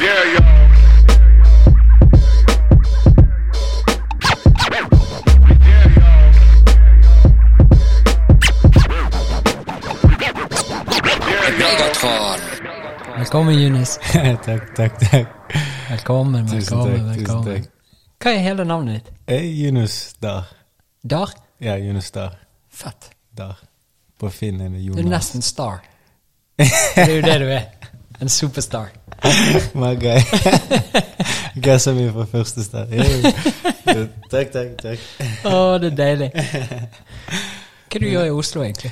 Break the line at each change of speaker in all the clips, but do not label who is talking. Yeah, yo.
Megatron.
Velkommen, Junis.
takk, takk, takk.
Velkommen,
Tusen
velkommen,
takk, tusen
velkommen.
takk.
Hva er hele navnet ditt?
Hey, Yunus Dar.
Dar?
Ja, Yunus Dar.
Fett.
Dar. På Finn er det
Du er
Jonas.
nesten star. Det er jo det du er. En superstar.
My guy. Gasser meg fra første start. Yeah. takk, takk, takk.
Å, det er deilig. Hva du gjør i Oslo, egentlig?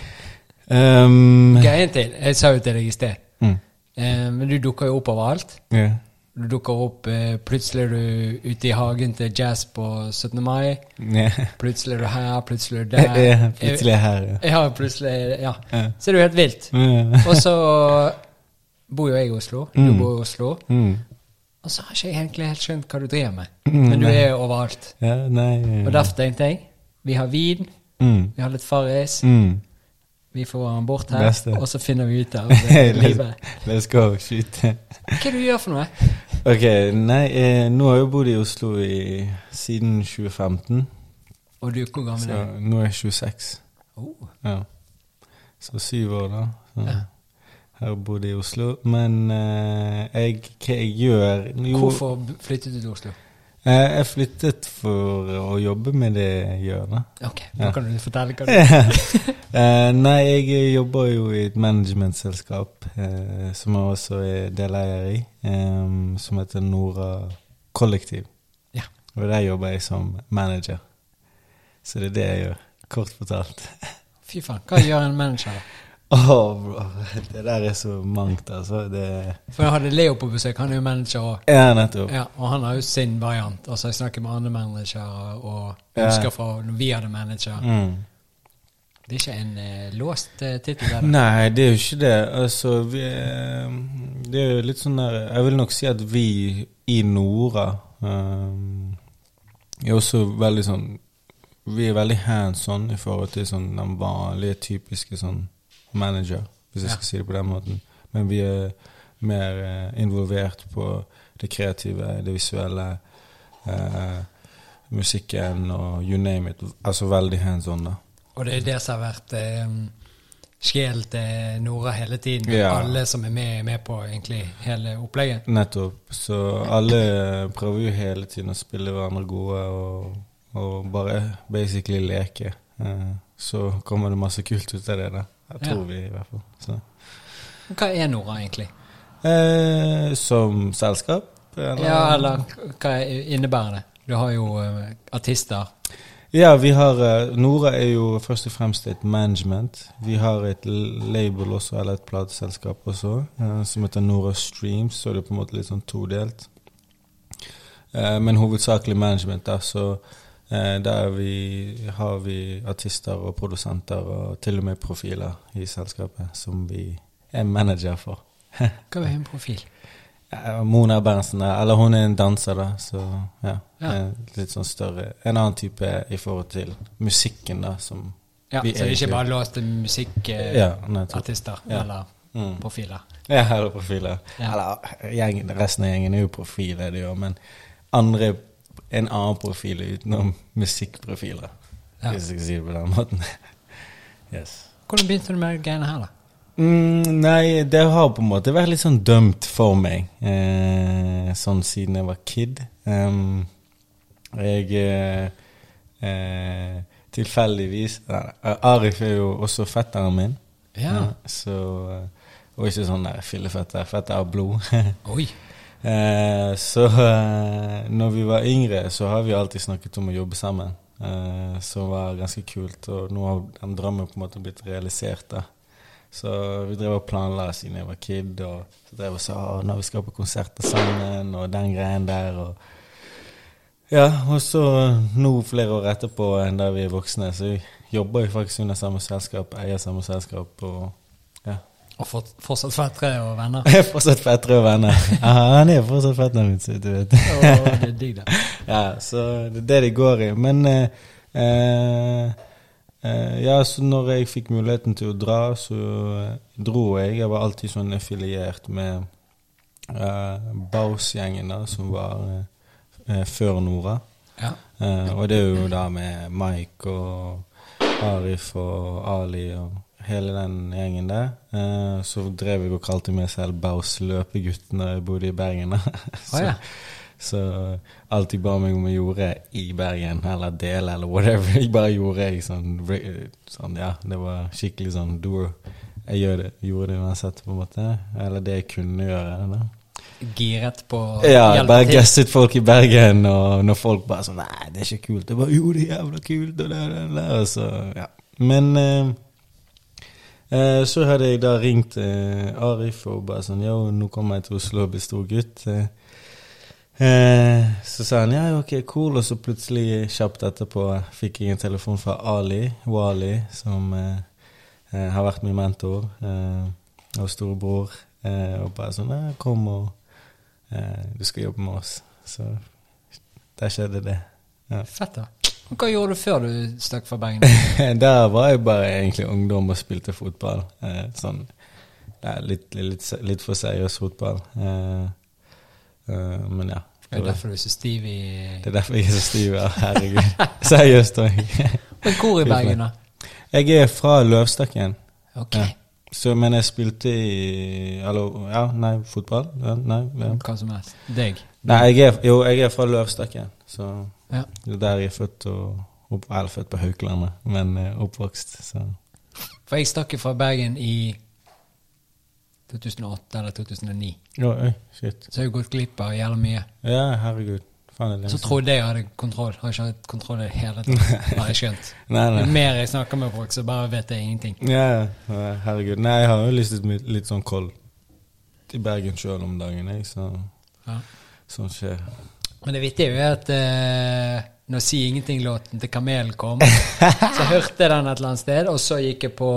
Um,
Ok, en til. Jeg sa jo til deg i sted.
mm,
Eh, men du dukker jo opp overalt.
ja.
Du dukker opp eh, Plutselig er du ute i hagen til jazz på 17. mai.
Ja.
Plutselig er du her, plutselig er du der.
Ja, Plutselig er jeg her, ja.
Ja, plutselig Ja.
Ja.
Så det er jo helt vilt.
Ja.
Og så bor jo jeg i Oslo. Du
Mm.
bor i Oslo.
Mm.
Og så har ikke jeg egentlig helt skjønt hva du driver med.
Mm,
Men du
nei. Mm.
er jo overalt.
ja, nei
Og
ja.
derfor tenkte jeg vi har vin,
Mm.
vi har litt Farris,
Mm.
vi får han bort her,
Beste.
og så finner vi ut av eh, livet.
let's, let's go, skyte.
Hva er det du gjør for noe?
Ok, nei, eh, nå har jeg jo bodd i Oslo i, siden 2015,
Og du, hvor gammel
så
er du?
nå er jeg 26.
Oh,
Ja. Så syv år, da. Så.
Ja.
Her bodde jeg i Oslo. Men eh, jeg, hva jeg gjør jo,
hvorfor b- flyttet du til Oslo?
Eh, jeg flyttet for å jobbe med det jeg gjør, da.
Ok, nå
Ja.
kan du fortelle hva du
Eh, nei, jeg jobber jo i et managementselskap eh, som jeg også er deleier i, eh, som heter Nora Kollektiv.
Ja.
Og der jobber jeg som manager. Så det er det jeg gjør, kort fortalt.
Fy faen, hva gjør en manager? da?
Åh, bro, det der er så mangt, altså. Det
For jeg hadde Leo på besøk, han er jo manager òg.
Ja, nettopp.
Ja, og han har jo sin variant. Altså, jeg snakker med andre managere og
Ja.
husker fra når vi hadde manager.
Mm.
Det er ikke en eh, låst eh, tittel der. da.
Nei, det er jo ikke det. Altså, vi eh, Det er jo litt sånn der Jeg vil nok si at vi i Nora eh, er også veldig sånn Vi er veldig hands on i forhold til sånn den vanlige, typiske sånn manager, hvis jeg
Ja.
skal si det på den måten. Men vi er mer eh, involvert på det kreative, det visuelle, eh, musikken og you name it. Altså veldig hands on, da.
Og det er det som har vært eh, sjelen til Nora hele tiden.
Ja.
Alle som er med, er med på egentlig hele opplegget.
Nettopp. Så alle prøver jo hele tiden å spille hverandre gode og, og bare basically leke. Eh, Så kommer det masse kult ut av det. da. Jeg
Ja.
tror vi, i hvert fall. Så.
Men Hva er Nora egentlig?
Eh, som selskap?
Ja, eller k- hva er- innebærer det? Du har jo eh, artister.
Ja, vi har eh, Nora er jo først og fremst et management. Vi har et l- label også, eller et plateselskap også, eh, som heter Nora Streams, så det er på en måte litt sånn todelt. Eh, Men hovedsakelig management, da, så eh, der vi, har vi artister og produsenter og til og med profiler i selskapet som vi er manager for.
Hva er en profil?
Ja, Eh, Mona Berntsen, ja, eller hun er en danser, da, så ja.
Ja.
eh, Litt sånn større. En annen type i forhold til musikken, da, som
Ja, så
Vi
det er
egentlig-
ikke bare låst til musikkartister
Ja, nettopp. Ja.
eller
Mm.
profiler.
Ja, her er profiler.
Ja.
Eller gjengen, resten av gjengen er jo profiler, de òg, men andre En annen profil utenom musikkprofiler,
Ja.
hvis jeg skal si det på den måten. yes.
Hvordan begynte du med de greiene her, da?
Mm, nei, det har på en måte vært litt sånn dømt for meg. Eh, sånn siden jeg var kid. Em, jeg eh, eh, Tilfeldigvis nei, nei, Arif er jo også fetteren min.
Ja.
så, eh, og ikke sånn der fillefetter. Fetter av blod.
Oi.
Eh, så eh, når vi var yngre, så har vi alltid snakket om å jobbe sammen. Eh, som var ganske kult, og nå har den drømmen på en måte blitt realisert. da. Så vi drev og planla siden jeg var kid, og så drev og sa «Å, når vi skal på konserter sammen, og den greien der. og ja, og så eh, nå flere år etterpå enn da vi er voksne, så jobber vi faktisk under samme selskap, eier samme selskap og ja.
Og fort, fortsatt fettere og venner.
Jeg er fortsatt fettere og venner. Ja, han er fortsatt fetteren min, så du vet.
Og det er digg, da.
Ja, så det er det det går i. Men eh, eh, eh, Ja, så når jeg fikk muligheten til å dra, så eh, dro jeg. Jeg var alltid sånn affiliert med eh, Baus-gjengen, da, som var eh, eh, før Nora.
Ja.
Eh, og det er jo da med Mike og Arif og Ali og hele den gjengen der. Eh, så drev jeg og kalte meg selv Baus løpegutten da jeg bodde i Bergen. da. så,
ja.
så alt de ba meg om jeg gjorde i Bergen, eller del, eller whatever, jeg bare gjorde jeg sånn, re- sånn Ja, det var skikkelig sånn do Jeg gjør det, gjorde det uansett, på en måte. Eller det jeg kunne gjøre. da.
Giret på å
Ja,
hjelpe
bare
til.
gasset folk i Bergen, og når folk bare sånn Nei, det er ikke kult. Jeg bare Jo, det er jævla kult, og det og det, og det, og så Ja. Men eh, eh, så hadde jeg da ringt eh, Arif og bare sånn Yo, nå kommer jeg til Oslo og blir stor gutt. Eh, Eh, så sa han ja, ja, ok, cool, og så plutselig kjapt etterpå fikk jeg en telefon fra Ali Wali, som eh, eh, har vært min mentor eh, og storebror, eh, og bare sånn eh, 'Kom og eh, du skal jobbe med oss'. Så der skjedde det. Ja.
Fett, da. Hva gjorde du før du stakk fra Bergen?
Der var jeg bare egentlig ungdom og spilte fotball. Eh, sånn ja, litt, litt, se- litt for seriøs fotball. Eh, eh, men ja.
Det er derfor du er så stiv i
Det er derfor jeg er så stiv. ja. Herregud. Seriøst òg.
Men hvor i Bergen, da?
Jeg er fra Løvstakken,
Ok.
Ja. så, men jeg spilte i Hallo, ja, nei, fotball? Ja, nei, ja.
Hva som helst. Deg.
nei jeg er, jo, jeg er fra Løvstakken, så
Ja.
det er der jeg er født og opp, Eller født på Haukelandet, men eh, oppvokst, så
For jeg stakk jo fra Bergen i 2008 eller 2009.
Oi, oi, shit.
Så jeg har jo gått glipp av jævla mye.
Ja, herregud. Faen, det er lenge
Så
siden.
trodde jeg jeg hadde kontroll. Har ikke hatt kontroll i det hele tatt. Har jeg skjønt.
Nei,
Jo
nei.
mer jeg snakker med folk, så bare vet jeg ingenting.
Ja, ja, ja, herregud. Nei, jeg har jo listet litt, litt sånn koll i Bergen sjøl om dagen, jeg, så
Ja.
sånn skjer.
Men det vittige er jo at eh, når Si ingenting-låten til Kamelen kom, så hørte jeg den et eller annet sted, og så gikk jeg på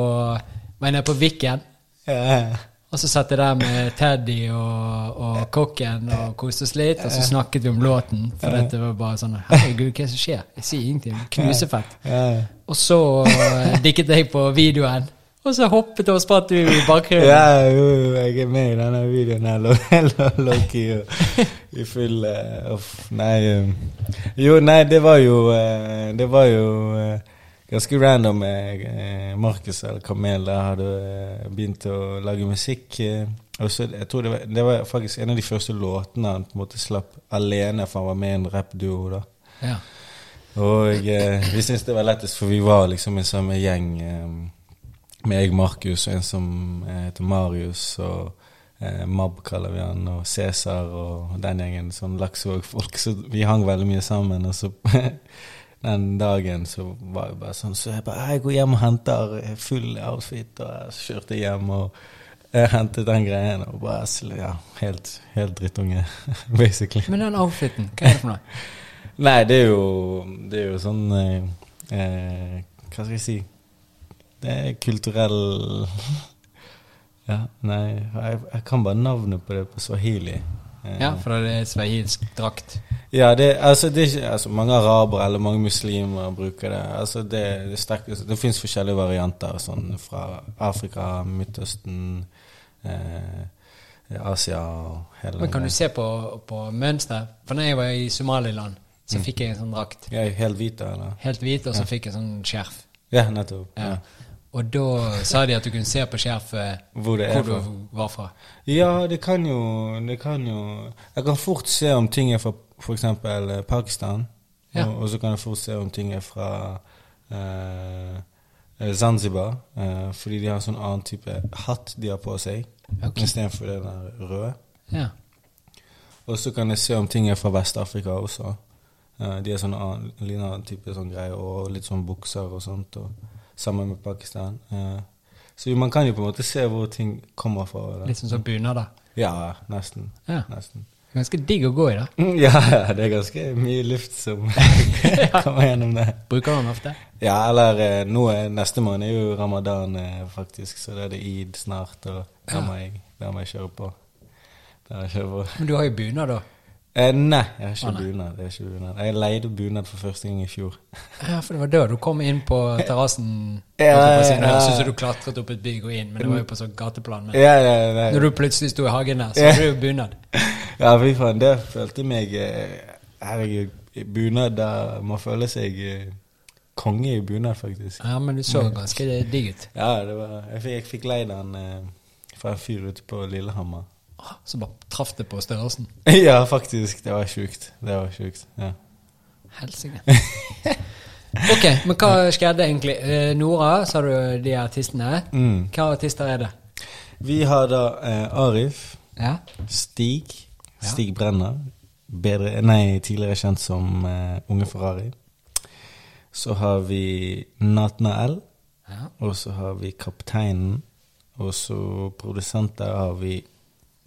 Var jeg nede på Viken,
Ja.
og så satt jeg der med Teddy og, og kokken og koste oss litt, og så snakket vi om låten, for dette var bare sånn Herregud, hva er det som skjer? Jeg sier ingenting. Knusefett.
Ja.
Og så eh, dikket jeg på videoen, og så hoppet og spratt du i bakgrunnen.
Ja, jo, jo, jeg er med i denne videoen her, lo- Loki, og i full eh, uff, Nei. eh, Jo, nei, det var jo eh, Det var jo eh, ganske random. eh, eh, Markus eller Kamel der hadde eh, begynt å lage musikk. eh, Og så, jeg tror det var, det var faktisk en av de første låtene han på en måte slapp alene, for han var med i en rappduo. da.
Ja.
Og eh, vi syntes det var lettest, for vi var liksom en samme gjeng eh, med jeg, Markus, og en som eh, heter Marius, og eh, Mab kaller vi han, og Cæsar og den gjengen, sånn Laksevåg-folk. Så vi hang veldig mye sammen. Og så den dagen så var jeg bare sånn Så jeg bare Jeg går hjem og henter full outfit, og så kjørte jeg hjem og jeg hentet den greien og bare sl- Ja, helt, helt drittunge, basically.
Men den outfiten, hva er det for noe?
Nei, det er jo, det er jo sånn eh, eh, Hva skal jeg si Det er kulturell Ja, nei jeg, jeg kan bare navnet på det på swahili. Eh,
Ja, for det er svahilsk drakt.
ja, det, altså, det er ikke, altså, mange arabere eller mange muslimer bruker det. Altså, det, det, er sterkt- altså, det finnes forskjellige varianter, sånn fra Afrika, Midtøsten, eh, Asia og hele
Men kan
den
du se på, på mønsteret? For når jeg var i Somaliland,
Mm.
så fikk jeg en sånn drakt.
greia. Ja, helt hvit, eller?
Helt hvit, og så fikk jeg en sånn skjerf.
Ja, nettopp.
Ja.
Ja.
Og da sa de at du kunne se på skjerfet
Hvor det er
hvor
fra.
du var fra.
Ja, det kan jo Det kan jo Jeg kan fort se om ting er fra f.eks. Pakistan.
Ja.
Og, og så kan jeg fort se om ting er fra eh, eh, Zanzibar. eh, fordi de har en sånn annen type hatt de har på seg,
Ok.
istedenfor den der røde.
Ja.
Og så kan jeg se om ting er fra Vest-Afrika også. Eh, de har sånn annen, litt annen type sånn greie, og litt sånn bukser og sånt. Og, sammen med Pakistan. Eh, så man kan jo på en måte se hvor ting kommer fra. da.
Litt sånn som bunad, da.
Ja, nesten.
Ja.
Nesten.
Ganske digg å gå i, da.
Mm, Ja, det er ganske mye luft som kommer gjennom det.
Bruker du den ofte?
Ja, eller eh, nå er neste måned er jo ramadan, eh, faktisk, så da er det id snart, og da må jeg, da må jeg kjøre på. Da må jeg kjøre på.
Men du har jo bunad, da.
Eh, nei, jeg har ikke bunad. Jeg, har ikke bunad. jeg leide bunad for første gang i fjor.
Ja, for det var da du kom inn på terrassen.
Ja,
holdt jeg på å si.
ja,
Nå
ja.
høres det ut som du klatret opp et bygg og inn, men det var jo på sånn gateplan. Men
Ja, ja, nei.
når du plutselig sto i hagen der, så
Ja.
var det jo bunad.
Ja, fy faen, det følte meg eh, Herregud, i bunad der man føler seg eh, konge i bunad, faktisk.
Ja, men du så
Mm.
ganske digg ut.
Ja, det var, jeg fikk, jeg fikk leid den eh, fra en fyr ute på Lillehammer.
Åh, Så bare traff det på størrelsen.
ja, faktisk. Det var sjukt. Det var sjukt. Ja.
Helsike. Ok, men hva skjedde egentlig? Eh, Nora, sa du de artistene.
Mm.
Hvilke artister er det?
Vi har da eh, Arif,
Ja.
Stig,
Ja.
Stig Brenner, bedre, nei, tidligere kjent som eh, Unge Ferrari. Så har vi Natnael,
ja.
og så har vi Kapteinen, og så produsenter har vi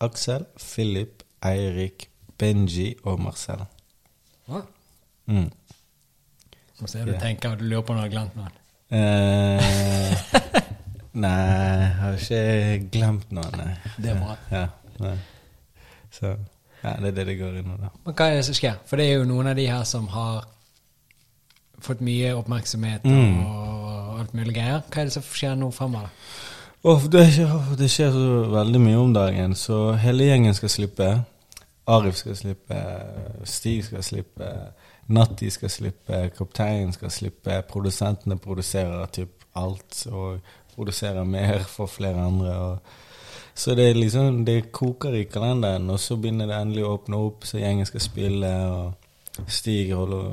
Aksel, Philip, Eirik, Benji og Marcel.
Hva?
Mm.
Nå ser du
Ja.
tenker at du lurer på om du har glemt noen.
Eh, nei, jeg har ikke glemt noe, nei.
Det er bra.
Ja, nei. Så, ja, det er det det går i nå, da.
Men hva er det som skjer? For det er jo noen av de her som har fått mye oppmerksomhet
Mm.
og alt mulig greier. Hva er det som skjer nå fremover?
Åh, det, skjer, det skjer så veldig mye om dagen, så hele gjengen skal slippe. Arif skal slippe, Stig skal slippe, Natti skal slippe, Kapteinen skal slippe. Produsentene produserer typ alt, og produserer mer for flere andre. Og så det er liksom, det koker i kalenderen, og så begynner det endelig å åpne opp, så gjengen skal spille. og Stig holder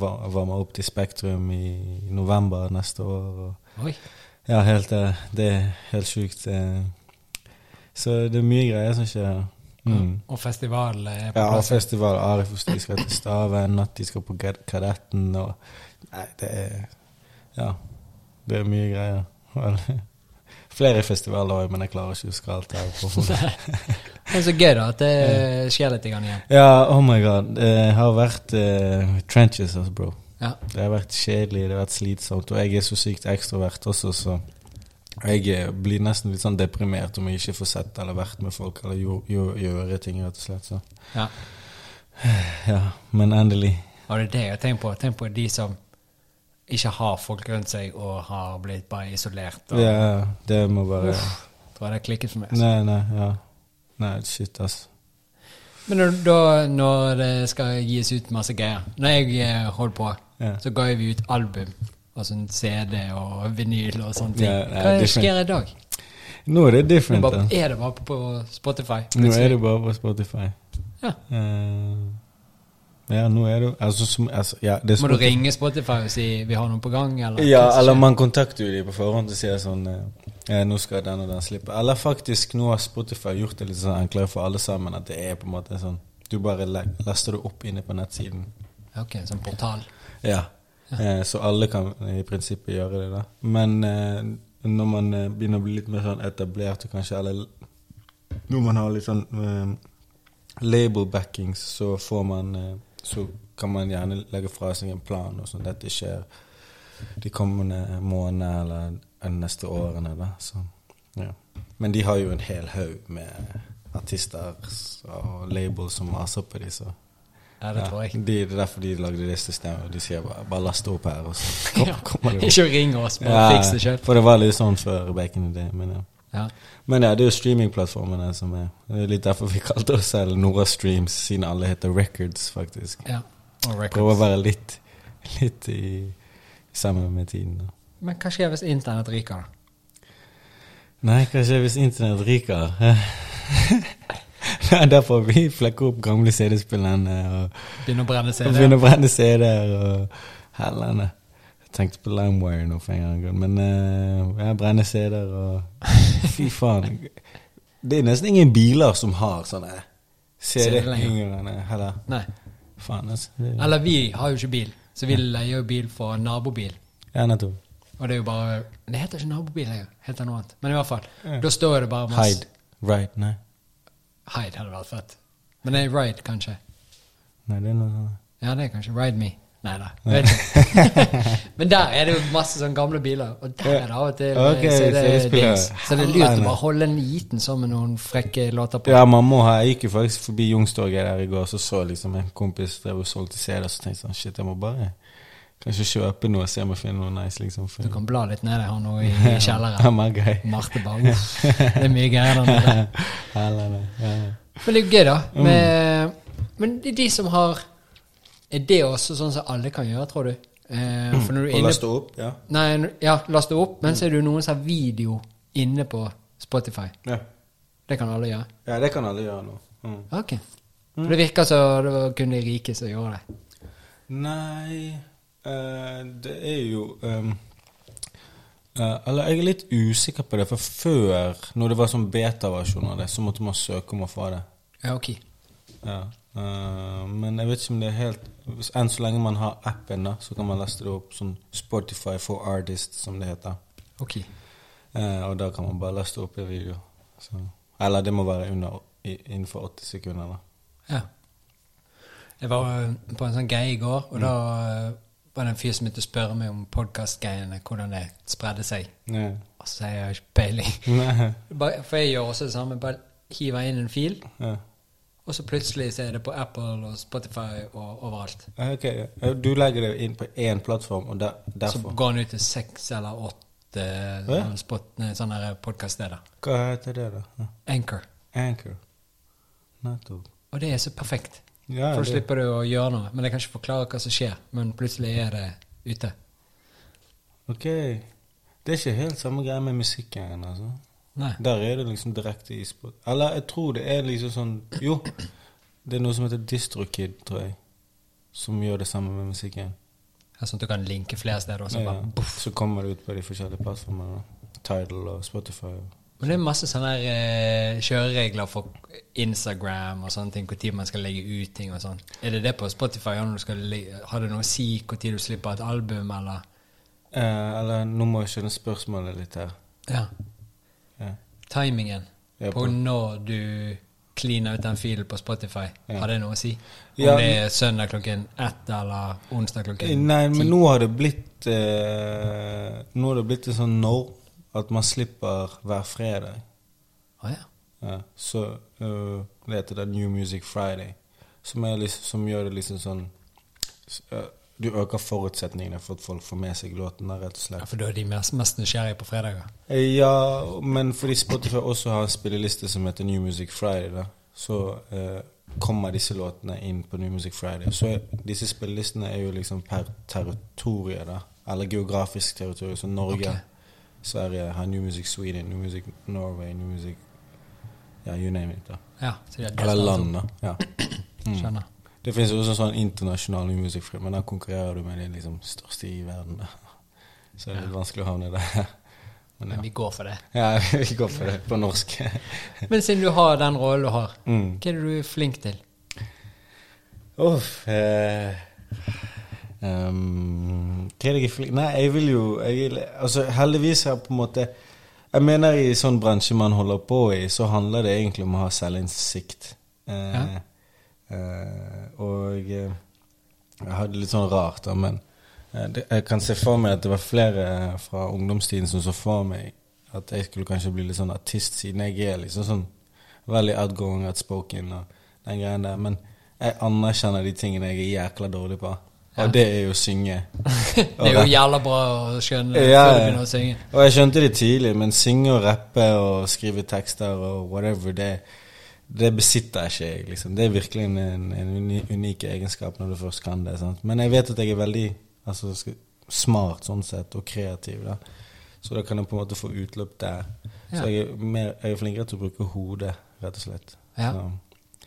var- varmer opp til Spektrum i november neste år. og
Oi.
ja, helt, eh, det er helt sjukt. eh. Så det er mye greier som skjer. Mm.
Og festivalen er på
Ja, altså- og
plass.
festival. Arif og Stig skal til Staven, Natti skal på Gad- Kadetten og Nei, det er Ja. Det er mye greier. Vel, Flere festivaler òg, men jeg klarer ikke å huske alt det her. på hodet.
Det er så gøy, da, at det skjer litt grann igjen.
Ja, oh my god. Det har vært eh, trenches, altså, bro.
Ja.
Det har vært kjedelig, det har vært slitsomt, og jeg er så sykt ekstrovert også, så jeg eh, blir nesten litt sånn deprimert om jeg ikke får sett eller vært med folk, eller gjør, gjør, gjøre ting, rett og slett. Så.
ja.
Ja, men endelig.
Og det er det jeg tenker på. Tenk på de som ikke har folk rundt seg og har blitt bare isolert. Og,
Ja, det må bare
Tror jeg det klikket for meg. altså.
Nei, nei, ja. Nei, shit, ass.
Men når, da, når det skal gis ut masse greier Når jeg eh, holdt på,
Ja.
så ga vi ut album. Og sånn CD og vinyl og sånne ting.
Ja, ja,
Hva er det
different.
skjer i dag?
Nå er det
Det er
different,
bare,
da.
er det bare på Spotify?
Nå er det bare på Spotify.
Ja.
Eh, ja, nå er det altså, som, altså, ja, det er
Må du
Spotify.
ringe Spotify og si 'vi har noe på gang'? Eller, hva
Ja,
som
eller
skjer?
man kontakter jo de på forhånd og sier sånn eh, eh, Nå skal den og den slippe. Eller faktisk, nå har Spotify gjort det litt sånn enklere for alle sammen. At det er på en måte sånn Du bare le- laster det opp inne på nettsiden.
Ok, sånn portal.
Ja. Eh, så alle kan i prinsippet gjøre det, da. Men eh, når man eh, begynner å bli litt mer sånn etablert, og kanskje eller Når man har litt sånn eh, label backings, så får man eh, Så kan man gjerne legge fra seg en plan, og sånn dette skjer de kommende månedene eller de neste årene, da. Så, ja. Men de har jo en hel haug med artister og labels som maser på dem, så
Ja, det tror jeg.
de, det er derfor de lagde det systemet. De sier bare, bare last det opp her, og så kom-
Ja.
kommer det opp.
Ikke ring oss, bare
Ja,
fiks det sjøl.
For det var litt sånn før back in the day. Men ja,
Ja.
men ja det er jo streamingplattformene som er Det er litt derfor vi kalte oss selv Nora Streams, siden alle heter Records, faktisk.
Ja. Og
Prøver å
records.
være litt, litt i sammen med tiden. da.
Men hva skjer hvis internett ryker, da?
Nei, kanskje hvis internett ryker. Det er derfor vi flekker opp gamle CD-spillene og
Begynner å brenne CD?
Jeg begynner å brenne CD-er og hellene. Jeg tenkte på LimeWire nå for en gang, grunn, men eh, jeg brenner CD-er og Fy faen. Det er nesten ingen biler som har sånne CD-hengere heller.
Nei.
Faen, altså. Det er-
Eller vi har jo ikke bil, så vi leier jo bil fra nabobil.
Ja, nettopp.
Og det er jo bare Det heter ikke nabobil, det heter noe annet. Men i hvert fall.
Ja.
Da står det bare masse
Hide. Right. Nei.
Hyde hadde vært fett. Men det er Ride, kanskje.
Nei, det er noe sånn. sånt.
Ja, det er kanskje Ride Me. Nei da. vet ikke. Men der er det jo masse sånne gamle biler, og der er det av og til eh,
Ok,
så, er det
så vi spiller.
dings. så det er lurt
Nei,
å
nei.
bare holde en liten sånn med noen frekke låter på.
Ja, man må ha Jeg gikk jo faktisk forbi Youngstorget der i går, så så liksom en kompis drev og solgte CD-er, så tenkte jeg sånn Shit, jeg må bare kanskje kjøpe noe, se om jeg finner noe nice, liksom. For,
Du kan bla litt ned her nå i i kjelleren.
I'm a guy.
Marte Bang. Det er mye greier der nede.
Eller, nei, ja, ja.
Men det er jo gøy, da.
Mm.
Med, Men de, de som har Er det også sånn som alle kan gjøre, tror du? Eh, for når du er
Og
inne
laste opp, Mm. ja.
Nei, n- ja, laste opp, men så er det jo noen som har video inne på Spotify.
ja.
Det kan alle gjøre.
Ja, det kan alle gjøre nå. Mm.
Ok. For det virker som det var kun de rike som gjorde det.
Nei eh, Det er jo ehm, eh, Eller jeg er litt usikker på det, for før, når det var sånn beta-versjon av det, så måtte man søke om å få det.
Ja, ok.
Ja. eh, men jeg vet ikke om det er helt hvis- Enn så lenge man har appen, da, så kan man laste det opp som Spotify for Artists, som det heter.
Ok.
Eh, og da kan man bare laste opp i video. Så. Eller det må være under, i, innenfor 80 sekunder, da.
Ja. Jeg var eh, på en sånn greie i går,
Mm.
og da eh, var det en fyr som begynte å spørre meg om podkastgreiene, hvordan det spredde seg.
Ja.
Og så sier jeg ikke peiling.
Nei.
Bare- For jeg gjør også det samme. Bare hiver inn en fil,
Ja.
og så plutselig så er det på Apple og Spotify og overalt.
Ja, Ok, ja. Du legger det inn på én plattform, og der,
Så
derfor
går den ut til seks eller åtte
Hæ?
sånne spot- nei, sånne podkaststeder.
Hva heter det, da? Ja.
Anchor.
Anchor. Nettopp.
Og det er så perfekt.
Ja,
For da
det,
slipper du å gjøre noe. Men jeg kan ikke forklare hva som skjer. Men plutselig er det ute.
ok. Det er ikke helt samme greie med musikken, altså.
Nei.
Der er det liksom direkte i spot. Eller jeg tror det er liksom sånn Jo, det er noe som heter DistroKid, tror jeg, som gjør det samme med musikken.
Det er Sånn at du kan linke flere steder. Og så
Ja.
bare, boff.
Så kommer det ut på de forskjellige plattformene. Tidal og Spotify.
Men det er masse sånne her, eh, kjøreregler for Instagram og sånne ting, når man skal legge ut ting og sånn. Er det det på Spotify? og Når du skal le- har det noe å si når du slipper et album, eller?
Eh, eller nå må jeg skjønne spørsmålet litt her.
Ja.
Ja.
Timingen
Ja,
på
på-
når du cleaner ut den filen på Spotify,
Ja.
har det noe å si? Om
Ja,
det er søndag klokken ett eller onsdag klokken
Eh, Nei, men nå har det blitt eh, Nå har det blitt en sånn norm at man slipper hver fredag.
Å ja.
Ja, så eh, det heter det New Music Friday, som, er liksom, som gjør det liksom sånn s- eh, Du øker forutsetningene for at folk får med seg låten der, rett og slett.
ja. For da er de mest, mest nysgjerrige på fredager.
Eh, Ja, men fordi Spotify også har en spilleliste som heter New Music Friday, da, så eh, kommer disse låtene inn på New Music Friday. Så er- disse spillelistene er jo liksom per territorie, da. Eller geografisk territorium. Så Norge,
Ok.
Sverige har New Music Sweden, New Music Norway, New Music Ja, you name it, da.
Ja, så de har
Eller
delt alt
land, da. Ja.
opp. Skjønner.
Det fins også sånn internasjonal New Music Friday, men da konkurrerer du med de liksom største i verden. Da. Så det er litt vanskelig å havne der. Men ja.
Men vi går for det.
Ja, vi går for det på norsk.
Men siden du har den rollen du har,
Mm.
hva er det du er flink til?
Uff. Eh, ehm, hva er det jeg er flink Nei, jeg vil jo jeg, vil- Altså, heldigvis har jeg på en måte Jeg mener i sånn bransje man holder på i, så handler det egentlig om å ha selvinnsikt. Eh,
Ja.
eh, og eh, jeg hadde det litt sånn rart, da, men eh, det, jeg kan se for meg at det var flere eh, fra ungdomstiden som så for meg at jeg skulle kanskje bli litt sånn artist, siden jeg er liksom sånn veldig outgoing, outspoken og den greien der. Men jeg anerkjenner de tingene jeg er jækla dårlig på, og det er jo å synge.
Det er jo jævla bra å skjønne
Ja,
før du
ja.
begynner å synge.
Og jeg skjønte det tidlig, men synge og rappe og skrive tekster og whatever, det, det besitter jeg ikke jeg, liksom. Det er virkelig en, en, en uni- unik egenskap når du først kan det. Sant? Men jeg vet at jeg er veldig altså, sk- smart sånn sett, og kreativ, da. Så da kan jeg på en måte få utløp der.
Ja.
Så jeg er, mer, jeg er flinkere til å bruke hodet, rett og slett.
Ja.
Så,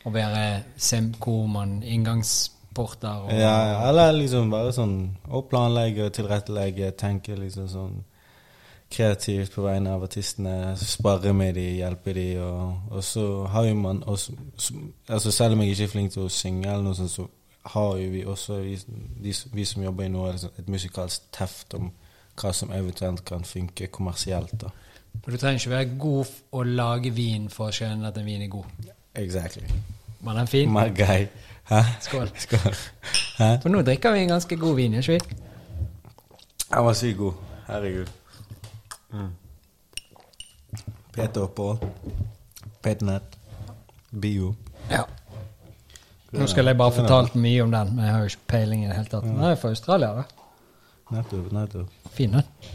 Å være semkoman, inngangsporter og
ja, ja, eller liksom bare sånn å planlegge, tilrettelegge, tenke liksom sånn kreativt på vegne av artistene, sparre med de, hjelpe de, og, og så har jo man også altså Selv om jeg ikke er flink til å synge, eller noe sånt, så har jo vi også, vi, de, som- vi som jobber i Norge, liksom et musikalsk teft om hva som eventuelt kan funke kommersielt. da.
Og du trenger ikke være god f- å lage vin for å skjønne at en vin er god.
Exactly.
Var den fin?
My guy. Hæ?
Skål.
Skål. Hæ?
For nå drikker vi en ganske god vin, ikke vi?
Han var sykt god. Herregud. Mm. Peter Oppå. Petnett. Bio.
Ja. Nå skulle jeg bare fortalt mye om den, men jeg har jo ikke peiling i det hele tatt. Den er jo fra Australia, da.
Nettopp, nettopp.
Fin, den.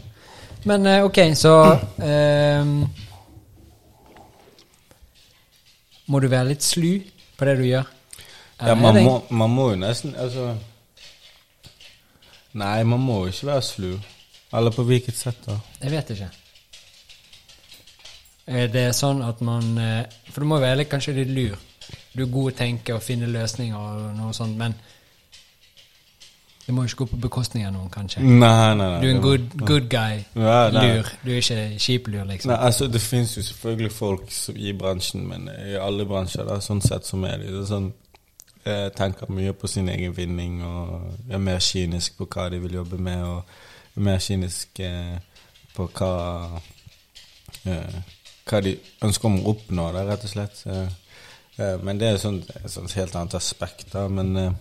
Men eh, ok, så ehm, Må du være litt slu på det du gjør?
Ja,
Eller
man
er det-
må, man må jo nesten Altså Nei, man må jo ikke være slu. Eller på hvilket sett, da?
Jeg vet ikke. Eh, Det er sånn at man eh, For du må være litt, kanskje litt lur. Du er god til å tenke og finne løsninger og noe sånt, men det må jo ikke gå på bekostning av noen, kanskje.
Nei, nei, nei.
Du er en
Mm. det-
good, good guy.
Ja, nei.
lur. Du er ikke kjip-lur, liksom.
Nei, altså Det finnes jo selvfølgelig folk som, i bransjen, men i alle bransjer da, sånn sett som er de. Det er sånn, eh, tenker mye på sin egen vinning og er mer kynisk på hva de vil jobbe med, og er mer kynisk eh, på hva eh, Hva de ønsker om å oppnå, da, rett og slett. Eh, eh, men det er sånn, et sånt helt annet aspekt, da. Men eh,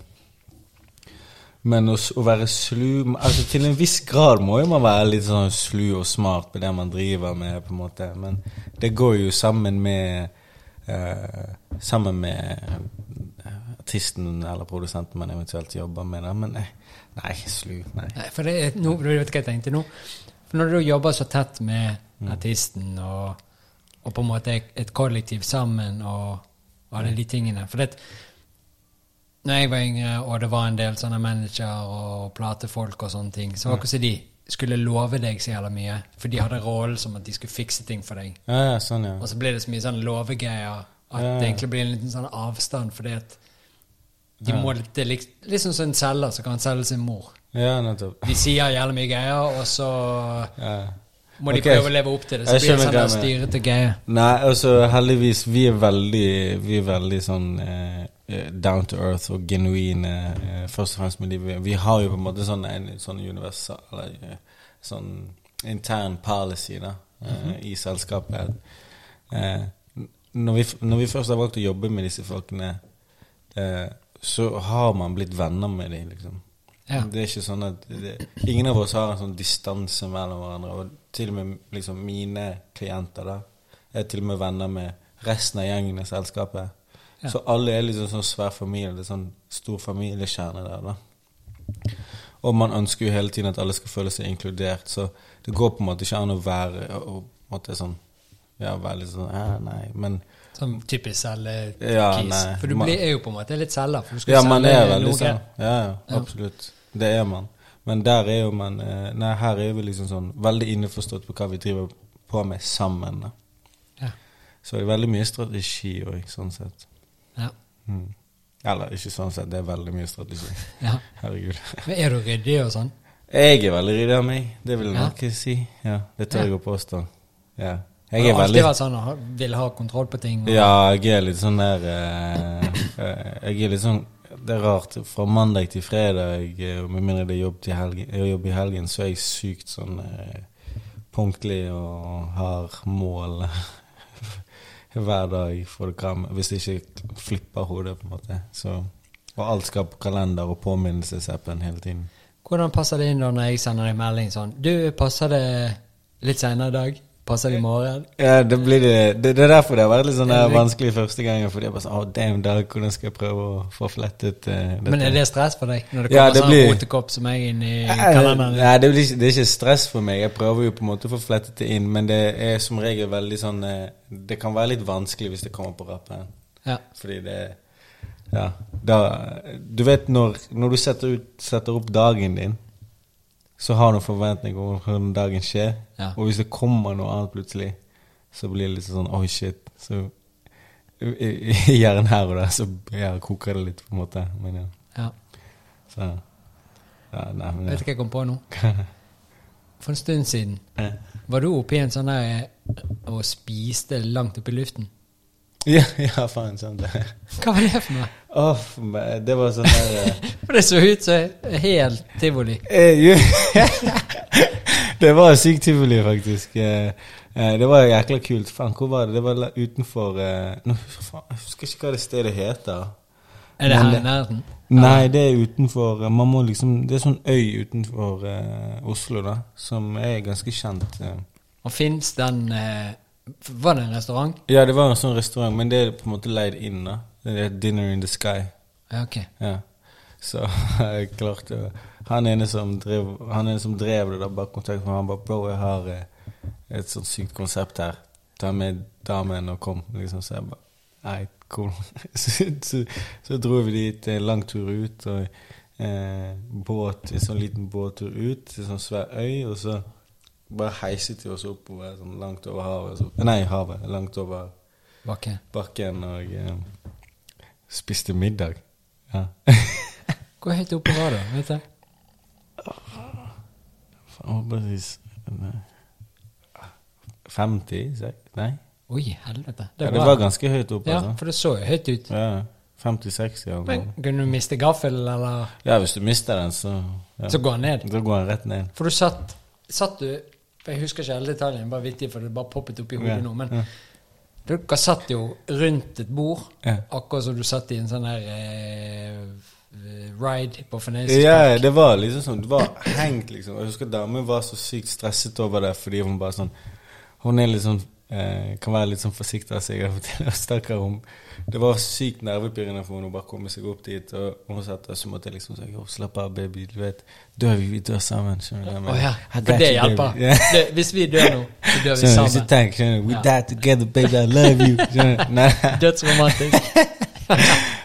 men å, s- å være slu altså Til en viss grad må jo man være litt sånn slu og smart på det man driver med, på en måte. Men det går jo sammen med eh, Sammen med eh, artisten eller produsenten man eventuelt jobber med. Da. Men nei, nei, slu Nei.
Nei, for det er no, du vet hva jeg tenkte nå. For når du jobber så tett med artisten og, og på en måte er et kollektiv sammen og, og alle de tingene For det når jeg var yngre, og det var en del sånne manager og platefolk og sånne ting, så var det ikke så de skulle love deg så jævla mye. For de hadde rollen som at de skulle fikse ting for deg.
Ja, ja, sånn, ja.
Og så blir det så mye sånn lovegreier at
Ja.
det egentlig blir en liten sånn avstand fordi at de må litt, det er litt, litt sånn som en selger som kan selge sin mor.
Ja, nettopp.
De sier jævlig mye greier, og så
Ja.
må de
Ok.
prøve å leve opp til det. Så
Jeg
blir det
skjønner
sånn der
hva jeg
styrete greie.
Nei, altså heldigvis Vi er veldig, vi er veldig sånn eh, eh, down to earth og genuine eh, først og fremst med livet. Vi har jo på en måte sånn en sånn universal Eller eh, sånn intern policy da eh, i selskapet. Eh, n- når, vi, f- når vi først har valgt å jobbe med disse folkene, eh, så har man blitt venner med dem, liksom.
Ja.
Det er ikke sånn at det, Ingen av oss har en sånn distanse mellom hverandre. Og til og med liksom, mine klienter da, er til og med venner med resten av gjengen i selskapet.
Ja.
Så alle er liksom sånn svær familie. Det er sånn stor familiekjerne der. da. Og man ønsker jo hele tiden at alle skal føle seg inkludert, så det går på en måte ikke an å være å- å, på en måte sånn Ja, være litt sånn eh, Nei, men
Som Sånn typisk selgekis.
Ja, nei,
for du
man-
blir, er jo på en måte litt selger. For du skal
Ja, man er
selge
veldig
Liksom. noe.
sånn. Ja, ja, absolutt. Det er man. Men der er jo man eh, Nei, her er vi liksom sånn veldig innforstått på hva vi driver på med sammen. Da.
Ja.
Så det er veldig mye strategi òg, sånn sett.
Ja.
Mm. Eller ikke sånn sett, det er veldig mye strategi.
Ja.
Herregud.
Men er du ryddig og sånn?
Jeg er veldig ryddig av meg, det vil jeg
Ja.
nok si. Ja, det tør jeg å påstå. Ja.
Har
Jeg
du
er
alltid
veldig
vært sånn og ha- vil ha kontroll på ting? Og,
Ja, jeg er litt sånn der eh, eh, Jeg er litt sånn Det er rart. Fra mandag til fredag, eh, og med mindre det er jobb, til helgen, eh, jobb i helgen, så er jeg sykt sånn eh, punktlig og har mål hver dag for det kram. Hvis det ikke flipper hodet, på en måte. Så, og alt skal på kalender og påminnelsesappen hele tiden.
Hvordan passer det inn da når jeg sender deg melding sånn Du, passer det litt seinere i dag? Passer det i morgen?
Ja, det, blir det, det, det er derfor det har vært litt sånn der vanskelig første gangen. Fordi jeg bare sånn Å, damn, Dag, hvordan skal jeg prøve å få flettet eh, dette?
Men er det stress for deg? Når det
Ja,
kommer
det
sånn
blir-
rotekopp som meg inn i
Nei,
kalenderen?
nei Eh, det, blir ikke, det er ikke stress for meg. Jeg prøver jo på en måte å få flettet det inn, men det er som regel veldig sånn eh, Det kan være litt vanskelig hvis det kommer på rappen.
Ja.
Fordi det Ja. Da, du vet når, når du setter, ut, setter opp dagen din, så har du en forventning om hvordan dagen skjer.
Ja.
Og hvis det kommer noe annet plutselig, så blir det litt sånn Oi, shit. Så i, i, i hjernen her og der, så ja, koker det litt, på en måte. Men ja.
ja.
Så ja, nei, men, ja.
Vet du hva jeg kom på nå? For en stund siden
Ja.
var du oppe i en sånn der eh, og spiste langt oppe i luften.
Ja, ja faen, sant det.
Hva var det for noe?
Åh, men det var sånn der eh,
For det så ut som helt tivoli.
eh, jo. Det var sykt tivoli, faktisk. Eh, Eh, Det var jækla kult. Faen, hvor var det? Det var la- utenfor eh, Nå faen, jeg husker ikke hva det stedet heter.
Er det
Men
her i
det-
nærheten?
Nei, det er utenfor eh, Man må liksom Det er sånn øy utenfor eh, Oslo, da, som er ganske kjent. eh.
Og fins den eh, Var det en restaurant?
Ja, det var en sånn restaurant, men det er på en måte leid inn, da. Det er Dinner in the Sky.
Ja, ok.
Ja. Så jeg klarte å- eh, Han ene som drev, han ene som drev det, da bare kontakt med han bare 'Bro, jeg har eh, et sånt sykt konsept her. Ta med damen og kom.' Liksom, så jeg bare Nei, cool. så, så, så dro vi dit en lang tur ut, og eh, båt, en sånn liten båttur ut til en sånn svær øy, og så bare heiset vi oss oppover sånn langt over havet. Så, nei, havet. Langt over
Bakke.
bakken, og eh, spiste middag. Ja.
Hvor høyt oppe var du? Vet du?
Faen, hva var det s- nei. 50? sek- Nei?
Oi, helvete.
Det, ja, det var ganske høyt oppe.
Ja,
altså.
for det så jo høyt ut.
Ja, 50-60 eller
Men
noe.
kunne du miste gaffelen, eller
Ja, hvis du mister den, så ja.
så gå ned?
Da går den rett ned.
For du satt Satt du for Jeg husker ikke alle detaljene, bare vittig, for det bare poppet opp i hodet
Ja,
nå. Men
ja.
dere satt jo rundt et bord,
Ja.
akkurat som du satt i en sånn her eh, ride på Fornøyelsespark.
Ja, det var liksom sånn Det var hengt, liksom. Og Jeg husker damen var så sykt stresset over det fordi hun bare sånn Hun er litt sånn eh, Kan være litt sånn forsiktig av seg. av og til, og Stakkar, hun Det var sykt nervepirrende for henne å bare komme seg opp dit. Og hun satt der, så måtte jeg liksom si «Jo, Slapp av, baby. Du vet, dør vi, vi dør sammen. Skjønner du hva jeg
Å
mener?
ja,
I
for
got
det
you, baby.
hjelper.
Ja.
Det, hvis vi dør nå, så dør vi
Skjønner du, ikke
sammen.
tenk, skjønner du. We
Ja.
die together, baby. I love you. Skjønner du? Nei.
Dødsromantisk.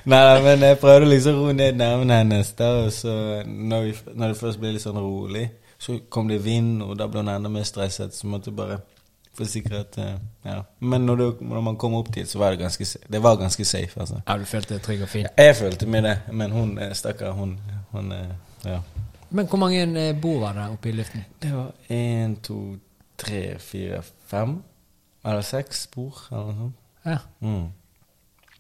Nei, nei, men jeg prøvde liksom å roe ned nervene hennes. Da, og så når, vi, når det først ble litt sånn rolig, så kom det vind, og da ble hun enda mer stresset. Så måtte jeg bare forsikre at eh, Ja. Men når, du, når man kom opp dit, så var det ganske, sa- det var ganske safe, altså.
Ja, du følte deg trygg og fin.
Jeg følte med det, men hun eh, stakkar, hun, hun eh, Ja.
Men hvor mange eh, bord var det oppe i luften?
Det var én, to, tre, fire, fem eller seks spor eller noe sånt.
Ja.
Mm.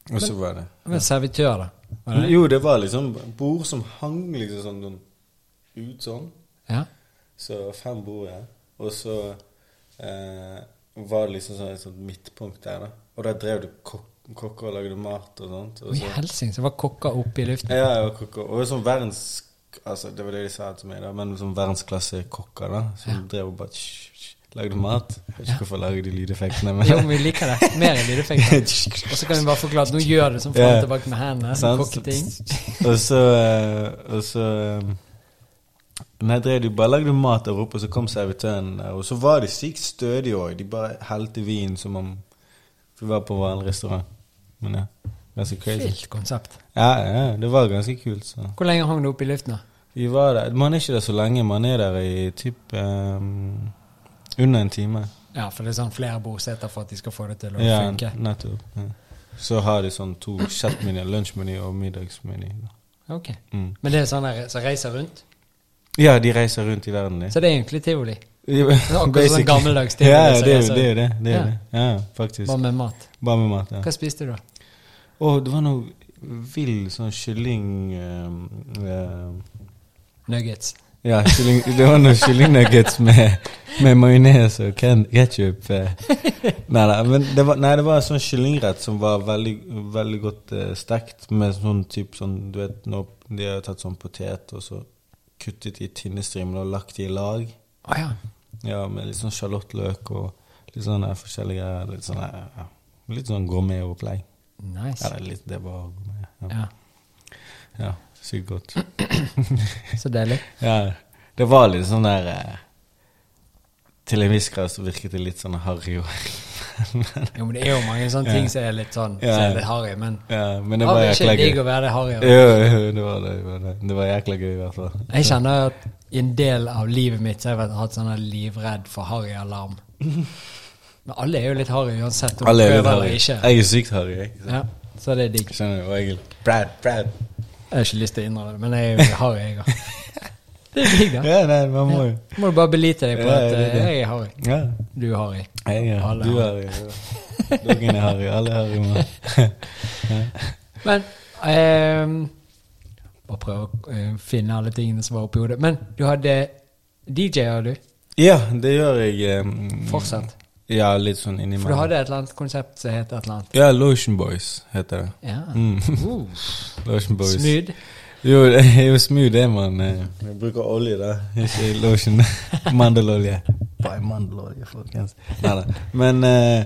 Og så var det
Men servitør, da? Var det?
Jo, det var liksom bord som hang liksom sånn noen ut sånn.
Ja.
Så fem bord, ja. Og så eh, var det liksom sånn et sånt midtpunkt der, da. Og der drev du kok kokker og lagde mat og sånt.
Og
Og
i
så,
helsike, det var kokker oppe i luften.
ja, ja, kokker. Og sånn verdens... Altså, det var det de sa til meg, da, men sånn verdensklasse kokker, da. Som
Ja.
drev og bare tsk, tsk, lagde mat. Jeg vet
Ja.
ikke hvorfor jeg lager de lydeffektene,
Jo, men
men
vi liker det. Mer enn lydeffekter. Og så kan vi bare forklare at nå gjør det som fram
Ja.
og tilbake med hendene.
Sant?
Kokketing.
Og så eh, Og så eh, Nei, drev de bare lagde mat der oppe, og så kom servitøren der. Og så var de sykt stødige òg. De bare helte vin som om vi var på vanlig restaurant. Men ja, ganske crazy.
Vilt konsept.
Ja, ja, det var ganske kult, så.
Hvor lenge hang det oppe i luften? da?
Vi var der. Man er ikke der så lenge. Man er der i typ ehm, under en time.
Ja, for det er sånn flere bordseter for at de skal få det til å
Ja,
funke.
nettopp. Ja. Så har de sånn to chatmeny, lunsjmeny og middagsmeny.
Ok.
Mm.
Men det er sånn der som reiser rundt?
Ja, de reiser rundt i verden, de.
Så det er egentlig tivoli?
Basically.
Akkurat sånn gammeldags tivoli,
Ja, ja,
så
det er
jeg
jo
så-
det. Er jo det, det, er
Ja.
jo det. Ja, faktisk.
Bare med mat?
Bare med mat. ja.
Hva spiste du, da?
Og det var noe vill sånn kylling... ehm, ehm,
Nuggets.
ja, kylling, det var noen kyllingnuggets med, med majones og ken- ketchup. eh. Nei, nei, men det var, nei, det var en sånn kyllingrett som var veldig, veldig godt eh, stekt med sånn typ sånn, du vet, når de har tatt sånn potet og så kuttet i tynne strimler og lagt de i lag.
Å ja.
Ja, med litt sånn sjalottløk og litt sånne forskjellige greier. Litt sånn, ja. litt sånn gourmet-opplegg.
Nice.
Eller litt, det var gourmet. Ja,
Ja.
ja sykt godt.
Så deilig.
Ja, det var litt sånn der eh, Til en viss grad så virket det litt sånn harry og
Jo, men det er jo mange sånne
Ja.
ting som er litt sånn
Ja.
som er litt harry, men
ja, Men det
har
var
vi ikke
jækla gøy.
digg å være det harry?
Jo,
også?
jo, det var det. Det var, det. Det var jækla gøy, i hvert fall.
Jeg kjenner at i en del av livet mitt så har jeg vært- hatt sånn livredd for harry-alarm. Men alle er jo litt harry uansett om du
Alle er
prøver
litt
eller
harry.
ikke.
Jeg er sykt harry, jeg.
Ja, så det er digg.
Skjønner du? Og jeg er Brad, Brad.
Jeg har ikke lyst til å innrømme det, men jeg er jo harry, jeg òg. Det er digg, da.
Ja, nei, man må jo
Må du bare belite deg på
Ja,
at
det er
eh,
det.
jeg er harry.
Ja.
Du er harry.
Jeg er
Alle
Du
er
er harry. Dere er harry. Alle er harry, mann.
Men ehm, Bare prøve å eh, finne alle tingene som var oppi hodet. Men du hadde DJ-er, du.
Ja, det gjør jeg. eh, mm,
Fortsett.
Ja, litt sånn
For du
innimellom.
hadde et eller annet konsept som het et eller annet.
Ja, Lotion Boys heter det.
Ja.
Mm.
Uh,
Lotion Boys.
smooth.
Jo, det er jo smooth det, man. eh. Vi bruker olje, da. Ikke lotion. mandelolje. Buy mandelolje, folkens. Nei da. Men eh,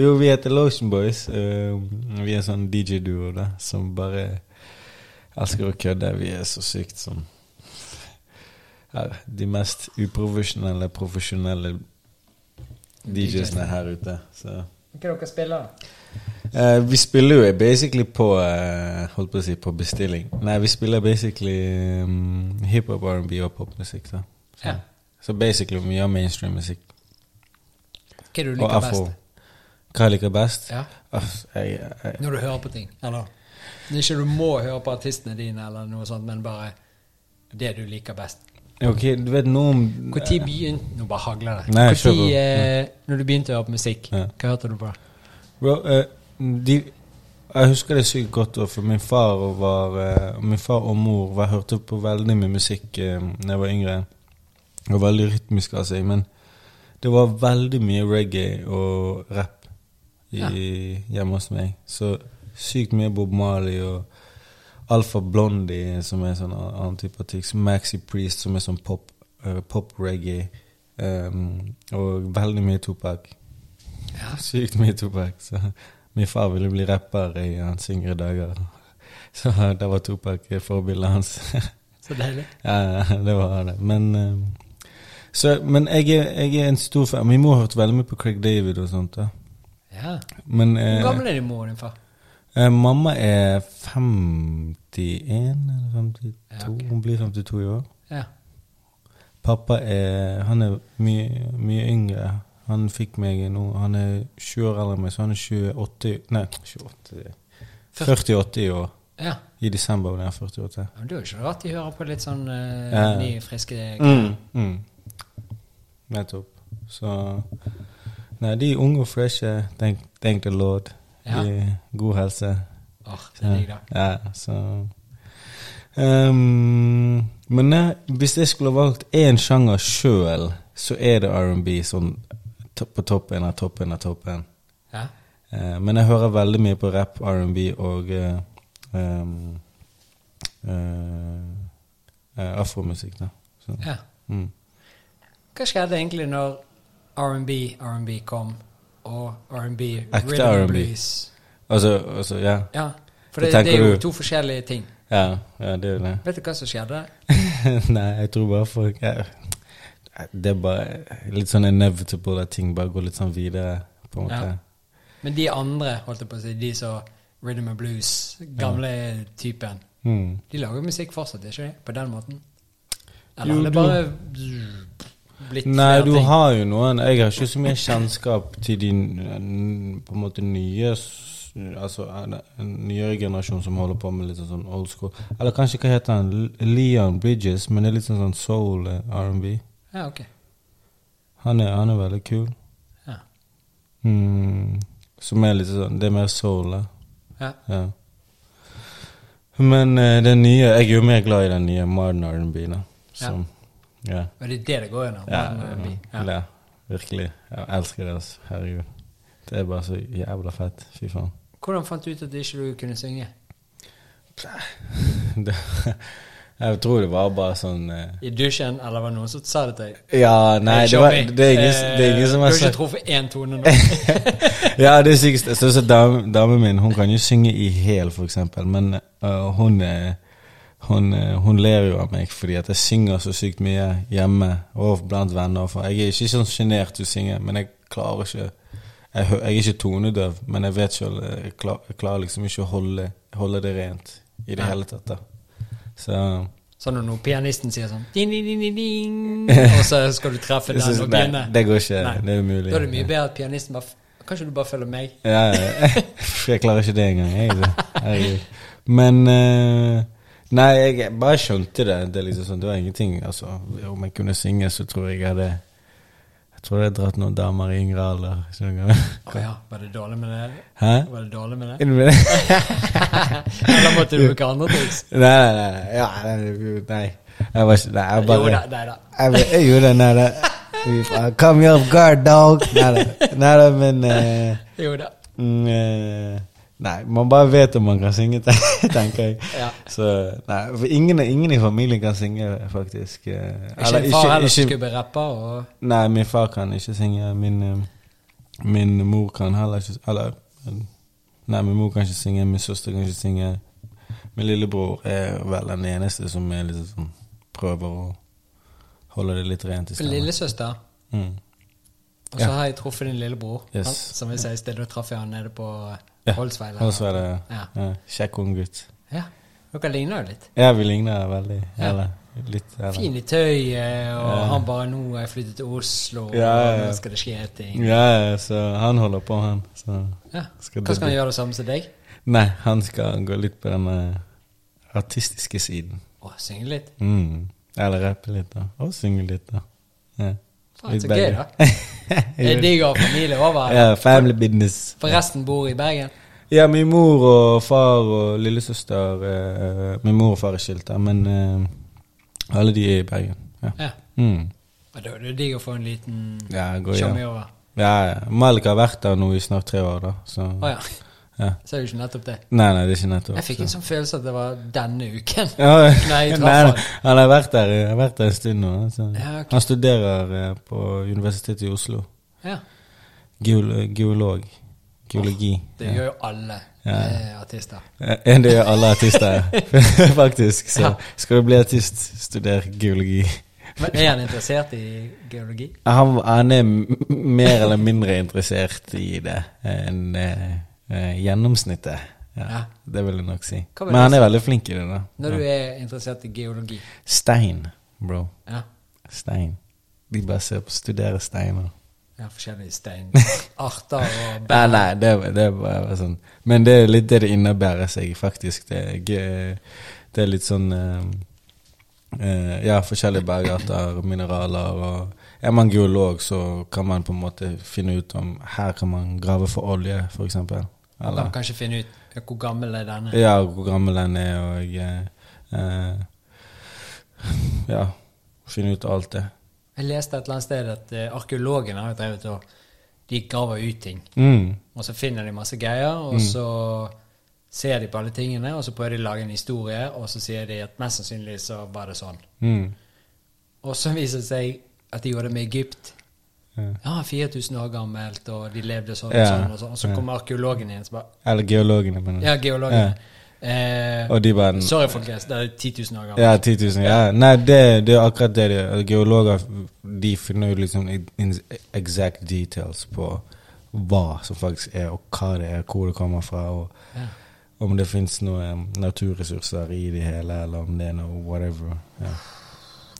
jo, vi heter Lotion Boys. Eh, vi er en sånn DJ-duo da, som bare elsker å kødde. Vi er så sykt som ja, de mest uprofesjonelle, profesjonelle DJ-ene her ute. Så.
Hva dere spiller da?
Eh, vi spiller jo basically på eh, Holdt på å si på bestilling. Nei, vi spiller basically um, hiphop, R&B og popmusikk. da. Så,
Ja.
så basically mye av mainstream musikk.
Hva er det du
Og
liker
afro.
best?
Hva jeg liker best?
Ja.
Aff, jeg, jeg,
Når du hører på ting, eller? Når ikke du må høre på artistene dine, eller noe sånt, men bare det du liker best.
ok, du vet noe om
Når begynte Nå bare hagler det.
Nei,
Hvor
kjør på.
tid, eh, når du begynte å høre på musikk,
Ja.
hva hørte du på?
Bro, eh, de, jeg husker det sykt godt, også, for min far, og var, eh, min far og mor var, hørte på veldig mye musikk eh, da jeg var yngre. Og veldig rytmisk av seg, men det var veldig mye reggae og rap i,
Ja.
hjemme hos meg. Så sykt mye Bob Marley og Alfa Blondie, som er sånn annen type artikk. Maxi Priest, som er sånn pop, eh, pop-reggae. em, og veldig mye Tupac.
Ja.
Sykt mye Tupac. Så min far ville bli rapper i hans yngre dager. Så der var Tupac forbildet hans.
Så deilig.
ja, det var det. Men, eh, så, men jeg, er, jeg er en stor fan. Min mor hørte veldig mye på Craig David og sånt. da.
Ja.
Men eh,
Hvor gammel er din mor og din far?
eh, mamma er 51 eller 52.
Ja, ok.
Hun blir 52 i år.
Ja.
Pappa er Han er mye, mye yngre. Han fikk meg nå Han er 20 år eldre enn meg, så han er 28 Nei, 28 48 i år.
ja.
I desember blir han 48.
Men det er jo ikke rart de hører på litt sånn eh,
Ja.
nye, friske
Mm. Mm. Nettopp. Så Nei, de er unge og freshe. Thank, thank the Lord.
Ja.
De er god helse.
Åh, det er digg, da.
Ja, så Ehm, Men nei, hvis jeg skulle valgt én sjanger sjøl, så er det R&B sånn to- på toppen av toppen av toppen.
Ja.
Eh, men jeg hører veldig mye på rap, R&B og eh, ehm, eh, eh, afromusikk, da. Så,
ja.
mm.
Hva skjedde egentlig når R&B, R&B kom, og R&B,
Ekte
rhythm and
R&B.
blues?
Altså, altså ja.
Ja, for det,
Hva
det er
tenker
jo
du?
to forskjellige ting.
ja. Ja, det er jo det.
Vet du hva som skjedde?
Nei, jeg tror bare folk er Det er bare litt sånn inevitable at ting bare går litt sånn videre, på en måte.
Ja. Men de andre, holdt jeg på å si, de som rhythm and blues, gamle typen,
Mm.
de lager musikk fortsatt, ikke de? På den måten?
Jo,
Eller har det
du-
bare blitt
Nei,
flere
du
ting?
har jo noen Jeg har ikke så mye kjennskap til de n- på en måte nye s- Altså en- en nyere generasjon som holder på med litt sånn old school. Eller kanskje hva heter han? L- Leon Bridges, men det er litt sånn sånn soul eh, R&B.
Ja, ok.
Han er, han er veldig kul.
Ja.
Mm, som er litt sånn Det er mer soul, da.
Ja.
Ja. Men eh, den nye Jeg er jo mer glad i den nye modern R&B, da. Som Ja.
Og det er det det går gjennom?
Ja,
R&B.
ja. ja, virkelig. Jeg elsker det, altså. Herregud. Det er bare så jævla fett. Fy faen.
Hvordan fant du ut at ikke du kunne synge?
Det, jeg tror det var bare sånn eh,
I dusjen, eller var det noen som sa det til deg?
Ja, nei, det, var, det, er ingen, det er ingen som har
sagt Eh, Du har
sagt
ikke truffet én tone nå?
Ja, det er sikkert Sånn som dam- damen min, hun kan jo synge i hæl, for eksempel, men øh, hun øh, hun, øh, hun ler jo av meg fordi at jeg synger så sykt mye hjemme og blant venner. For jeg er ikke sånn sjenert til å synge, men jeg klarer ikke Jeg, hø- jeg er ikke tonedøv, men jeg vet selv øh, jeg, klar, jeg klarer liksom ikke å holde, holde det rent i det
Nei.
hele tatt. da Så
Sånn når pianisten sier sånn ding, ding, ding, ding, ding, Og så skal du treffe
jeg synes-
den og
nei,
begynne.
det går ikke.
Nei.
Det er umulig.
Da er det mye bedre at pianisten bare f- Kanskje du bare følger meg?
Ja, ja. jeg klarer ikke det engang. Jeg, Herregud. Men eh, Nei, jeg bare skjønte det. Det, er liksom sånn, det var ingenting. Altså, om jeg kunne synge, så tror jeg jeg hadde Jeg tror jeg hadde dratt noen damer i yngre alder. skjønner du?
Å ja, var det dårlig med det?
Hæ?
Var det dårlig med det?
Er du med det?
Eller måtte du bruke andre triks?
Nei, nei, nei. Ja, nei, nei. Jeg var ikke Nei,
Jo
jeg bare
da, nei da.
Jeg, vet- jeg gjorde det, nei, det Fy faen. Come me off guard, dog! Neida. Neida, men eh,
Jo da.
mm, eh, Nei, man bare vet om man kan synge, ten- tenker jeg.
Ja.
Så, nei, for ingen, ingen i familien kan synge, faktisk. eh,
Ikke en far heller som skulle bli rapper, og
Nei, min far kan ikke synge. Min, eh, min mor kan heller ikke Eller eh, Nei, min mor kan ikke synge, min søster kan ikke synge. Min lillebror er vel den eneste som er litt sånn prøver å holde det litt rent i stemmen.
lillesøster.
Mm.
Og så
Ja.
har jeg truffet din lillebror,
Yes.
han, som jeg sa i sted. Da traff jeg han nede på
Ja,
Holsveil.
Og så er det
Ja.
ja, kjekk ung gutt.
Ja. Dere ligner jo litt.
Ja, vi ligner veldig.
Ja.
Eller litt. Eller.
Fin i tøyet, og
Ja.
han bare 'Nå har jeg flyttet til Oslo,
Ja, ja, ja.
og nå skal det skje ting'.
Ja, ja, så han holder på, han. Så.
Ja.
Skal
Hva
det
skal han
bli-
gjøre det samme som deg?
Nei, han skal gå litt på den eh, artistiske siden.
Å, synge litt.
Mm. Eller rappe litt, da. Og synge litt, da. Ja.
Faen, så gøy, da. Det er
da.
digg å ha familie over. her.
ja, family business.
Forresten bor i Bergen.
Ja, min mor og far og lillesøster eh, Min mor og far er skilt, da, men eh, alle de er i Bergen. Ja.
Ja.
Mm.
Og Da er det digg å få en liten
Ja, gå
tjommi
hjem.
over.
Ja, ja. Malik har vært der nå i snart tre år, da. Så
Å ja.
ja.
Sa jo ikke nettopp det.
Nei, nei, det er ikke nettopp.
Jeg fikk en
så.
sånn følelse at det var denne uken.
Ja,
Nei, jeg traff
nei,
han.
han har vært der, har vært der en stund nå. da, Så.
Ja, ok.
Han studerer eh, på Universitetet i Oslo.
Ja.
Geol geolog. Geologi.
Det gjør jo alle
Ja.
eh, artister.
Eh, En det gjør alle artister, faktisk. Så skal du bli artist, studer geologi.
Men er han interessert i geologi?
Han, han er m- mer eller mindre interessert i det enn eh, eh, gjennomsnittet. Ja,
Ja.
Det vil jeg nok si.
Hva vil
Men
du
han er veldig flink i det, da.
Når du er interessert i geologi?
Stein, bro.
Ja.
Stein. De bare ser på studerer steiner.
ja forskjellige steinarter og
Nei, nei, det, var- det var bare sånn. Men det er litt det det innebærer seg, faktisk. Det, er gøy. det er litt sånn eh, eh, Ja, forskjellige bergarter, mineraler og Er man geolog, så kan man på en måte finne ut om Her kan man grave for olje, f.eks.
Man
Eller
kan kanskje finne ut ja, hvor gammel er denne.
ja, hvor gammel den er, og eh, eh, Ja, finne ut alt det.
Jeg leste et eller annet sted at eh, arkeologene har jo drevet og De graver ut ting.
Mm.
Og så finner de masse greier, og så ser de på alle tingene, og så prøver de å lage en historie, og så sier de at mest sannsynlig så var det sånn.
Mm.
Og så viser det seg at de gjorde det med Egypt.
Ja.
Ja, 4000 år gammelt, og de levde sånn og
Ja.
sånn, og sånn. Og så
Ja.
kommer arkeologen inn, så bare
Eller geologene, mener jeg.
Ja, geologene. Eh,
Og de bare
Sorry, folkens, det er 10 000 år gammelt.
Ja, 10 000. Ja. Nei, det, det er akkurat det det er. Geologer de finner jo liksom in- exact details på hva som faktisk er, og hva det er, hvor det kommer fra, og
Ja.
om det fins noen naturressurser i det hele, eller om det er noe whatever. Ja.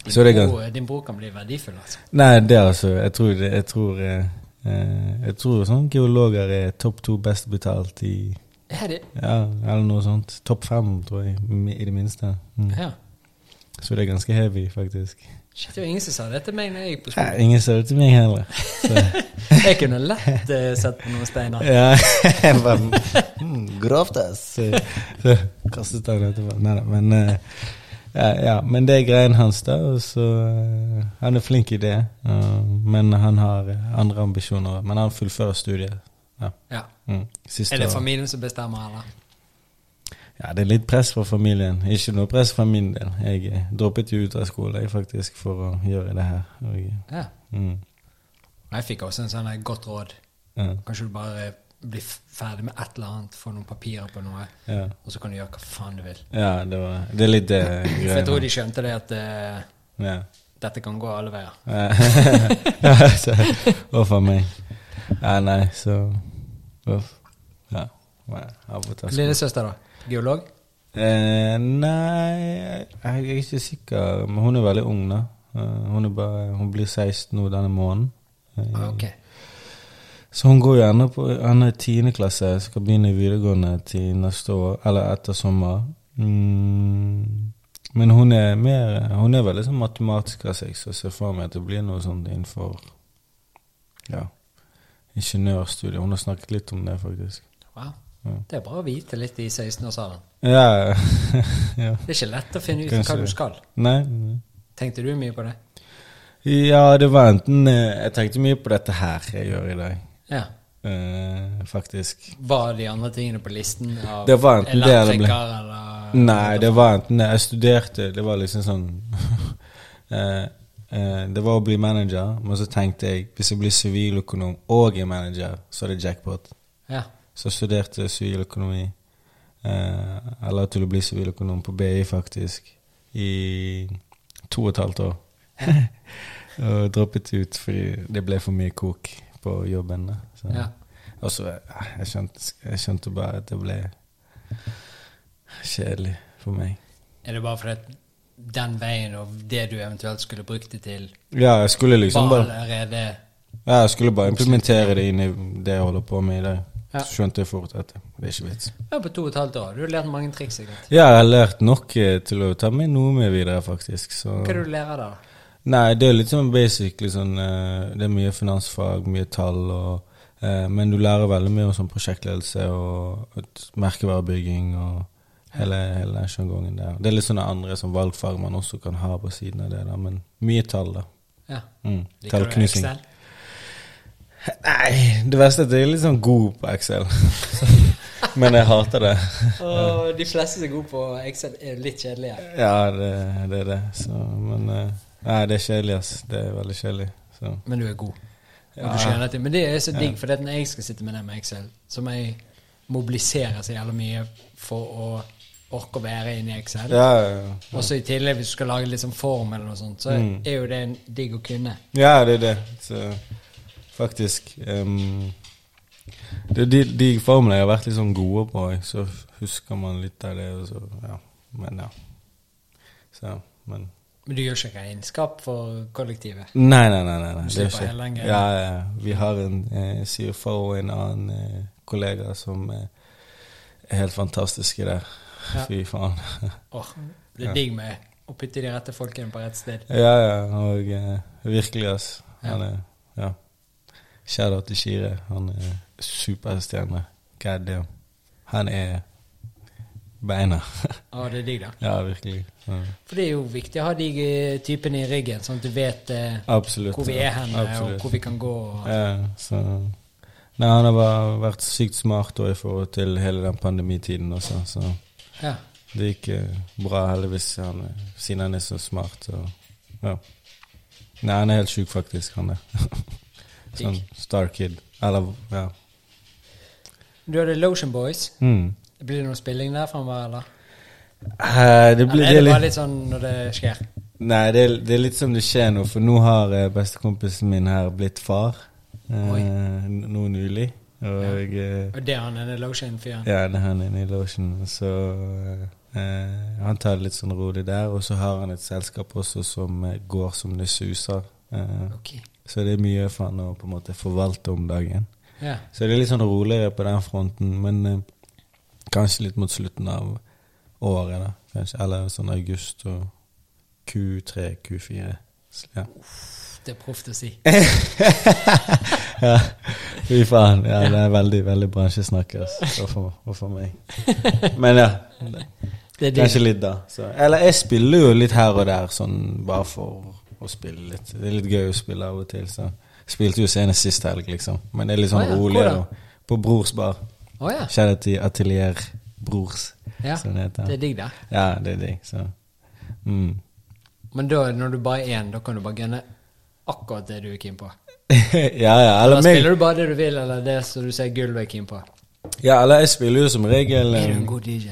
Din,
Så det er
bror, din bror kan bli verdifull, altså.
Nei, det altså Jeg tror, det, jeg tror, eh, eh, jeg tror sånn geologer er topp to best betalt i
Er det?
Ja, eller noe sånt. Topp fem, tror jeg, i det minste. Mm.
Ja.
Så det er ganske heavy, faktisk.
Shit, det var ingen som sa det til meg når jeg gikk på
Nei,
skolen.
ingen ser det til meg heller. Så,
Jeg kunne lett eh, sett på noen steiner.
ja, jeg bare, mm, Grovt, ass. Så, så kastet han etterpå. Nei da, men eh, ja, ja, men det er greien hans, da. Og så eh, Han er flink i det, eh, men han har eh, andre ambisjoner. Men han fullfører studiet. Ja.
Ja.
Mm. Siste
Er det
år.
familien som bestemmer, eller?
Ja, det er litt press fra familien. Ikke noe press fra min del. Jeg eh, droppet jo ut av skolen jeg, faktisk for å gjøre det her. Og,
Ja.
mm,
Og Jeg fikk også en sånn her godt råd.
ja,
Kanskje du bare eh, blir f- ferdig med et eller annet, får noen papirer på noe,
ja.
og så kan du gjøre hva faen du vil.
ja, det var Det er litt det
For jeg tror
greia.
de skjønte det at eh,
Ja.
dette kan gå alle veier.
Ja, så- Uff a meg. Ja, nei, så Uff. Ja. Nei, av og til så-
Lillesøster, da? Geolog?
Eh, nei, jeg jeg er ikke sikker. Men hun er veldig ung, da. Eh, Hun, er bare, hun blir 16 nå denne måneden. Eh,
Ah, Ok.
Så hun går jo ennå på ennå i 10. klasse, skal begynne i videregående til neste år, eller etter sommer. Mm. Men hun er mer Hun er veldig sånn matematisk av seg, så jeg ser for meg at det blir noe sånt innenfor ja, ingeniørstudiet. Hun har snakket litt om det, faktisk.
Wow.
Ja.
Det er bra å vite litt i 16-årsalderen.
Ja. ja.
Det er ikke lett å finne ut
Kanskje
hva du
det.
skal.
Nei. nei.
Tenkte du mye på det?
Ja, det var enten eh, Jeg tenkte mye på dette her jeg gjør i dag,
Ja.
eh, faktisk.
Var de andre tingene på listen? Av
Det var enten det eller ble-
elektriker eller
Nei, det var enten det. Jeg studerte Det var liksom sånn eh, eh, Det var å bli manager, men så tenkte jeg hvis jeg blir siviløkonom og er manager, så er det jackpot.
Ja.
Så jeg studerte siviløkonomi, eh, eller til å bli siviløkonom på BI, faktisk, i to og et halvt år. og droppet ut fordi det ble for mye kok på jobben. da. Så.
ja.
Og så eh, jeg skjønte jeg skjønte bare at det ble kjedelig for meg.
Er det bare fordi at den veien og det du eventuelt skulle brukt det til,
Ja, jeg skulle liksom
var
bare
allerede
ja, jeg skulle bare implementere det inn i det jeg holder på med i dag.
Ja.
Så skjønte jeg fort at det er ikke vits.
ja, på to og et halvt år? Du har lært mange triks, sikkert.
Ja, jeg har lært nok eh, til å ta med noe med videre, faktisk. Så.
Hva er det du lærer da?
Nei, det er litt sånn basic. Liksom, eh, det er mye finansfag, mye tall. Og, eh, men du lærer veldig mye om sånn prosjektledelse og et- merkevarebygging og hele, hele den sjangongen der. Det er litt sånne andre sånn valgfag man også kan ha på siden av det, da, men mye tall, da.
Ja.
Mm.
Liker du
Tallknusing.
Excel?
Nei, det verste er at jeg er litt sånn god på Excel. men jeg hater det.
Og de fleste som er gode på Excel, er litt kjedelige.
Ja, det, det er det. Så, men eh, Nei, det er kjedelig, ass. Det er veldig kjedelig. Så.
Men du er god. Og
Ja.
du skjønner det. Men det er så digg, for det at når jeg skal sitte med den med Excel, så må jeg mobilisere så jævla mye for å orke å være inne i Excel.
Ja, ja, ja.
Og så i tillegg, hvis du skal lage litt sånn form eller noe sånt, så
Mm.
er jo det en digg å kunne.
Ja, det er det. Så, faktisk. ehm, det er de, de formene jeg har vært litt sånn gode på, så husker man litt av det. Og så, ja. Men ja. Så, men
Men du gjør ikke regnskap for kollektivet.
Nei, nei, nei. nei, nei.
Du
Det er
slipper hele den
ikke
greia.
ja, ja. Vi har en eh, CFO og en annen eh, kollega som eh, er helt fantastiske der.
Ja.
Fy faen.
Åh, det er digg med å putte de rette folkene på rett sted.
ja, ja. Og eh, virkelig, ass.
Ja.
Han er Ja. Shadow til Shire. Han er superstjerne. God damn. Han er beina.
Ja, det er digg, da.
ja, virkelig. Ja.
For det er jo viktig å ha de eh, typene i ryggen, sånn at du vet eh,
Absolutt.
hvor vi er hen, og
Absolutt.
hvor vi kan gå. Og,
Ja, så Nei, han har bare vært sykt smart da, i forhold til hele den pandemitiden også, så
ja.
det gikk eh, bra, heldigvis, han, eh, siden han er så smart. Og, ja. Nei, han er helt sjuk, faktisk, han er. sånn star kid. Eller, ja.
Du hadde Lotion Boys.
Mm.
Blir det noe spilling der framover, eller?
Eh, det blir
eller er det
det er
bare
litt
litt sånn når det skjer?
Nei, det er, det er litt som det skjer nå, for nå har eh, bestekompisen min her blitt far.
Oi.
Eh, n- nå nylig. Og eh,
Og det er han denne Lotion-fyren?
Ja, det er han inne i losjen. Så eh, han tar det litt sånn rolig der. Og så har han et selskap også som eh, går som det suser. Eh,
Ok.
så det er mye for han å på en måte forvalte om dagen.
Ja.
Så det er litt sånn roligere på den fronten, men eh, kanskje litt mot slutten av året, da. Kanskje, eller sånn august og Q3, Q4. Så, Ja.
Det er proft å si.
ja. Fy faen. Ja, det er veldig, veldig bransjesnakk, altså. Og for, og for meg. Men ja.
Det er
Kanskje
digg.
litt, da. Så. Eller jeg spiller jo litt her og der, sånn bare for å spille litt. Det er litt gøy å spille av og til, så. Spilte jo senest sist helg, liksom. Men det er litt sånn
Å ja,
rolig.
hvor da?
Og, på Brors bar.
Å ja.
Kjære til Atelier Brors,
ja.
som det Sånn heter.
Det er digg, da.
Ja, det er digg, så. Mm.
Men da, når du bare er én, da kan du bare gunne akkurat det du er keen på?
ja, ja.
Da
Eller meg.
spiller du bare det du vil, eller det som du ser gulvet er keen på?
Ja, eller jeg spiller jo som regel
Er du
eh,
en god DJ?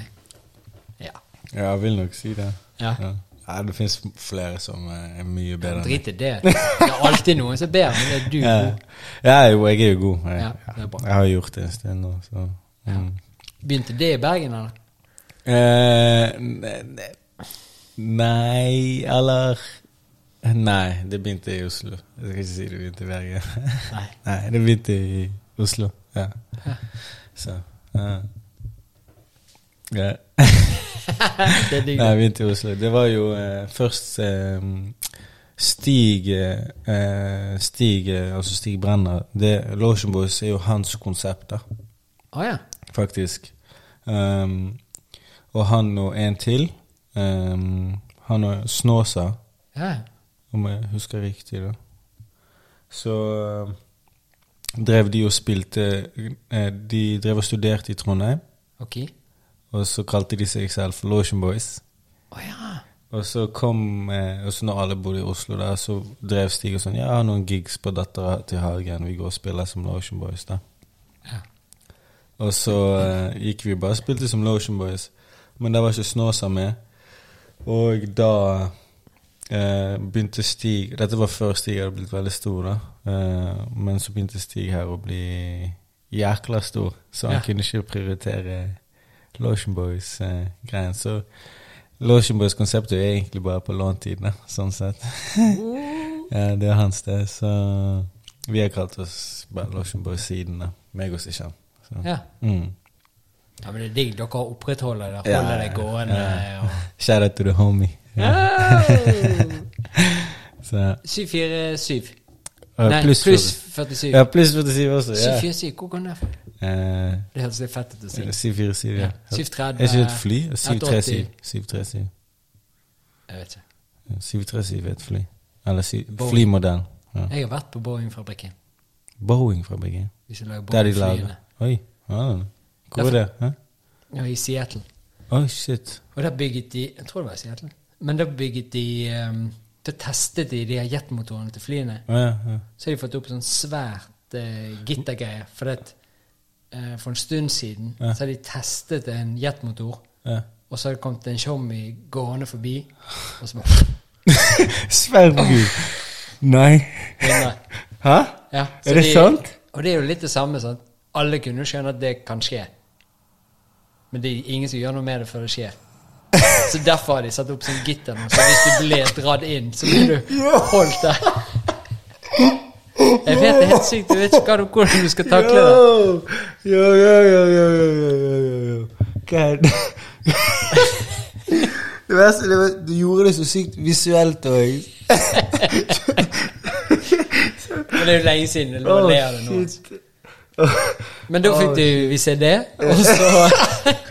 Ja.
Ja, jeg vil nok si det.
Ja.
Ja, det fins flere som eh, er mye bedre enn meg.
Drit i det. Det er alltid noen som ber, men er du
Ja,
god?
ja jo, jeg er jo god. Jeg,
Ja, det er bra.
jeg har gjort det en stund nå, så mm.
Begynte det i Bergen, eller?
Eh, ne- ne- Nei, eller Nei, det begynte i Oslo. Jeg skal ikke si det begynte i Bergen.
Nei.
Nei, det begynte i Oslo. Ja. Så ja. ja.
Det er digg.
Nei, jeg begynte i Oslo. Det var jo eh, først eh, Stig eh, Stig, eh, altså Stig Brenner det, Lotion Boys er jo hans konsept, da
Å ja.
faktisk. Ehm, og han og en til. ehm, han og Snåsa
ja.
om jeg husker riktig. da. Så eh, drev de og spilte eh, De drev og studerte i Trondheim,
Ok.
og så kalte de seg selv for Lotion Boys.
Å ja.
Og så kom eh, Og så når alle bodde i Oslo der, så drev Stig og sånn Ja, jeg har noen gigs på dattera til Hagen, vi går og spiller som Lotion Boys, da.
ja.
Og så eh, gikk vi bare og spilte som Lotion Boys, men der var ikke Snåsa med. Og da eh, begynte Stig Dette var før Stig hadde blitt veldig stor, da. Eh, men så begynte Stig her å bli jækla stor, så han
Ja.
kunne ikke prioritere Lotion Boys-greien. så Lotion Boys-konseptet er egentlig bare på låntid, da, sånn sett. ja, det er hans, det. Så vi har kalt oss bare Lotion Boys siden, da. Meg og Sishan. Så.
Ja.
Mm.
ja, men det er digg. Dere opprettholder det.
Ja,
Holder det gående.
ja.
og-
Shout out to the homie. Ja. Så,
747.
øh,
Nei,
pluss
pluss
47.
47.
Ja, pluss 47 også. Ja.
747, hvor kom det fra?
Eh,
Det høres litt fett ut å si.
eller 747, ja.
Ja, 730.
Er ikke et fly?
Ja,
737. 737.
Jeg vet ikke.
Ja, 737 er et fly. Eller sy-
Boeing.
flymodell. Ja.
Jeg har vært på Boeing-fabrikken.
Boeing-fabrikken.
Hvis jeg lager
Der de lager
Boeing-flyene.
Oi. ah, Hvor er det? Hæ?
Ja, I Seattle.
Oi, Oh, shit.
Og der bygget de Jeg tror det var i Seattle. Men da bygget de ehm, Da testet de de her jetmotorene til flyene.
Å, ja, ja.
Så har de fått opp sånn svært eh, gittergreie. For, det, eh, for en stund siden
Ja.
så har de testet en jetmotor,
ja.
og så har det kommet en tjommi gående forbi, og så bare
Sverre Gud. Nei.
vinner.
Hæ?
Ja, så
Er det
de-
sant?
Og det er jo litt det samme. sant? Alle kunne jo skjønne at det kan skje. Men det er ingen som gjør noe med det før det skjer. Så derfor har de satt opp sånn gitter nå, så hvis du ble dratt inn, så blir du holdt der. Jeg vet det er helt sykt. Jeg vet ikke hva du- hvordan du skal takle det.
Yo! Yo, yo, yo, yo, yo, yo, yo, yo, yo. Hva er det? Det verste det var, Du gjorde det så sykt visuelt òg.
Men det er jo lenge siden. Jeg lover å le av det nå. altså. Men da fikk du vi se det, og så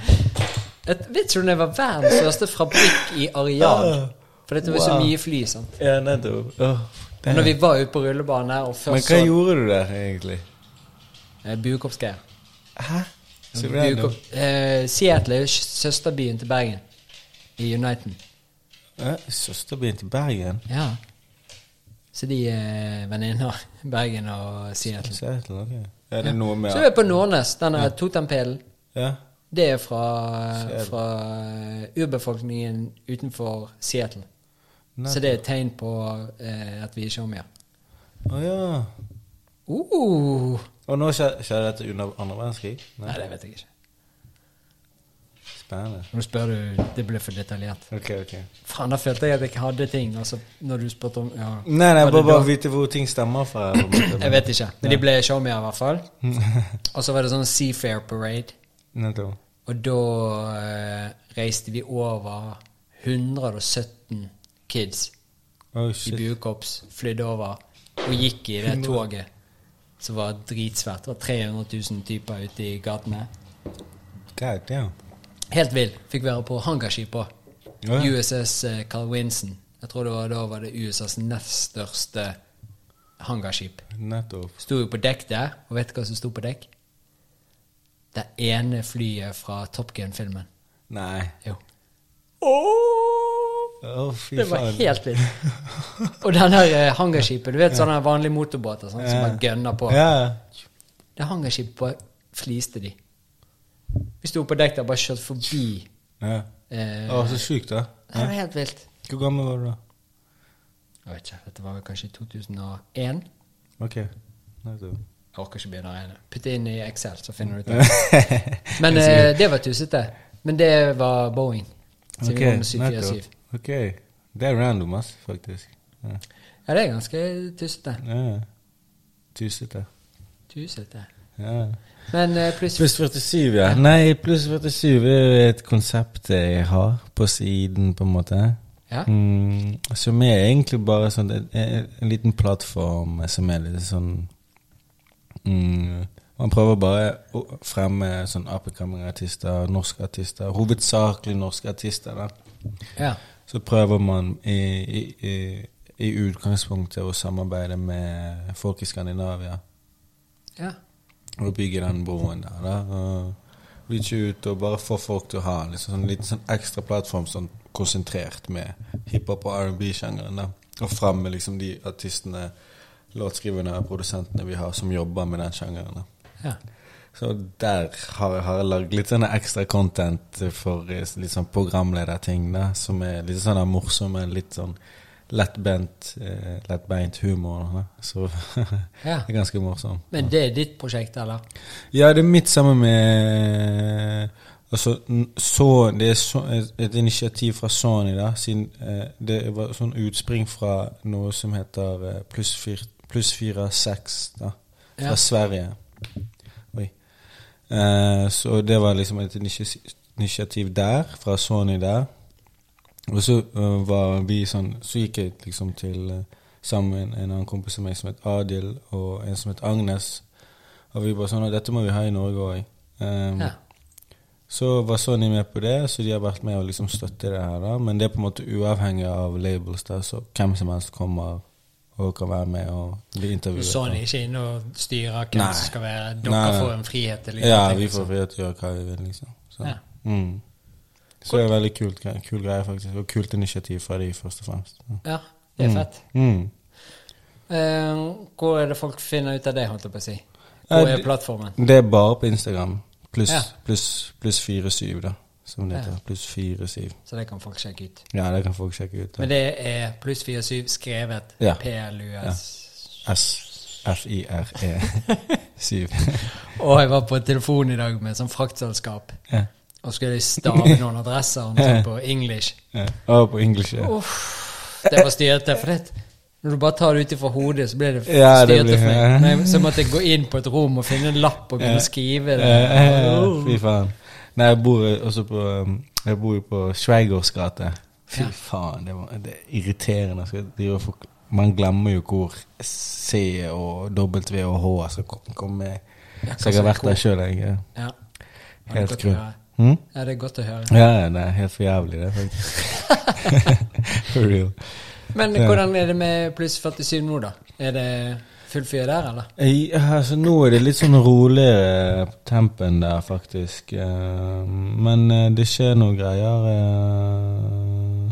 Jeg vet ikke om det var verdens største fabrikk i areal. For det var så
Ah. Wow.
mye fly. sant?
Ja, nettopp. Åh,
Men Når
damn.
vi var ute på rullebanen her, og
Men
først
hva
så
gjorde du der, egentlig?
eh, Buekoppsgreier.
Hæ? Så random.
Buekopp- Eh, Seattle er jo s- søsterbyen til Bergen i Uniten.
Ja, Søsterbyen til Bergen?
Ja. Så de er venninner, Bergen og Seattle.
Seattle, ok. Er det noe med
Så er vi på Nordnes, denne totempælen.
Ja.
Det er fra,
Seattle.
fra eh, urbefolkningen utenfor Seattle.
Nei.
Så det er et tegn på eh, at vi er showmier.
Å ja.
Uh,
Og nå skjer skjer dette under andre verdenskrig?
nei, det vet jeg ikke.
Spennende.
Nå spør du Det ble for detaljert.
Ok, ok.
Faen, da følte jeg at jeg ikke hadde ting. Altså, når du spurte om ja.
Nei, nei,
Var det
bare, bare
da-
vite hvor ting stemmer fra. på en måte.
Jeg vet ikke. Men de ble showmier, i hvert fall. Og så var det sånn Seafair Parade.
Nettopp.
Og da eh, reiste vi over 117 kids
Oh,
i
shit.
buekorps, flydde over og gikk i det toget som var dritsvært. Det var 300 000 typer ute i gatene.
God damn.
Helt vill. Fikk være på hangarskip òg.
Ja, ja.
USS eh, Carl Winson. Jeg tror det var, da var det USAs nest største hangarskip.
Nettopp.
Sto jo på dekk der, og vet du hva som sto på dekk? Det ene flyet fra Top Gun-filmen.
Nei.
Jo.
Å, fy
Det var
faen.
helt vilt. Og den der eh, hangarskipet, du vet sånne vanlige motorbåter sånn, som man gønner på.
Ja.
Det hangarskipet bare fliste de. Vi sto på dekk der og bare kjørte forbi.
ja.
Eh,
Å, så sjukt, da.
Det var helt vilt.
Hvor gammel var du da?
Jeg vet ikke, dette var vel kanskje 2001?
Ok. Nettopp.
Jeg orker ikke begynne å regne. Putt det inn i Excel, så finner du ut det. Men eh, det var tussete. Men det var Boeing. Så vi var med 747.
nettopp. Ok. Det er random, ass, faktisk. Ja.
Ja, det er ganske tussete.
ja. Tusete.
Tussete.
Ja.
Men eh, pluss
Pluss 47, ja. Nei, pluss 47 er jo et konsept jeg har på siden, på en måte.
Ja.
Mm, som er egentlig bare sånn en, en, en liten plattform som er litt sånn mm, Man prøver bare å fremme sånn upcoming-artister, norske artister, hovedsakelig norske artister. da.
Ja.
Så prøver man i, i, i i utgangspunktet å samarbeide med folk i Skandinavia
Ja.
og bygge den broen der. da, og Reache ut og bare få folk til å ha en liksom, sånn, liten sånn ekstra plattform sånn, konsentrert med hiphop og R&B-sjangeren. da, Og fremme liksom, de artistene, låtskriverne og produsentene vi har som jobber med den sjangeren. da.
ja.
Så der har, har jeg lagd litt sånn ekstra content for eh, litt sånn programlederting, da, som er litt sånn morsomme, litt sånn lettbent, eh, lettbeint humor. Da. Så det
ja.
er ganske morsom.
Men det er ditt prosjekt, eller?
Ja, det er mitt sammen med Altså, n- så Det er så, et initiativ fra Sony, da, siden eh, det var sånn utspring fra noe som heter eh, pluss fir- pluss fire seks, da, fra
Ja.
Sverige. Oi. Eh, så det var liksom et initiativ- initiativ der, fra Sony der. Og så eh, var vi sånn Så gikk jeg liksom til eh, sammen med en, en annen kompis av meg som het Adil, og en som het Agnes. Og vi bare sånn «Å, Dette må vi ha i Norge òg.
Ja.
Så var Sony med på det, så de har vært med og liksom støtte det her. da, Men det er på en måte uavhengig av labels, da, så hvem som helst kommer og kan være med og bli intervjuet.
Sånn er ikke inne og styrer hvem
Nei.
som skal være Dere
Nei, nei.
får en frihet til å gjøre
Ja,
ting,
vi
liksom.
får frihet til å gjøre hva vi vil, liksom. Så,
Ja.
mm. så det er veldig kult, gre- kul greie, faktisk. Og kult initiativ fra de, først og fremst. Ja.
Ja, det er
Mm.
fett.
Mm.
Eh, hvor er det folk finner ut av det, holdt jeg på å si?
Eh,
Hvor er
det-
plattformen?
Det er bare på Instagram. Pluss
Ja.
pluss- pluss 4-7, da, som det
Ja.
heter. Pluss 4-7.
Så det kan folk sjekke ut.
Ja, det kan folk sjekke ut. da.
Men det er pluss 47 skrevet
Ja.
PLUS.
S-F-I-R-E 7.
Og jeg var på telefon i dag med sånn fraktselskap
ja.
og skulle stave noen adresser og noe sånt på English.
ja. Og på engelsk, ja.
Det var styrete. For det, når du bare tar det ut ifra hodet, så blir det
Ja, det
styrete
blir-
for meg. Men jeg- Så måtte jeg gå inn på et rom og finne en lapp og
Ja.
begynne å skrive det.
Eh, eh, Fy faen. Nei, jeg bor også på um, Jeg bor jo på Schweigers gate. Fy
Ja.
faen, det, var, det er irriterende. Skal drive og fork- man glemmer jo hvor C og W og H som kom- kommer
Ja,
Så jeg har vært der sjøl, jeg.
Ja. Ja, det er
Helt
godt å
grunn.
høre.
Hm?
Ja, det er godt å høre.
Ja, det er helt for jævlig, det, faktisk. For real.
Men
Ja.
hvordan er det med pluss 47 nå, da? Er det full fyr der, eller?
Jeg, altså, nå er det litt sånn roligere tempen der, faktisk. Eh, Men eh, det skjer noen greier. eh,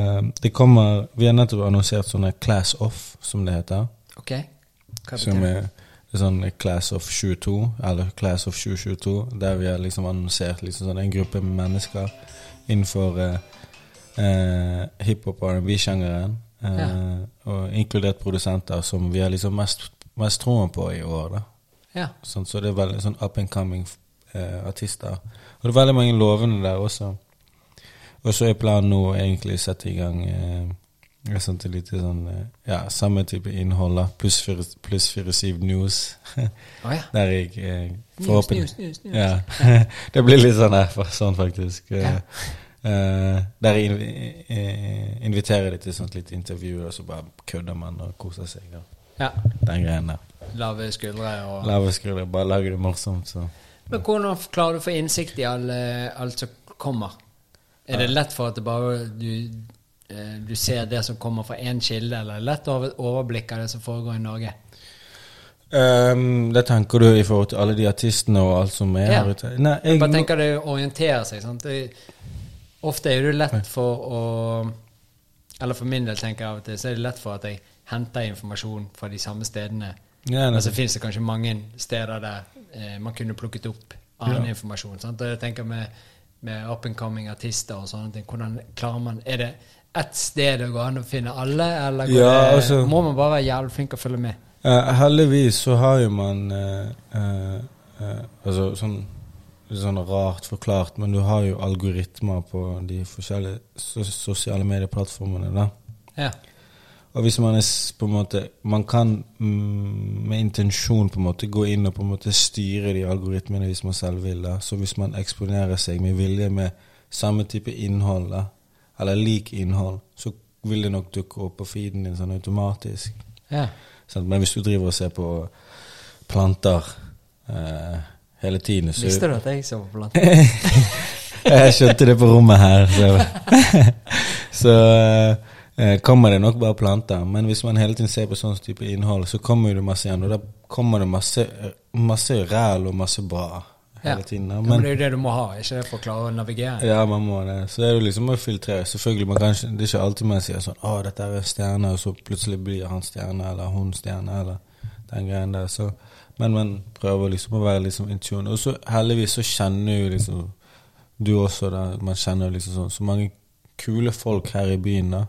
eh, Det kommer Vi har nettopp annonsert sånne Class Off, som det heter.
Ok. Hva
Som
betyr det?
er det er sånn Class of 22, eller Class of 2022, der vi har liksom annonsert liksom sånn en gruppe med mennesker innenfor eh, eh, hiphop- og R&B-sjangeren, eh, og inkludert produsenter som vi har liksom mest, mest troen på i år. da.
Ja.
Sånn, så det er veldig sånn up and coming eh, artister. Og det er veldig mange lovende der også. Og så er planen nå egentlig å sette i gang eh, et sånt lite sånn eh, Ja, samme type innhold, da. Pluss fire- pluss 47 News.
Å ja.
Der jeg eh,
News,
forhåpentlig
news, news, news.
ja. det blir litt sånn, her, sånn faktisk.
Ja.
Eh, der jeg invi- eh, inviterer deg til sånt lite intervju, og så bare kødder man og koser seg. Og
ja.
den greien der.
Lave skuldre og
Lave skrullet, bare lager det morsomt, så
Men hvordan klarer du å få innsikt i alle- alt som kommer? Er det lett for at det bare du, eh, du ser det som kommer fra én kilde, eller er det lett å ha et overblikk av det som foregår i Norge?
Ehm, det tenker du i forhold til alle de artistene og alt som er
Ja.
her ute? Nei, jeg,
Bare tenker det å orientere seg. Sant? Det, ofte er det lett for å Eller for min del tenker jeg av og til, så er det lett for at jeg henter informasjon fra de samme stedene.
ja,
Men
nei,
så finnes det kanskje mange steder der eh, man kunne plukket opp annen informasjon. Sant? Og jeg tenker med, med up and coming artister og sånne ting, hvordan klarer man Er det ett sted det går an å finne alle, eller går
Ja,
det,
altså-
må man bare være jævlig flink og følge med?
Eh, heldigvis så har jo man eh, eh, eh, Altså sånn Sånn rart forklart, men du har jo algoritmer på de forskjellige so sosiale medieplattformene, da.
Ja.
Og hvis man er s- på en måte Man kan mm, med intensjon på en måte gå inn og på en måte styre de algoritmene hvis man selv vil. da. Så hvis man eksponerer seg med vilje med samme type innhold, da, eller lik innhold, så vil det nok dukke opp på feeden din sånn automatisk.
ja.
Sant? Men hvis du driver og ser på planter eh, hele tiden, så
Visste du at jeg så på blant
jeg skjønte det på rommet her. Så, så eh, kommer det nok bare planter. Men hvis man hele tiden ser på sånn type innhold, så kommer jo det masse igjen. Og da kommer det masse, eh, masse ræl og masse bra hele
Ja.
tiden. da.
Ja, men det er jo det du må ha, ikke det for å klare å navigere.
Ja, man må det. Så det er jo liksom å filtrere. Selvfølgelig, man kan ikke, Det er ikke alltid man sier sånn 'Å, dette er en stjerne', og så plutselig blir han stjerne, eller hun stjerne, eller den greien der. Så, men man prøver liksom å være liksom in tune. Og så heldigvis så kjenner jo liksom du også da, man kjenner liksom sånn Så mange kule folk her i byen da,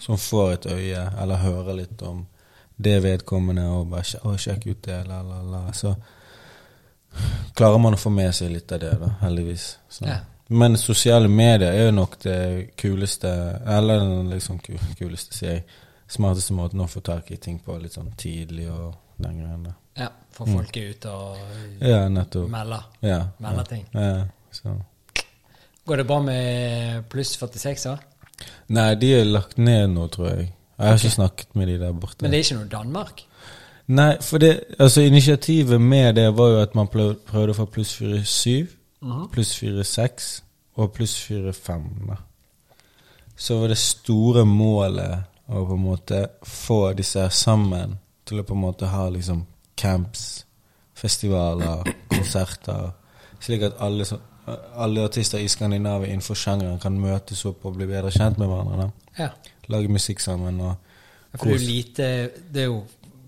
som får et øye, eller hører litt om det vedkommende, og bare «Sj- 'Å, sjekk ut det', la, la, la. Så klarer man å få med seg litt av det, da, heldigvis. Så.
Ja.
Men sosiale medier er jo nok det kuleste Eller den liksom ku- kuleste, sier jeg. Smarteste måten å få tak i ting på litt sånn tidlig og den greien der.
Ja, for folk er ute og
Ja, nettopp.
melder.
Ja.
Melder ting.
Ja, så.
Går det bra med pluss 46 år?
Nei, de er lagt ned nå, tror jeg. Jeg har ikke snakket med de der borte.
Men det er ikke noe Danmark?
Nei, for det, altså initiativet med det var jo at man plø- prøvde å få pluss 4-7, pluss 4-6 og pluss 4-5. da. Så var det store målet å på en måte få disse her sammen til å på en måte ha liksom camps, festivaler, konserter, slik at alle, som- alle artister i Skandinavia innenfor sjangeren kan møtes opp og bli bedre kjent med hverandre. da.
Ja.
Lage musikk sammen og
For det er jo lite Det er jo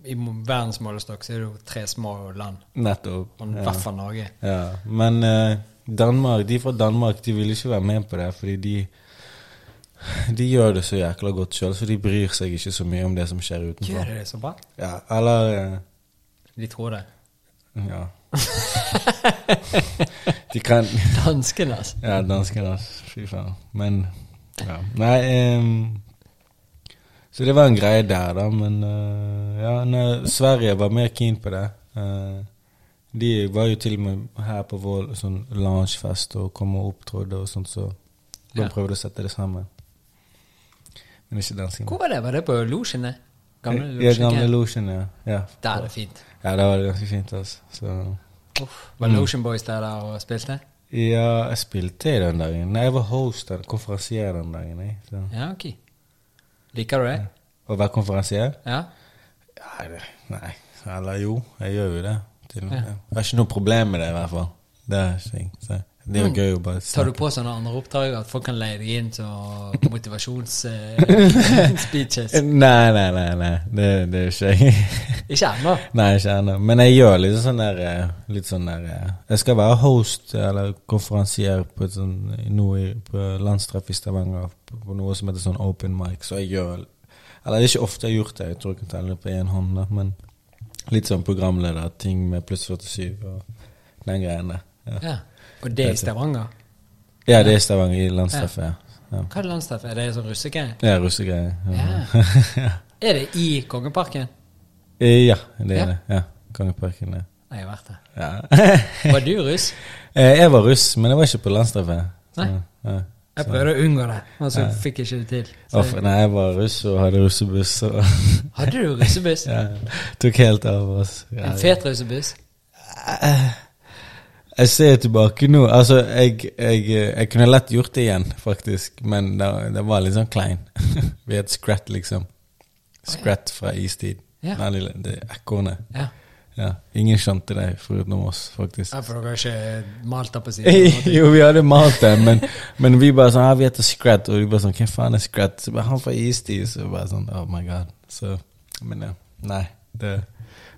I mo- verdens målestokk så er det jo tre små land,
Nettopp.
og i hvert fall Norge.
Ja, men eh, Danmark, de fra Danmark de ville ikke være med på det, fordi de de gjør det så jækla godt sjøl, så de bryr seg ikke så mye om det som skjer
Gjør
utenfor.
de det så bra?
Ja, eller eh,
De tror det.
Ja. De kan
Danskene, altså.
Ja, danskene, ass. Fy faen. Men ja. Nei ehm, Så det var en greie der, da, men eh, Ja, nei, Sverige var mer keen på det. Eh, de var jo til og med her på vår sånn loungefest og kom og opptrådde og sånt, så de
Ja.
prøvde å sette det sammen. Men ikke danskene.
Hvor var det? Var det på Losjene? Gamle
Ja, gamle
Losjen?
Lotion, ja. Ja.
Der er det fint.
ja, det var det ganske fint, altså. Så
Uff.
Mm.
Var Lotion Boys der da og spilte?
Ja, jeg spilte i den dagen. Nei, jeg var host, den- konferansier den dagen. Jeg. Så.
Ja, ok. Liker du det?
Å være konferansier?
Ja?
Nei, det, nei. Eller jo, jeg gjør jo det. Til,
Ja.
Jeg har ikke noe problem med det, i hvert fall. Det er, ikke, ting, så. Det er jo gøy å bare
Tar du
snakke.
på sånne andre oppdrag at folk kan leie deg inn til eh, motivasjonsspeeches?
Nei, nei, nei. nei. Det, det er ikke jeg.
Ikke ennå.
nei, ikke ennå. Men jeg gjør litt sånn der eh, Litt sånn der eh, Jeg skal være host eller konferansier på et sånn noe i, på landstreff i Stavanger på, på noe som heter sånn open mic, så jeg gjør Eller det er ikke ofte jeg har gjort det, jeg tror jeg kan telle det på én hånd, da, men litt sånn programlederting med pluss 47 og den greien der. Ja.
Ja. Og det i Stavanger?
Ja, det er Stavanger i landstreffet, ja. Ja,
Hva er det landstreff? Er det sånn russegreie?
ja russegreier. Ja.
Ja. Er det i Kongeparken?
Eh, ja, det
Ja.
er det. Ja. Kongeparken, ja.
Nei, jeg har vært der.
ja.
Var du russ?
Eh, jeg var russ, men jeg var ikke på landstreffet. Så,
Nei.
Ja.
Jeg prøvde å unngå det, men så fikk jeg ikke det til. Så,
Off- nei, jeg var russ og hadde russebuss og
hadde du russebuss?
ja, tok helt av oss. Ja.
En fet russebuss?
Jeg ser tilbake nå Altså, jeg, jeg, jeg kunne lett gjort det igjen, faktisk, men det, det var litt sånn klein. Vi het Scrat, liksom. Scrat fra istid.
Ja.
Den lille- Det ekornet.
Ja.
Ja. Ingen skjønte det foruten oss, faktisk.
ja, for dere har ikke malt det på siden?
jo, vi hadde malt det, men, men vi bare sånn, ja, vi heter Scrat, og vi bare sånn, hvem faen er Scrat? Så bare, han fra Istid, så bare sånn, oh my god. Så, men ja, nei, det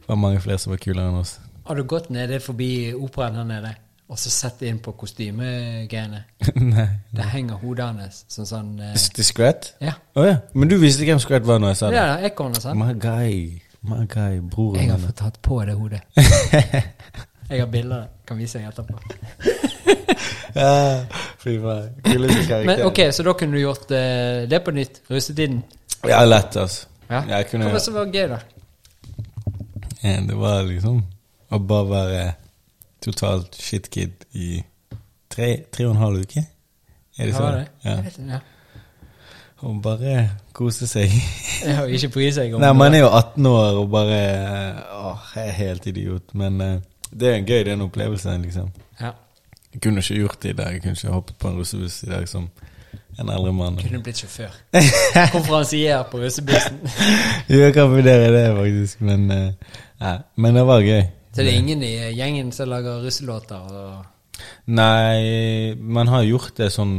var mange flere som var kulere enn oss.
Har du gått nede forbi operaen her nede, og så sett inn på kostymegreiene?
nei.
Det henger hodet hans som sånn eh,
S- Til Scrat?
Ja.
Å ja, men du visste hvem Scrat var når jeg sa
Det
det?
er ekornet, sant?
My guy, my guy, broren
Jeg har
min.
fått tatt på det hodet. Jeg har bilder av det. Kan vise deg etterpå.
Ja, Ah, fy faen, kuleste karakter.
Men ok, så da kunne du gjort eh, det på nytt? Russetiden?
Ja, lett, altså.
Ja.
Jeg kunne,
Hva var det som var gøy, da?
Ja, det var liksom å bare være totalt shitkid i tre, tre og en halv uke. Er det
Hva var
sånn?
det? Jeg vet ikke, ja.
Og bare kose seg.
Ja, og ikke bry seg om
Nei,
det.
man er jo 18 år og bare eh, Åh, jeg er helt idiot. Men eh, det er en gøy, det er en opplevelse, liksom.
Ja.
Jeg kunne ikke gjort det i dag. Jeg kunne ikke hoppet på en russebuss i dag som En eldre mann.
Kunne blitt sjåfør. Konferansier på russebussen.
Jo, jeg kan vurdere det, faktisk, men eh, nei, Men det var gøy.
Så det er ingen i gjengen som lager russelåter? Og
Nei, man har gjort det sånn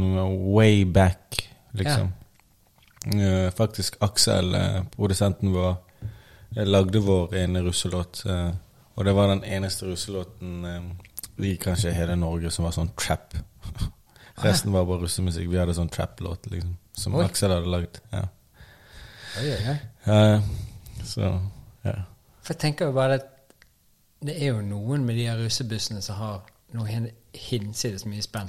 way back, liksom. Eh, faktisk Aksel, eh, produsenten vår, eh, lagde vår ene russelåt. eh, og det var den eneste russelåten eh, i kanskje hele Norge som var sånn trap. Resten var bare russemusikk. Vi hadde sånn trap-låt, liksom. Som
Oi.
Aksel hadde lagd. Ja.
oi, oi, oi.
Eh, så ja.
For jeg tenker jo bare at det er jo noen med de her russebussene som har noe hin- hinsides mye spenn.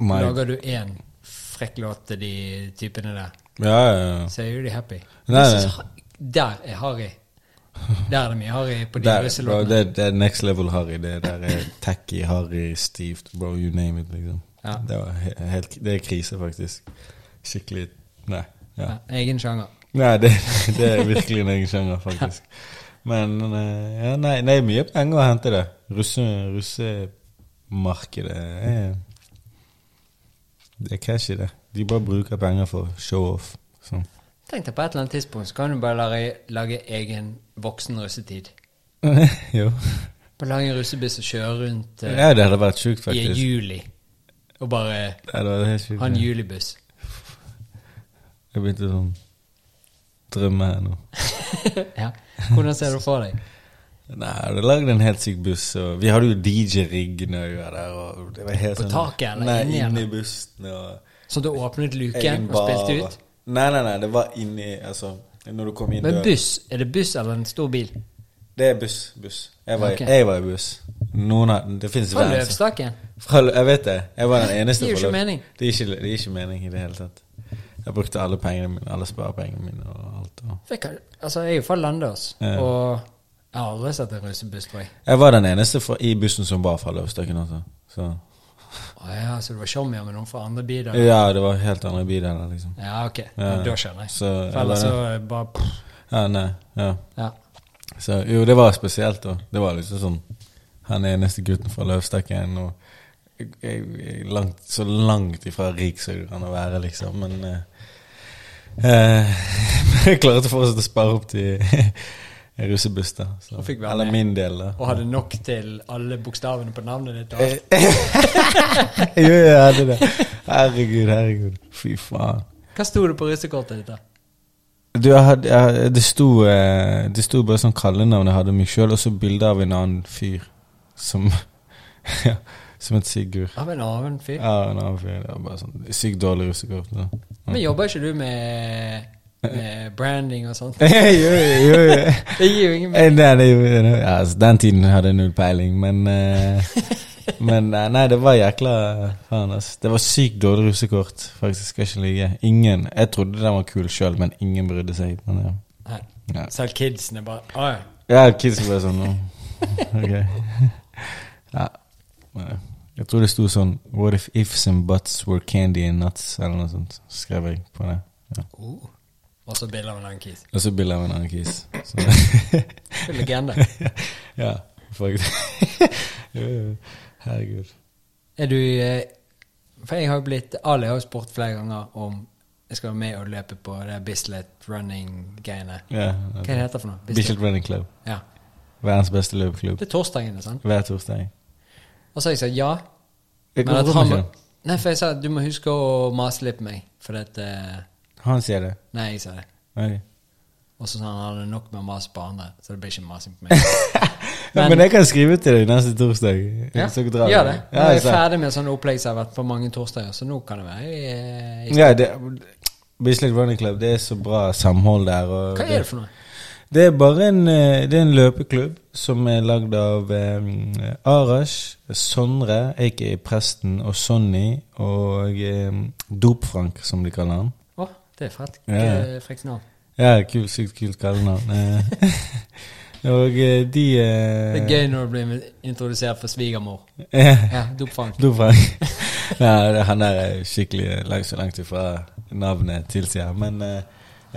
My, ja,
Lager du én frekk låt til de typene der,
ja, ja.
så er jo de happy.
Nei,
Jeg synes
nei.
ha- Der er harry. Der er det mye harry på de
Der, bro,
russelåtene.
det, det er next level Harry. Det der er tacky, harry, stivt, bro, you name it, liksom.
Ja.
Det, var he- helt, det er krise, faktisk. Skikkelig Nei. Ja.
Ja, egen sjanger.
Nei, det, det er virkelig en egen sjanger, faktisk. Men eh, ja, nei, det er mye penger å hente, det. Russe- Russemarkedet er Det er cash i det. De bare bruker penger for show-off. Sånn.
Tenk deg på et eller annet tidspunkt så kan du bare lage, lage egen voksen russetid.
jo.
Bare lage en russebuss og kjøre rundt eh,
Ja, det hadde vært sjukt,
i
faktisk.
juli. Og bare
Ja, det hadde vært helt sjukt.
ha en
ja.
julibuss.
Jeg begynte sånn drømme her nå.
ja. Hvordan ser du for deg?
Nei, du lagde en helt syk buss, og vi hadde jo DJ-rigg når vi var der. Og det var helt sånn
På taket, eller
Nei,
inni,
inni
eller?
bussen og
Så du åpnet luken og spilte ut?
Nei, nei, nei, det var inni Altså, når du kom inn
Men
døren.
buss, er det buss eller en stor bil?
Det er buss. buss. Jeg var, i-
Ok.
jeg var i buss. Noen av Det fins
Fra Løvstakken?
Fra, Lø- jeg vet det. Jeg var den eneste
Det gir jo
fra
ikke
Lø-
mening.
Det gir ikke, det gir ikke mening i det hele tatt. Jeg brukte alle pengene mine, alle sparepengene mine og alt. Og.
For jeg, kan, altså, jeg er jo fra Landås,
Ja.
og jeg har aldri sett en russebuss, tror jeg.
Jeg var den eneste fra, i bussen som var fra Løvstakken, altså. Så
Å ja, så du var tjommier med noen fra andre biler?
Ja, det var helt andre biler liksom.
Ja, ok.
Ja.
Da skjønner jeg.
Så,
For ellers så
eller,
eh, bare pff,
ja, nei, ja.
Ja.
Så, jo, det var spesielt, da. Det var liksom sånn Han eneste gutten fra Løvstakken, og jeg, jeg, langt, så langt ifra rik som du kan være, liksom, men eh, eh, Men jeg klarte fortsatt å spare opp til en russebuss, da. Så,
Og fikk være
eller
med.
min del, da.
Og hadde nok til alle bokstavene på navnet ditt? og alt.
jo, jeg hadde det. Herregud, herregud. Fy faen.
Hva sto det på russekortet ditt, da?
Du, jeg hadde, jeg, det, sto, eh, det sto bare sånn kallenavn jeg hadde meg sjøl, og så bilde av en annen fyr som ja, Som het Sigurd.
Av en annen fyr?
Ja, en annen fyr. Det var bare sånn Sykt dårlig russekort. da.
Men jobber ikke du med, med branding og sånt?
jo, jo, jo.
Det gir jo ingen mening.
Eh, Nei, det, gjorde jeg. ja, altså, den tiden hadde jeg null peiling, men eh, Men eh, nei, det var jækla faen, ass. Det var sykt dårlig russekort, faktisk. Skal ikke ligge. Ingen Jeg trodde den var kul sjøl, men ingen brydde seg. Men, ja.
Nei.
Ja.
Selv kidsen er bare Å ja.
Ja, kidsen ble sånn nå. Ok. Ja. Men eh, Jeg tror det sto sånn What if ifs and buts were candy and nuts? Eller noe sånt. Så skrev jeg på det. Ja.
Oh. Og så bilde av en annen kis.
Og så bilde av en annen kis. Så-
Det er Legende.
ja, faktisk. Jo, jo. Herregud.
Er du eh, For jeg har jo blitt Ali har jo spurt flere ganger om jeg skal være med og løpe på det Bislett running-greiene.
Ja.
Hva er det heter for noe?
Bislett Running Club.
Ja.
Verdens beste løpeklubb.
Det er torsdagene, sant?
Hver torsdag.
Og så har jeg sagt ja.
Jeg
Men
går
at
rundt
han
med
må,
han.
Nei, for jeg sa du må huske å mase litt på meg. For at eh,
Han sier det.
Nei, jeg sa det.
Ok.
Og så sa han han hadde nok med å mase på andre, så det blir ikke masing på meg.
Men,
Men-
jeg kan skrive til deg neste torsdag.
Ja,
Så drar vi.
gjør det. Nå
Ja, altså.
er jeg
så-
ferdig med sånne opplegg som jeg har vært på mange torsdager, så nå kan det være eh, i-
Ja, det, Bislett Running Club, det er så bra samhold der. Og
Hva er det for noe?
Det er bare en, eh, det er en løpeklubb som er lagd av eh, Arash, Sondre, aka Presten, og Sonny og eh, Dop-Frank, som de kaller han.
Å, det er frekt.
Ja, ja.
eh, Frekt navn.
Ja, kul, sykt kult kallenavn. Eh, og eh, de eh,
Det er gøy når du blir introdusert for svigermor.
gøy.
Ja, Dopfang.
Dop-Frank. Nei, det- han der er skikkelig eh, langt så langt ifra navnet tilsier. Men eh,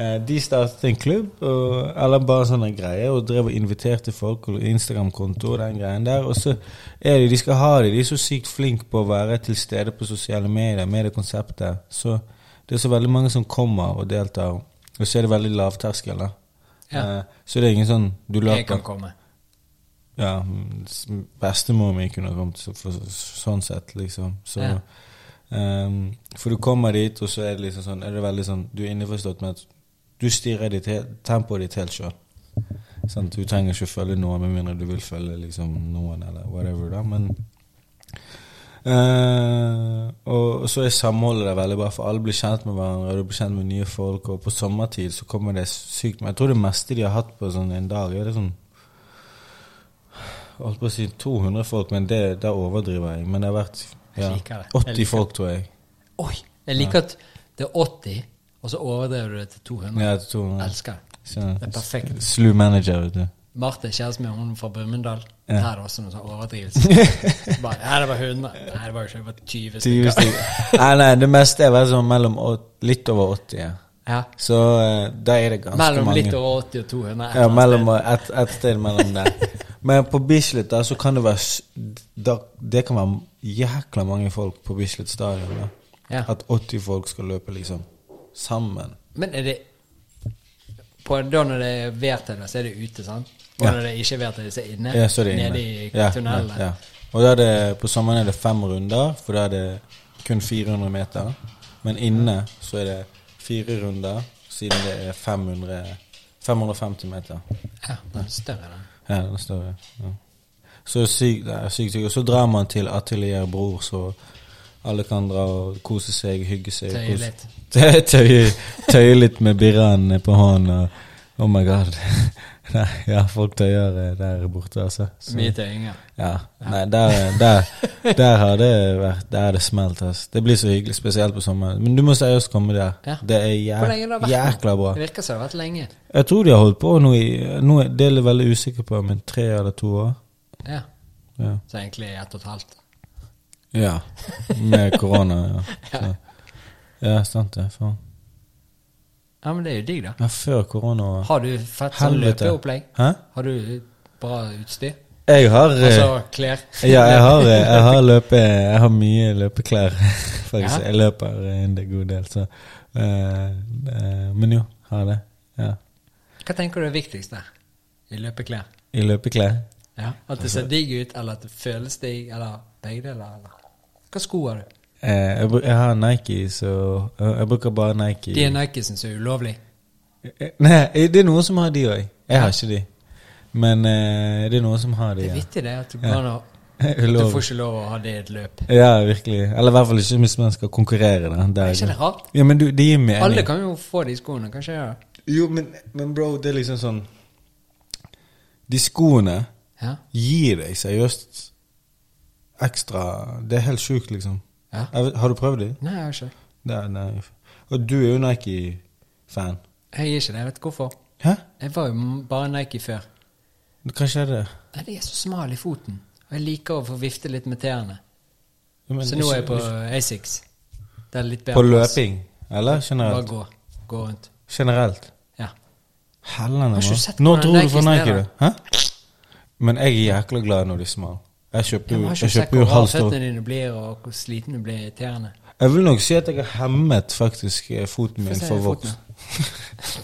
eh, de startet en klubb, og, eller bare sånne greier, og drev og inviterte folk og Instagram-konto og den greien der. Og så er de, de skal ha det. De er så sykt flinke på å være til stede på sosiale medier med det konseptet. Så det er så veldig mange som kommer og deltar, og så er det veldig lavterskel. da.
Ja.
Eh, Så det er ingen sånn du
Jeg
løper
kan komme.
ja, s- bestemor mi kunne kommet, så, for, sånn sett, liksom. Så,
Ja.
ehm, for du kommer dit, og så er det liksom sånn er det veldig sånn, Du er innforstått med at du styrer ditt he- tempoet ditt helt sjøl. Sant? Du trenger ikke å følge noen, med mindre du vil følge liksom, noen, eller whatever. da, men eh, og og så er samholdet der veldig bra, for alle blir kjent med hverandre. Og du blir kjent med nye folk Og på sommertid så kommer det sykt Men Jeg tror det meste de har hatt på sånn en dag, er det sånn holdt på å si 200 folk, men det, der overdriver jeg. Men det har vært ja,
Jeg liker det. Jeg
80
liker
folk, tror jeg.
Oi! Jeg liker at det er 80, og så overdriver du det til 200.
Ja, 200.
Elsker.
Så,
Det er perfekt.
Slu manager, vet du.
Marte, kjæresten min, hun fra Brumunddal.
Ja.
Der er det også noen sånn overdrivelse. Bare, Nei, det var 100. Nei, det var jo ikke det var 20
20
stykker.
stykker. Nei, nei, det meste er vel sånn mellom åt- litt over 80. Ja.
Ja.
Så eh, der er det ganske
Mellom
mange.
litt over 80 og altså. 200. et
Ja,
eller annet
mellom
sted.
et, et sted mellom der. Men på Bislett da, så kan det være s- da, Det kan være jækla mange folk på Bislett stadion. Da.
Ja.
At 80 folk skal løpe liksom sammen.
Men er det på, Da når det er værtøyler, så er det ute, sant? Og
Ja.
når det ikke er værtøyler, så er det inne?
Ja, så er det inne.
Nede i
Ja,
tunnelen?
Ja, ja. Og da er det, på sommeren er det fem runder, for da er det kun 400 meter. Men inne så er det fire runder, siden det er 500, 550 meter.
Ja, den er større, den.
Ja, den er større. Ja. Så sykt, det er sykt, sykt. Og så drar man til Atelier Bror, så alle kan dra og kose seg, hygge seg.
Tøye
kose-
litt.
Tøye, tøye, tøye litt med birraen på hånden og Oh my god. Nei, ja, folk tøyer eh, der borte, altså. Så-
Mye tøyinger.
ja. Nei, der, der, der har det vært Der har det smelt. ass. Det blir så hyggelig, spesielt på sommeren. Men du må seriøst komme der.
Ja.
Det er
Hvor lenge har
jæk,
det vært?
jækla bra.
Det virker som det har vært lenge.
Jeg tror de har holdt på nå i nå er Det er jeg veldig usikker på, men tre eller to år?
Ja.
Ja.
Så egentlig ett og et halvt.
ja. Med korona, ja. Så. Ja, sant det. Faen.
Ja, men det er jo digg, da.
Ja, før korona var
Har du fett sånn
Helvete.
løpeopplegg?
Hæ?
Har du bra utstyr?
Jeg har eh,
Altså klær?
Ja, jeg har, eh, jeg har, løpe, jeg har mye løpeklær, faktisk.
Ja.
Jeg løper en god del, så eh, eh, Men jo, har det. Ja.
Hva tenker du er viktigst der? I løpeklær?
I løpeklær.
Ja. At det ser digg ut, eller at det føles digg, eller begge deler? eller? Hva sko har du?
Eh, jeg, bru- jeg har Nike, så eh, Jeg bruker bare Nike.
De er Nike som er ulovlig.
Eh, Nei, det er noen som har de òg. Jeg har ikke de. Men eh, det er noen som har de.
Det er
Ja.
vittig, det. At du, går an å- du
Ulovlig.
får ikke lov å ha det i et løp.
Ja, virkelig. Eller i hvert fall ikke hvis man skal konkurrere. Da. Der.
Er ikke det rart?
Ja, men du, det gir mening.
Alle kan jo få de skoene, kan ikke jeg?
Jo, men, men bro, det er liksom sånn De skoene
Ja.
gir deg seriøst ekstra Det er helt sjukt, liksom.
Ja.
Jeg vet- Har du prøvd de?
Nei, jeg har ikke.
Nei, nei. Og du er jo Nike-fan.
Jeg er ikke det. Jeg vet ikke hvorfor.
Hæ?
Jeg var jo m- bare Nike før.
Hva skjedde?
Nei, det er så smal i foten. Og jeg liker å få vifte litt med tærne.
Ja, men
Så nå er jeg på
ikke-
Asics. Det er litt bedre.
På
plass.
løping? Eller
Bare
generelt?
gå. Gå rundt.
Generelt?
Ja.
Hellene,
Har ikke
mann.
sett
Nå
hvordan
dro du for
Nikes
Nike,
er,
du. Hæ? Men jeg er jækla glad når de er smale. Jeg kjøper
Jeg
jo,
har
jeg
ikke sett
kjøper
hvor
jo
rare
halv stor.
føttene dine blir, og hvor sliten du blir i tærne.
Jeg vil nok si at jeg har hemmet faktisk eh, foten
Få
min
se
for
foten.
vokst.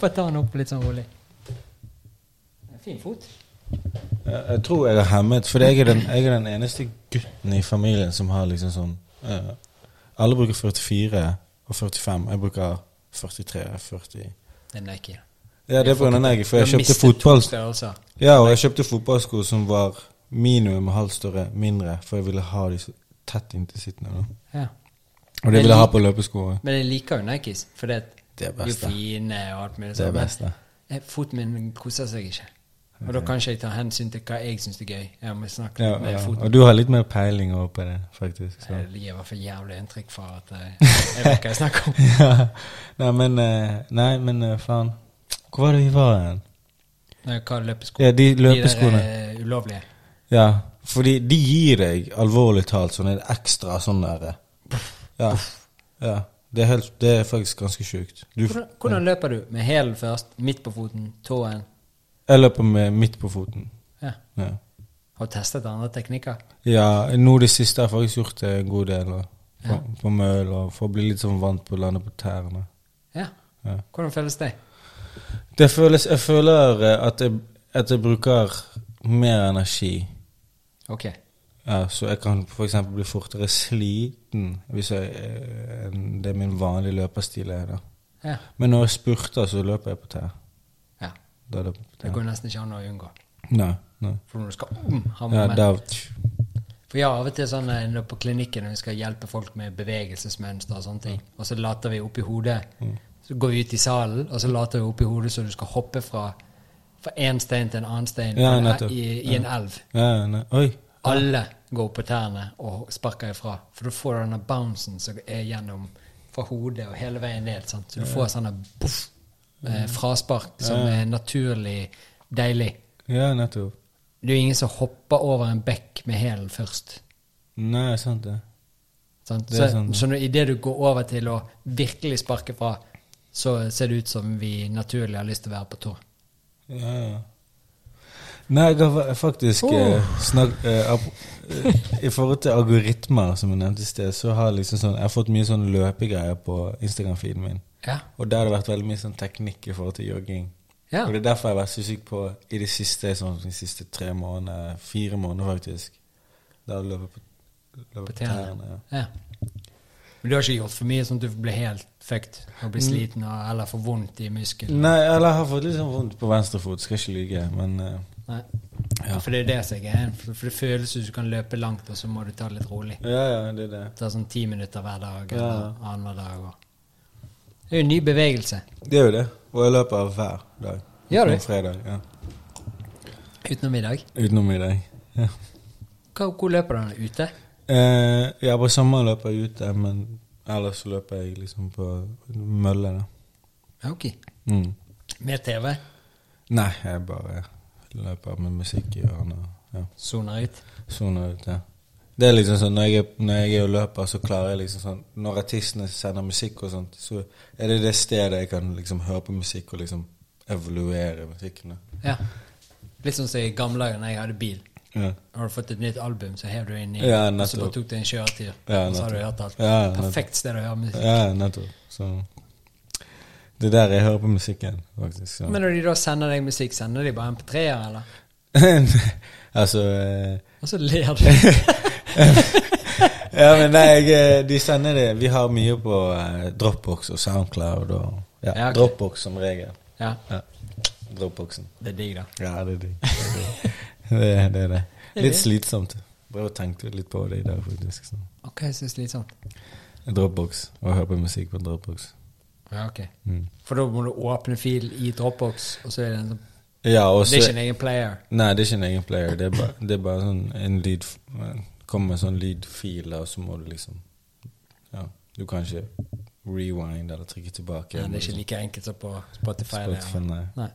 Bare ta den opp litt sånn rolig. Det er en Fin fot.
Jeg jeg tror jeg har hemmet, for jeg er, den, jeg er den eneste gutten i familien som har liksom sånn eh, Alle bruker 44 og 45. Jeg bruker 43 40.
Det er Nike.
Ja, det er pga. Nike, for
Du har
jeg kjøpte
mistet
fotball
to størrelser.
Ja, og jeg kjøpte fotballsko som var minimum halvt større mindre, for jeg ville ha de så tett inntil sittende. da.
Ja.
Og det ville jeg ha på løpeskoene.
Men jeg liker jo Nikes, for det
Det er
de er jo
best, da.
fine og alt mulig
Det er
men
best, da.
eh, Foten min koser seg ikke. Og da kan ikke jeg ta hensyn til hva jeg syns er gøy. Jeg må snakke
Ja,
med
ja.
foten.
Og du har litt mer peiling over på det, faktisk. Så.
Det gir i hvert fall jævlig inntrykk for at eh, jeg vet hva jeg snakker om.
ja. Nei, men eh, Nei, men eh, faen. Hvor var det vi var hen?
Nei, Hva er løpesko?
Ja, de
De
løpeskoene.
der eh, ulovlige.
Ja, fordi de gir deg alvorlig talt sånn en ekstra sånn der eh. Ja. ja. Det, er helt, det er faktisk ganske sjukt. Du,
Hvordan, hvordan løper du? Med hælen først, midt på foten, tåen?
jeg løper med midt på foten.
Ja.
Ja.
Har du testet andre teknikker?
ja, nå det siste har jeg faktisk gjort det en god del. og På, på møl og for å bli litt sånn vant på å lande på tærne.
Ja.
Ja.
Hvordan føles det?
Det føles, jeg føler eh, at jeg, at jeg bruker mer energi.
Ok.
Ja, så jeg kan f.eks. bli fortere sliten hvis jeg, eh, enn det min vanlige løperstil er. da.
Ja.
Men når jeg spurter, så løper jeg på tær.
ja.
Da løper jeg på
Det
tær.
går nesten ikke an å unngå.
Nei, nei.
For når du skal om, ha
Ja,
moment.
da,
For jeg har av og til sånn eh, når på klinikken når vi skal hjelpe folk med bevegelsesmønster og sånne ting, og så later vi opp i hodet.
Mm.
Så går vi ut i salen, og så later vi opp i hodet så du skal hoppe fra fra én stein til en annen stein
Ja,
fra-
nettopp.
i, i en elv.
ja, nei. Oi.
Alle går på tærne og sparker ifra, for da får du denne bouncen som er gjennom fra hodet og hele veien ned. Sant? Så du får sånne boff,
Mm.
eh, fraspark som er naturlig deilig.
Ja, nettopp.
Det er jo ingen som hopper over en bekk med hælen først.
Nei, sant det.
Sant?
Det er sånn.
Så,
sant.
så når, i det du går over til å virkelig sparke fra, så ser det ut som vi naturlig har lyst til å være på tur.
Ja, ja. Nei, jeg har fa- faktisk eh, snakk- eh, ap- eh, I forhold til algoritmer, som jeg nevnte i sted, så har jeg liksom sånn, jeg har fått mye sånn løpegreier på Instagram-feeden min.
Ja.
Og der har det vært veldig mye sånn teknikk i forhold til jogging.
Ja.
Og det er derfor jeg har vært så syk på i det siste, sånn de siste tre månedene, fire måneder faktisk. Da har jeg løpet på, løpet
På
på
tærne.
tærne. Ja.
ja. Men du har ikke gjort for mye sånn at du blir helt fucked og
Mm.
blir sliten og, eller får vondt i muskelen?
Nei, eller jeg har fått litt sånn vondt på venstre fot, skal ikke lyge, men eh,
Nei.
Ja.
For det er det som er greien. For, for det føles som du kan løpe langt, og så må du ta det litt rolig.
ja, ja, det er det.
Ta sånn ti minutter hver dag
Ja.
eller annenhver dag. Og. Det er jo en ny bevegelse.
Det er jo det. Og jeg løper hver dag.
Gjør du?
Utenom Fredag, ja.
Utenom i dag.
Utenom i dag. Ja.
Hva- Hvor løper du den? Ute?
Eh, ja, på sommeren løper jeg ute, men ellers så løper jeg liksom på mølle, da.
Ok.
Mm.
Med TV?
Nei, jeg bare løper med musikk i ørene og ja,
Soner ut?
soner ut, ja. Det er liksom sånn, når jeg, er- når jeg er og løper, så klarer jeg liksom sånn Når artistene sender musikk og sånt, så er det det stedet jeg kan liksom høre på musikk og liksom evaluere musikken. da.
Ja. Litt sånn som i gamle dager da jeg hadde bil.
Ja.
Har du fått et nytt album, så hev du inn i
Ja,
og så bare
nettopp.
tok du en kjøretur.
Ja,
og så har du
nettopp.
hørt alt.
Ja, nettopp.
Perfekt sted å høre musikk.
Ja, nettopp. Så Det er der jeg hører på musikken, faktisk. Så.
Men når de da sender deg musikk, sender de bare MP3-er, eller?
altså eh,
Og så ler du.
Ja, men nei, jeg, eh, de sender det Vi har mye på eh, Dropbox og Soundcloud og ja,
Ja, ok.
Dropbox som regel.
Ja,
Ja. Dropboxen.
det er digg, da.
Ja, det er det. Det er det. Er det. Litt slitsomt. Bare tenkte litt på det i dag, faktisk. Så.
Ok, så slitsomt.
Dropbox. Å høre på musikk på Dropbox.
Ja, ok.
Mm.
For da må du åpne fil i Dropbox, og så er det en sånn
Ja, og
Det er
så
ikke en egen player.
Nei, det er ikke en egen player. Det er bare, det er bare sånn en lyd Kommer med sånn lydfil, og så må du liksom Ja, du kan ikke rewind eller trykke tilbake.
Nei, det er ikke like enkelt som på Spotify. eller-
sånn. Spotify, nei.
Nei.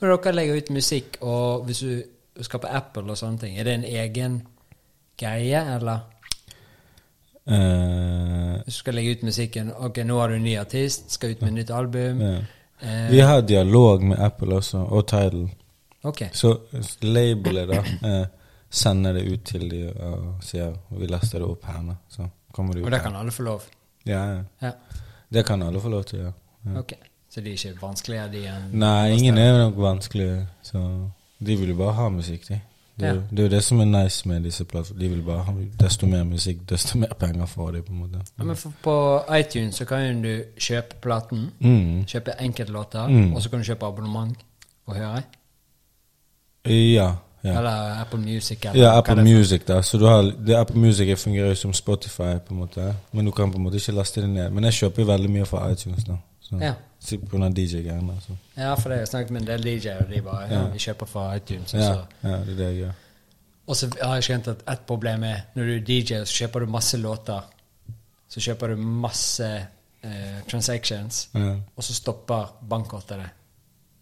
Når dere legger ut musikk, og hvis du skal på Apple og sånne ting, er det en egen greie, eller?
Eh,
Hvis du skal legge ut musikken, ok, nå har du en ny artist, skal ut med nytt album.
ja.
Eh,
Vi har dialog med Apple også, og Tidal.
ok,
Så labelet, da, eh, sender det ut til de og sier Vi laster det opp her nå, så kommer det ut.
og der
her.
kan alle få lov.
Ja, ja.
Ja,
Det kan alle få lov til, ja. ja.
ok. Så de er ikke vanskeligere, de enn
Nei, ingen er nok vanskelig. Så de vil jo bare ha musikk, de. Det er, jo-
Ja.
det er jo det som er nice med disse plattformene. De vil bare ha desto mer musikk, desto mer penger får de, på en måte.
Ja, men for på iTunes så kan jo du kjøpe platen,
Mm.
kjøpe enkeltlåter,
Mm.
og så kan du kjøpe abonnement og høre.
Ja. ja.
Eller Apple Music. Eller
Ja,
hva
Apple
det-
Music, da. Så du har, det Apple Music fungerer jo som Spotify, på en måte. Men du kan på en måte ikke laste det ned. Men jeg kjøper jo veldig mye fra iTunes, da. Så,
Ja.
så på grunn av DJ-greiene. altså. så.
Ja, for det har jeg snakket med en del DJ-er, og de bare ja,
Ja.
vi kjøper fra iTunes. Og så,
Ja, ja, det er det jeg gjør.
og så har jeg skjønt at et problem er når du er DJ, så kjøper du masse låter. Så kjøper du masse eh, transactions,
Ja.
og så stopper bankkortet det.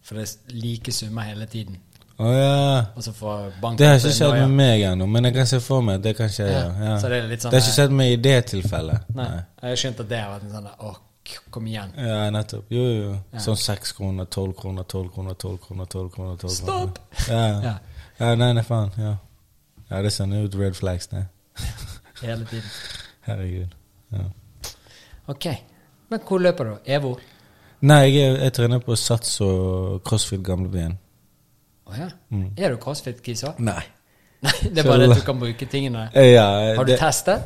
For det er like summer hele tiden.
Å ja.
Og så får
Det har
bankkortet
ikke skjedd
noia.
med meg ennå, men jeg kan se for meg at det kan skje. Ja.
Ja,
Ja.
så det
Det,
er litt sånn
har ikke skjedd meg i det tilfellet.
Nei. Jeg har skjønt at det har vært en sånn der, Åh, k- kom igjen.
Ja, nettopp. Jo, jo. jo. Sånn seks kroner, tolv kroner, tolv kroner, tolv kroner, tolv kroner. 12
Stopp!
Kroner.
Ja.
Ja. ja, nei, nei, faen. Ja, ja det sender ut red flags, det.
Hele tiden.
Herregud. Ja.
Ok. Men hvor løper du? EVO?
Nei, jeg, er- jeg trener på Sats og CrossFit Gamlebyen.
Å ja.
Mm.
Er du crossfit-kis òg?
Nei.
Nei, det er
Så-
bare at du kan bruke tingene.
Ja,
Har du
Eh, det,
testet?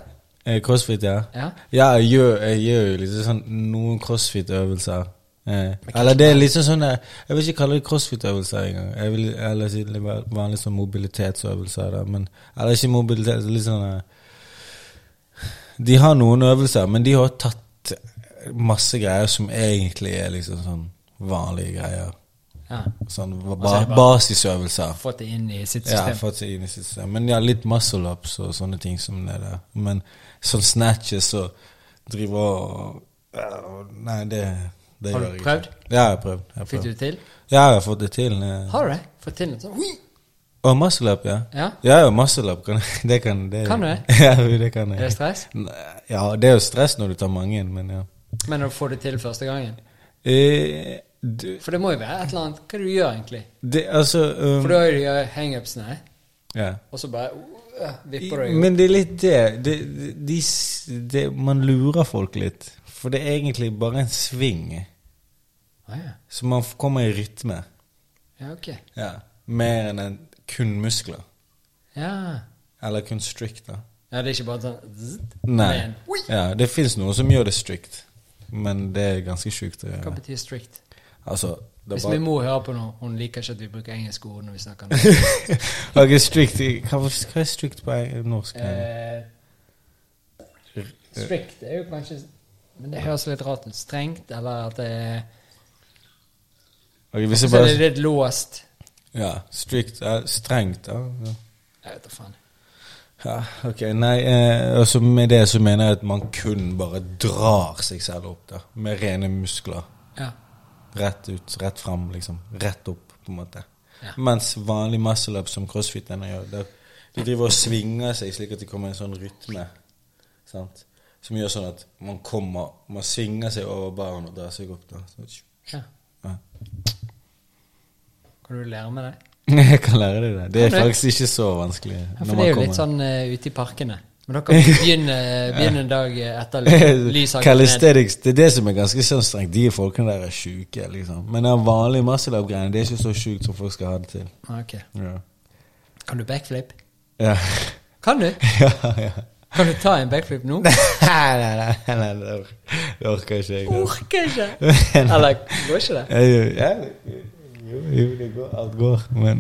eh, CrossFit, ja.
Ja.
Ja, jeg gjør, jeg gjør jo liksom sånn noen crossfit-øvelser. Eh, eller det er liksom sånn der- Jeg vil ikke kalle det crossfit-øvelser engang. Jeg vil eller si det var vanlig sånn mobilitetsøvelser. Da, men, eller ikke mobilitet, litt sånn eh, De har noen øvelser, men de har tatt masse greier som egentlig er liksom sånn vanlige greier.
Ja.
Sånn
så
ba
er det bare-
basisøvelser.
Fått det inn i sitt
Ja,
system?
fått seg inn i sitt system. Men ja, litt muscle ups og sånne ting som det der. Men sånn snatches og driver og ja, og- Nei, det, det
Har du
gjør jeg
prøvd?
ikke. Ja, jeg har prøvd. Jeg har
Fikk
prøvd.
du det til?
Ja, jeg har fått det til. eh.
Har du det? Fått til noe sånt? Ui!
Og muscle up, ja.
Ja.
Ja, ja, muscle up. Kan, det kan det.
Kan du det?
Ja, det kan jeg.
Er det stress?
Nei, Ja, det er jo stress når du tar mange, men ja.
Men å få det til første gangen?
Eh, det,
For det må jo være et eller annet Hva du gjør egentlig?
det, altså um,
For da har du gjør hangupsene,
ja.
og så bare uh, vipper du i gang.
Men det er litt det. det, det, de, s- det man lurer folk litt. For det er egentlig bare en sving.
Å ja.
Så man f- kommer i rytme.
ja, ok.
Ja. Mer enn en, kun muskler.
Ja.
Eller kun strict, da.
ja, det er ikke bare sånn zzzt,
Nei.
men- Ui!
Ja, det fins noen som gjør det strict, men det er ganske sjukt å
Hva
gjøre.
betyr strict?
Altså, det
Hvis
er
min
bare
mor hører på noe, hun liker ikke at vi bruker engelske ord når vi snakker nå.
Ok, strict Hva hva er strict på eng- norsk?
Eh, strict Eh, er jo kanskje Men det høres litt rart ut. Strengt, eller at det er
Ok, hvis jeg
Så er det
bare
litt låst.
Ja, strict er strengt, da. Ja.
Jeg vet da faen.
Ja, ok, nei, eh, altså Med det så mener jeg at man kun bare drar seg selv opp da, med rene muskler.
Ja.
Rett ut, rett fram, liksom. Rett opp, på en måte.
Ja.
Mens vanlig muscle-up som crossfiterne gjør, der de driver og svinger seg slik at de kommer i en sånn rytme. Sant? Som gjør sånn at man kommer Man svinger seg over baren og drar seg opp. da. Så, tju,
ja.
ja.
Kan du lære med det?
Jeg kan lære deg det. Det
Kan
er
du?
faktisk ikke så vanskelig.
Ja, for
når man
det er jo
kommer.
litt sånn eh, ute i parkene. Men dere begynner, begynner en dag eh, etter ly- lyshagen ned.
Calisthenics, det er det som er ganske sånn strengt. De folkene der er sjuke, liksom. Men den vanlige muscle up-greien, det er ikke så sjukt som folk skal ha det til.
Ah, ok.
Ja.
Kan du backflip?
Ja,
Kan du?
ja. ja.
Kan du ta en backflip nå?
nei, nei, nei, nei, det or- det orker ikke jeg. altså. det.
Orker ikke!
Nei.
Eller går ikke det?
Jeg gjør- ja, Jo, jo, det går, alt går, men,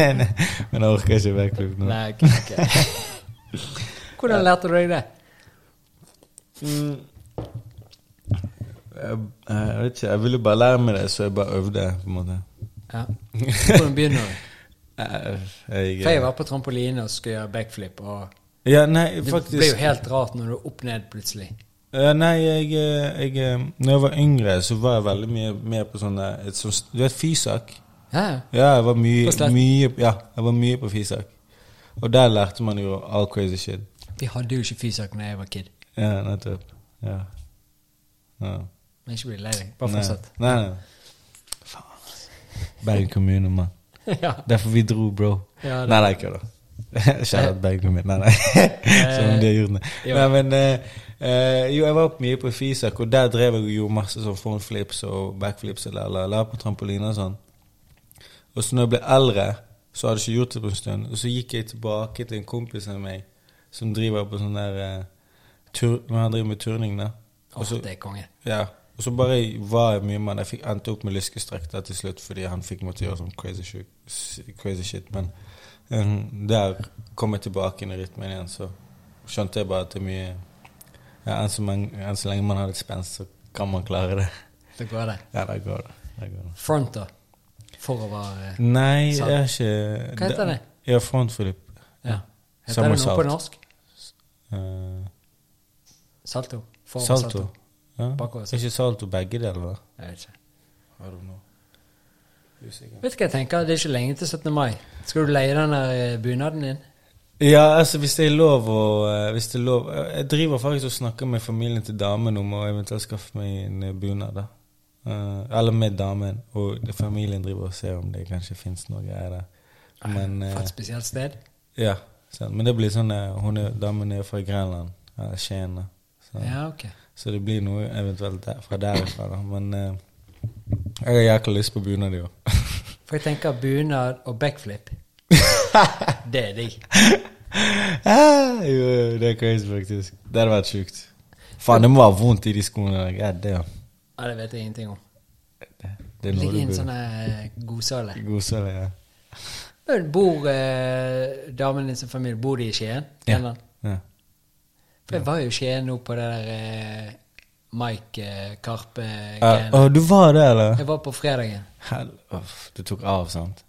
men jeg orker ikke backflip nå.
Nei, ok. ok. Hvordan lærte du deg det?
Mm. Jeg, jeg vet ikke, jeg ville bare lære meg det, så jeg bare øvde, på en måte.
Ja. Hvordan begynner du?
Jeg, jeg,
For jeg var på trampoline og skulle gjøre backflip, og
Ja, nei,
det
faktisk
ble jo helt rart når du er opp ned plutselig.
Ja, nei, jeg, eh, jeg eh, Når jeg var yngre, så var jeg veldig mye mer på sånne et sånt, Du vet Fysak?
Ja, ja.
Ja, jeg var mye,
På Slett?
mye Ja, jeg var mye på Fysak. Og der lærte man jo all crazy shit.
Vi hadde jo ikke fysak da jeg var kid.
Ja, nettopp. Ja. ja.
Men ikke bli lei deg. Bare
Nei.
fortsett.
Nei, nei. Faen. altså. Bergen kommune, mann.
ja.
Derfor vi dro, bro.
Ja, det-
nei, nei, ikke da. Kjære Bergen kommune. Nei, nei. Som om de har gjort det.
jo.
Nei, men eh, eh, Jo, jeg var opp mye på Fisak, og der drev jeg og gjorde masse sånn frontflips og backflips og la, la, la på trampoline og sånn. Og så når jeg ble eldre, så hadde jeg ikke gjort det på en stund. Og så gikk jeg tilbake til en kompis av meg som driver på sånn der eh, tur, når Han driver med turning, da. Og
Åh,
så,
det er konge.
ja, og så bare var jeg mye med Jeg fikk, endte opp med lyskestrekk der til slutt fordi han fikk meg til å gjøre sånn crazy, shit- s- crazy shit. Men eh, der kom jeg tilbake inn i rytmen igjen, så skjønte jeg bare at det er mye ja, enn, så mange, enn så lenge man har litt spenst, så kan man klare det.
Det går det.
Ja, der går det. Der går det.
Front, da. Forover eh,
Nei,
Sant.
jeg er ikke
Hva heter det?
Ja, frontflip.
Ja. Heter det noe
Somersault.
på norsk?
Eh,
Salto? Forover
salto. Ja.
Bakover,
Er ikke salto begge deler, da?
Jeg vet ikke.
I don't know. Usikker.
Vet du hva jeg tenker? Det er ikke lenge til 17. mai. Skal du leie den der eh, bunaden din?
Ja, altså hvis det er lov å eh, Hvis det er lov eh, Jeg driver faktisk og snakker med familien til damen om å eventuelt skaffe meg en eh, bunad, da. Eh, eller med damen, og det- familien driver og ser om det kanskje fins noe greier der. Men,
Fra
eh,
et spesielt sted?
ja, sant. Men det blir sånn eh, hun er, Damen er fra Grenland, Eller Skien, da. Så,
Ja, ok.
så det blir noe eventuelt der, fra derifra, da. Men eh, jeg har jækla lyst på bunad i år.
For jeg tenker bunad og backflip. det er digg.
Ah, jo, jo, det er crazy, faktisk. Det hadde vært sjukt. Faen, det må være vondt i de skoene. der. God damn.
Ja, det vet jeg ingenting om.
Det er noe
Ligger i
du
en
burde
sånn eh, godsale.
Godsele, ja.
Men Bor eh, damen din som familie Bor de i Skien? Kjenner han?
ja.
For jeg var jo i Skien nå på det der eh, Mike eh,
Eh,
Karpe-greiene.
Å, du var det, eller?
Jeg var på fredagen.
Hell, uff, du tok av, sant?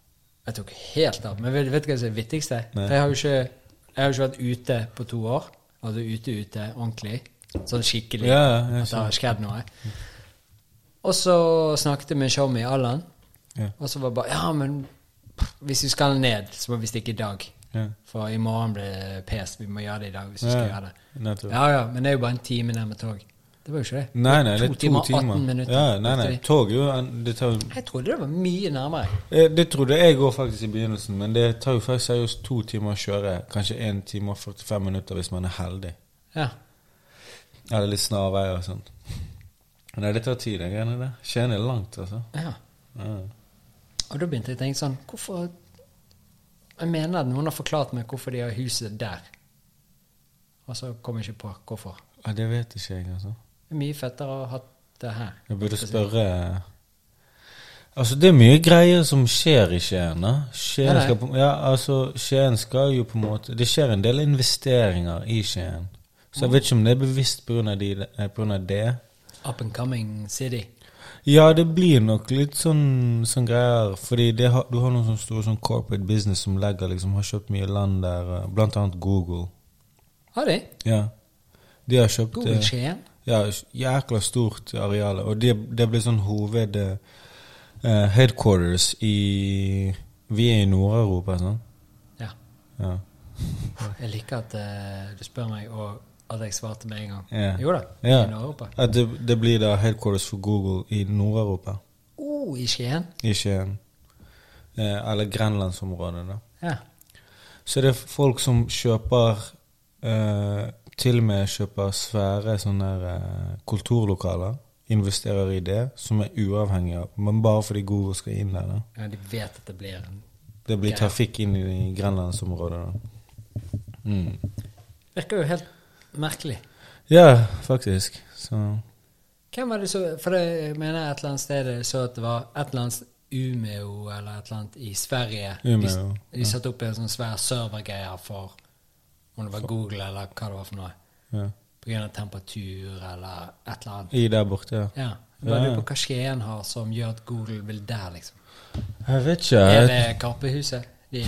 Jeg tok helt av. Men vet, vet du hva som er det viktigste?
Nei.
For jeg har jo ikke, jeg har jo ikke vært ute på to år. Altså ute, ute ordentlig. Sånn skikkelig.
Ja, sånn. ja, jeg
at det har skjedd noe. Og så snakket jeg med Shommy Allan,
Ja.
og så var det bare Ja, men hvis vi skal ned, så må vi stikke i dag.
Ja.
For i morgen blir det pes. Vi må gjøre det i dag hvis vi
Ja,
skal
ja.
gjøre det.
Nettopp.
Ja, ja, men det er jo bare en time ned med tog. Det var jo ikke det.
Nei, nei, det
To
er to
timer,
timer.
18 minutter.
Ja, nei, nei, tog jo en- det, tar, jo-
Jeg trodde det var mye nærmere.
Eh, det trodde jeg òg faktisk i begynnelsen, men det tar jo faktisk seriøst to timer å kjøre. Kanskje 1 time og 45 minutter hvis man er heldig.
Ja.
Eller litt snarveier og sånt. Nei, det tar tid, de greiene der. Skien er langt, altså.
ja.
Ja.
Og da begynte jeg å tenke sånn Hvorfor Jeg mener at noen har forklart meg hvorfor de har huset der. Og så kom jeg ikke på hvorfor.
Ja, det vet ikke jeg, altså.
Det er mye fettere å ha hatt det her.
Jeg burde spørre eh, Altså, det er mye greier som skjer i Skien. da. Skien
Ja, det er.
skal, på- ja, altså, Skien skal jo på en måte Det skjer en del investeringer i Skien.
Mm.
Så jeg vet ikke om det er bevisst pga. De, eh, på grunn av det.
Up and coming city.
Ja, det blir nok litt sånn, sånn greier. Fordi det har, du har noen sånne store sånn corporate business som legger liksom, har kjøpt mye land der, eh, blant annet Google.
Har de?
Ja. De har kjøpt
Google
eh,
Skien?
Ja, jækla stort areal. Og det, det ble sånn hoved eh, headquarters i Vi er i Nord-Europa, sånn.
Ja.
Ja.
Jeg liker at eh, du spør meg, og at jeg svarte med en gang.
Ja.
Jo da,
Ja.
i Nord-Europa.
At det, det blir da headquarters for Google i Nord-Europa,
Oh, i Skien?
ikke eh, Eller grenlandsområdet, da.
Ja.
Så det er folk som kjøper eh, Til og med kjøper svære sånne her, eh, kulturlokaler. Investerer i det, som er uavhengig av Men bare fordi Google skal inn der, da.
ja. De vet at det blir en
Det blir
Ja.
trafikk inn i grenlandsområdet. da. Mm.
Virker jo helt merkelig.
Ja, faktisk. Så
Hvem var det så For det jeg mener jeg et eller annet sted jeg så at det var et eller annet Umeå eller et eller annet i Sverige.
Umeå,
De, de satte opp en sånn svær servergreie for om det var Google eller hva det var for noe.
ja.
På grunn av temperatur eller et eller annet.
I der borte, ja.
Ja. Jeg bare
Ja,
lurer
ja.
på hva Skien har som gjør at Google vil der, liksom.
Jeg vet ikke.
Er
jeg-
det Karpehuset? De,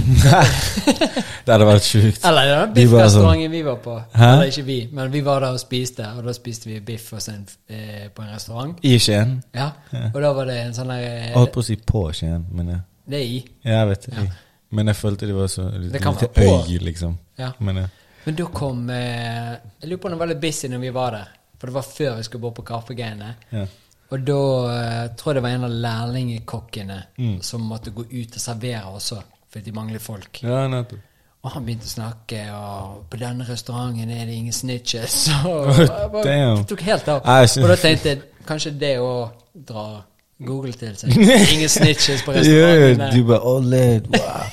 Det hadde vært sjukt.
eller er det den
De bare
biffrestauranten vi var på?
Hæ?
Eller ikke vi, men vi var der og spiste, og da spiste vi biff hos en, eh, på en restaurant.
I Skien.
Ja, Og da var det en sånn der
Jeg
eh,
holdt på å si på Skien, men jeg,
Det er i.
jeg vet det. Men jeg følte det var så
Det kan
lite
være på.
øy, liksom.
Ja.
Men jeg,
Men da kom eh, Jeg lurer på om det var litt busy når vi var der. For det var før vi skulle bort på Karpegreiene.
ja.
Og da eh, tror jeg det var en av lærlingekokkene
Mm.
som måtte gå ut og servere også, fordi de mangler folk.
ja, nettopp.
Og han begynte å snakke, og på denne restauranten er det ingen snitches. Og
Oh,
jeg bare-
damn.
det tok helt av.
Nei, jeg sy-
Og da tenkte jeg kanskje det å dra Google til seg. Ingen snitches på restauranten.
Ja,
der.
du bare Ole, wow.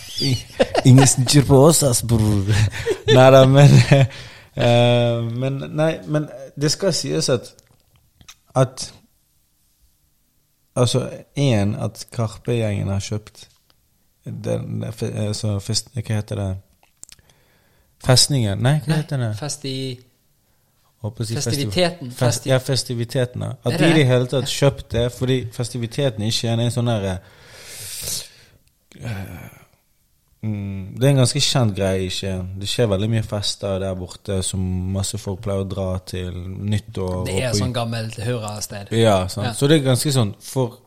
Ingen snitcher på oss, ass, bror. Nei da, men eh, Men nei, men det skal sies at At Altså, én at Karpe-gjengen har kjøpt den den fe- eh, så fest, Hva heter det? Festningen? Nei, hva
Nei,
heter det?
fest i
Håper å si festi-
Festiviteten.
Fest,
Festi-
ja, festivitetene.
Det
At
er
de i det
det.
hele tatt kjøpte det, fordi festiviteten i Skien er en sånn derre mm, Det er en ganske kjent greie i Skien. Det skjer veldig mye fester der borte som masse folk pleier å dra til nyttår.
Det
og
er
på-
sånn gammelt hurrasted.
ja, sant.
Ja.
Så det er ganske sånn For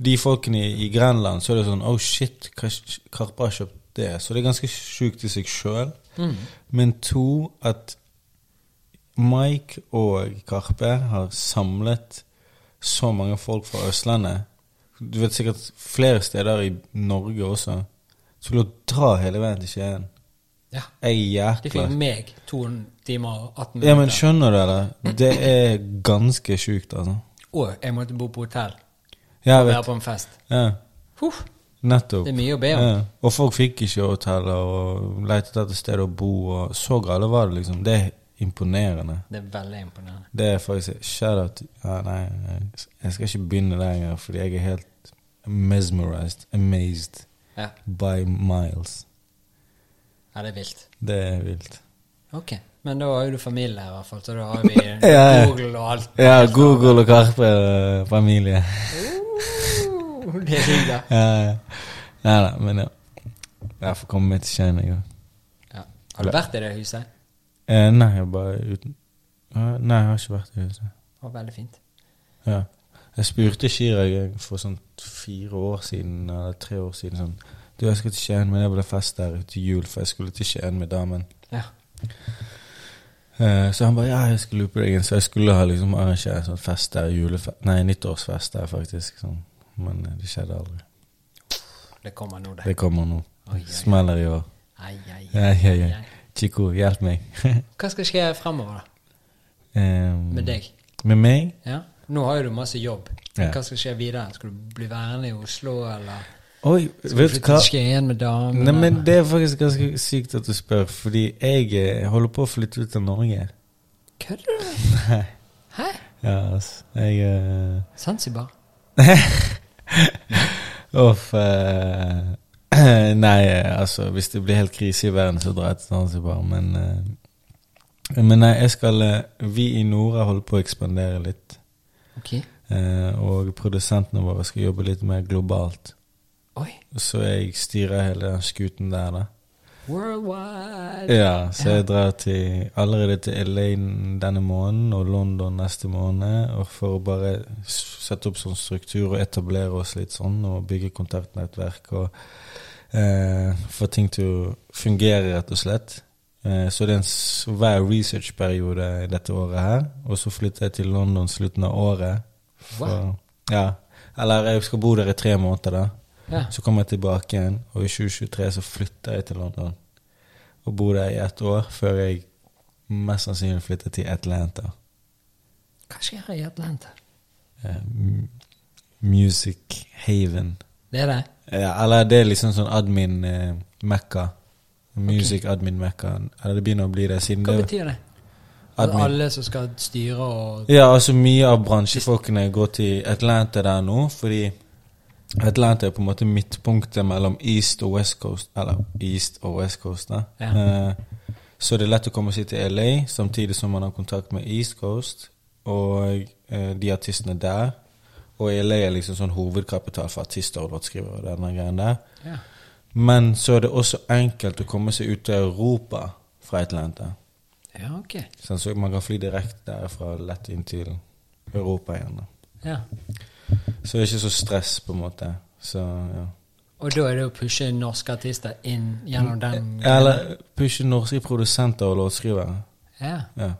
de folkene i, i Grenland så er det sånn Oh shit, Kar- Karpe har kjøpt det. Så det er ganske sjukt i seg sjøl.
Mm.
Men to, at Mike og Karpe har samlet så mange folk fra Østlandet Du vet sikkert flere steder i Norge også. Skulle dra hele veien til Skien.
Ja.
Jeg er
De fikk
jækla
meg to timer og 18
Ja, men
minutter.
skjønner du, eller? Det er ganske sjukt, altså.
Og jeg måtte bo på hotell
Ja,
og
jeg
være
vet.
på en fest.
Ja,
Huff,
nettopp.
det er mye å be om.
Ja. Og folk fikk ikke hoteller og lette etter sted å bo, og så gale var det, liksom. Det er imponerende.
Det er veldig imponerende.
Det er faktisk Shout-out ja, Nei, nei, jeg skal ikke begynne der engang, fordi jeg er helt mesmerized, amazed
Ja,
by miles.
ja det er vilt.
Det er vilt.
Ok, men da har jo du familie her i hvert fall, så da har vi
ja.
Google og alt.
Ja, Google og Karpe eh, familie.
Uh, det er hyggelig.
Ja, ja. Nei da, men ja. Jeg får komme med til Kina, jeg òg.
Ja. Har du vært i det huset?
Eh, nei, jeg bare uten Eh, Nei, jeg har ikke vært i huset.
Det var veldig fint.
Ja. Jeg spurte Chirag jeg, for sånn fire år siden, eller tre år siden, sånn Du, jeg skal til Skien, men jeg ble fest der til jul, for jeg skulle til Skien med damen.
Ja.
Eh, så han bare Ja, jeg skal loope deg inn. Så jeg skulle ha liksom arrangert sånn fest der, julefest Nei, nyttårsfest der, faktisk. Sånn. Men eh, det skjedde aldri.
Det kommer nå, det.
Det kommer nå.
Oi, oi.
Smeller i år.
Ai, ai,
Ja, ja,
ai,
ja.
ai.
Chico, hjelp meg.
Hva skal skje fremover da,
Em,
med deg?
Ehm, Med meg?
Ja? Nå har jo du masse jobb.
Ja.
Hva skal skje videre? Skal du bli værende i Oslo, eller
Oi,
skal du
vet du
flytte
hva?
til Skien med damen?
Nei, men
eller?
Det er faktisk ganske sykt at du spør, fordi jeg eh, holder på å flytte ut av Norge.
Kødder du?
Nei.
Hæ?
Ja, altså. Jeg eh,
Zanzibar?
Uff. eh, nei, eh, altså, hvis det blir helt krise i verden, så drar jeg til Zanzibar, men eh, Men nei, jeg skal eh, Vi i Nora holder på å ekspandere litt.
Ok.
eh, og produsentene våre skal jobbe litt mer globalt.
Oi.
Så jeg styrer hele den skuten der, da.
Worldwide.
Ja, så jeg drar til, allerede til LA denne måneden og London neste måned og for å bare s- sette opp sånn struktur og etablere oss litt sånn og bygge kontaktnettverk og eh, få ting til å fungere, rett og svett. Eh, så det er en svær researchperiode dette året her, og så flytter jeg til London slutten av året. For,
Wow.
Ja, eller jeg skal bo der i tre måneder da.
Ja.
Så kommer jeg tilbake igjen, og i 2023 så flytter jeg til London. Og bor der i ett år før jeg mest sannsynlig flytter til Atlanta.
Hva skjer i Atlanta?
Eh, m- music Haven.
Det er det?
Ja, eller det er liksom sånn admin-mekka. Music admin-mekka. Eller det begynner å bli det siden
Hva
det
betyr det? At
Admin.
alle som skal styre og
Ja, altså mye av bransjefolkene går til Atlanta der nå, fordi Atlanta er på en måte midtpunktet mellom East og West Coast, eller East og West Coast, da.
Ja.
Eh, så det er lett å komme seg til LA, samtidig som man har kontakt med East Coast, og eh, de artistene der. Og LA er liksom sånn hovedkapital for artister og låtskrivere og denne greien der.
ja.
Men så er det også enkelt å komme seg ut til Europa fra Atlanta.
ja, ok.
Sånn, så man kan fly direkte derfra lett inn til Europa igjen. Da.
Ja.
Så det er ikke så stress, på en måte. Så, ja.
Og da er det å pushe norske artister inn gjennom
Mm.
den
Eller pushe norske produsenter og låtskrivere.
Ja.
Ja.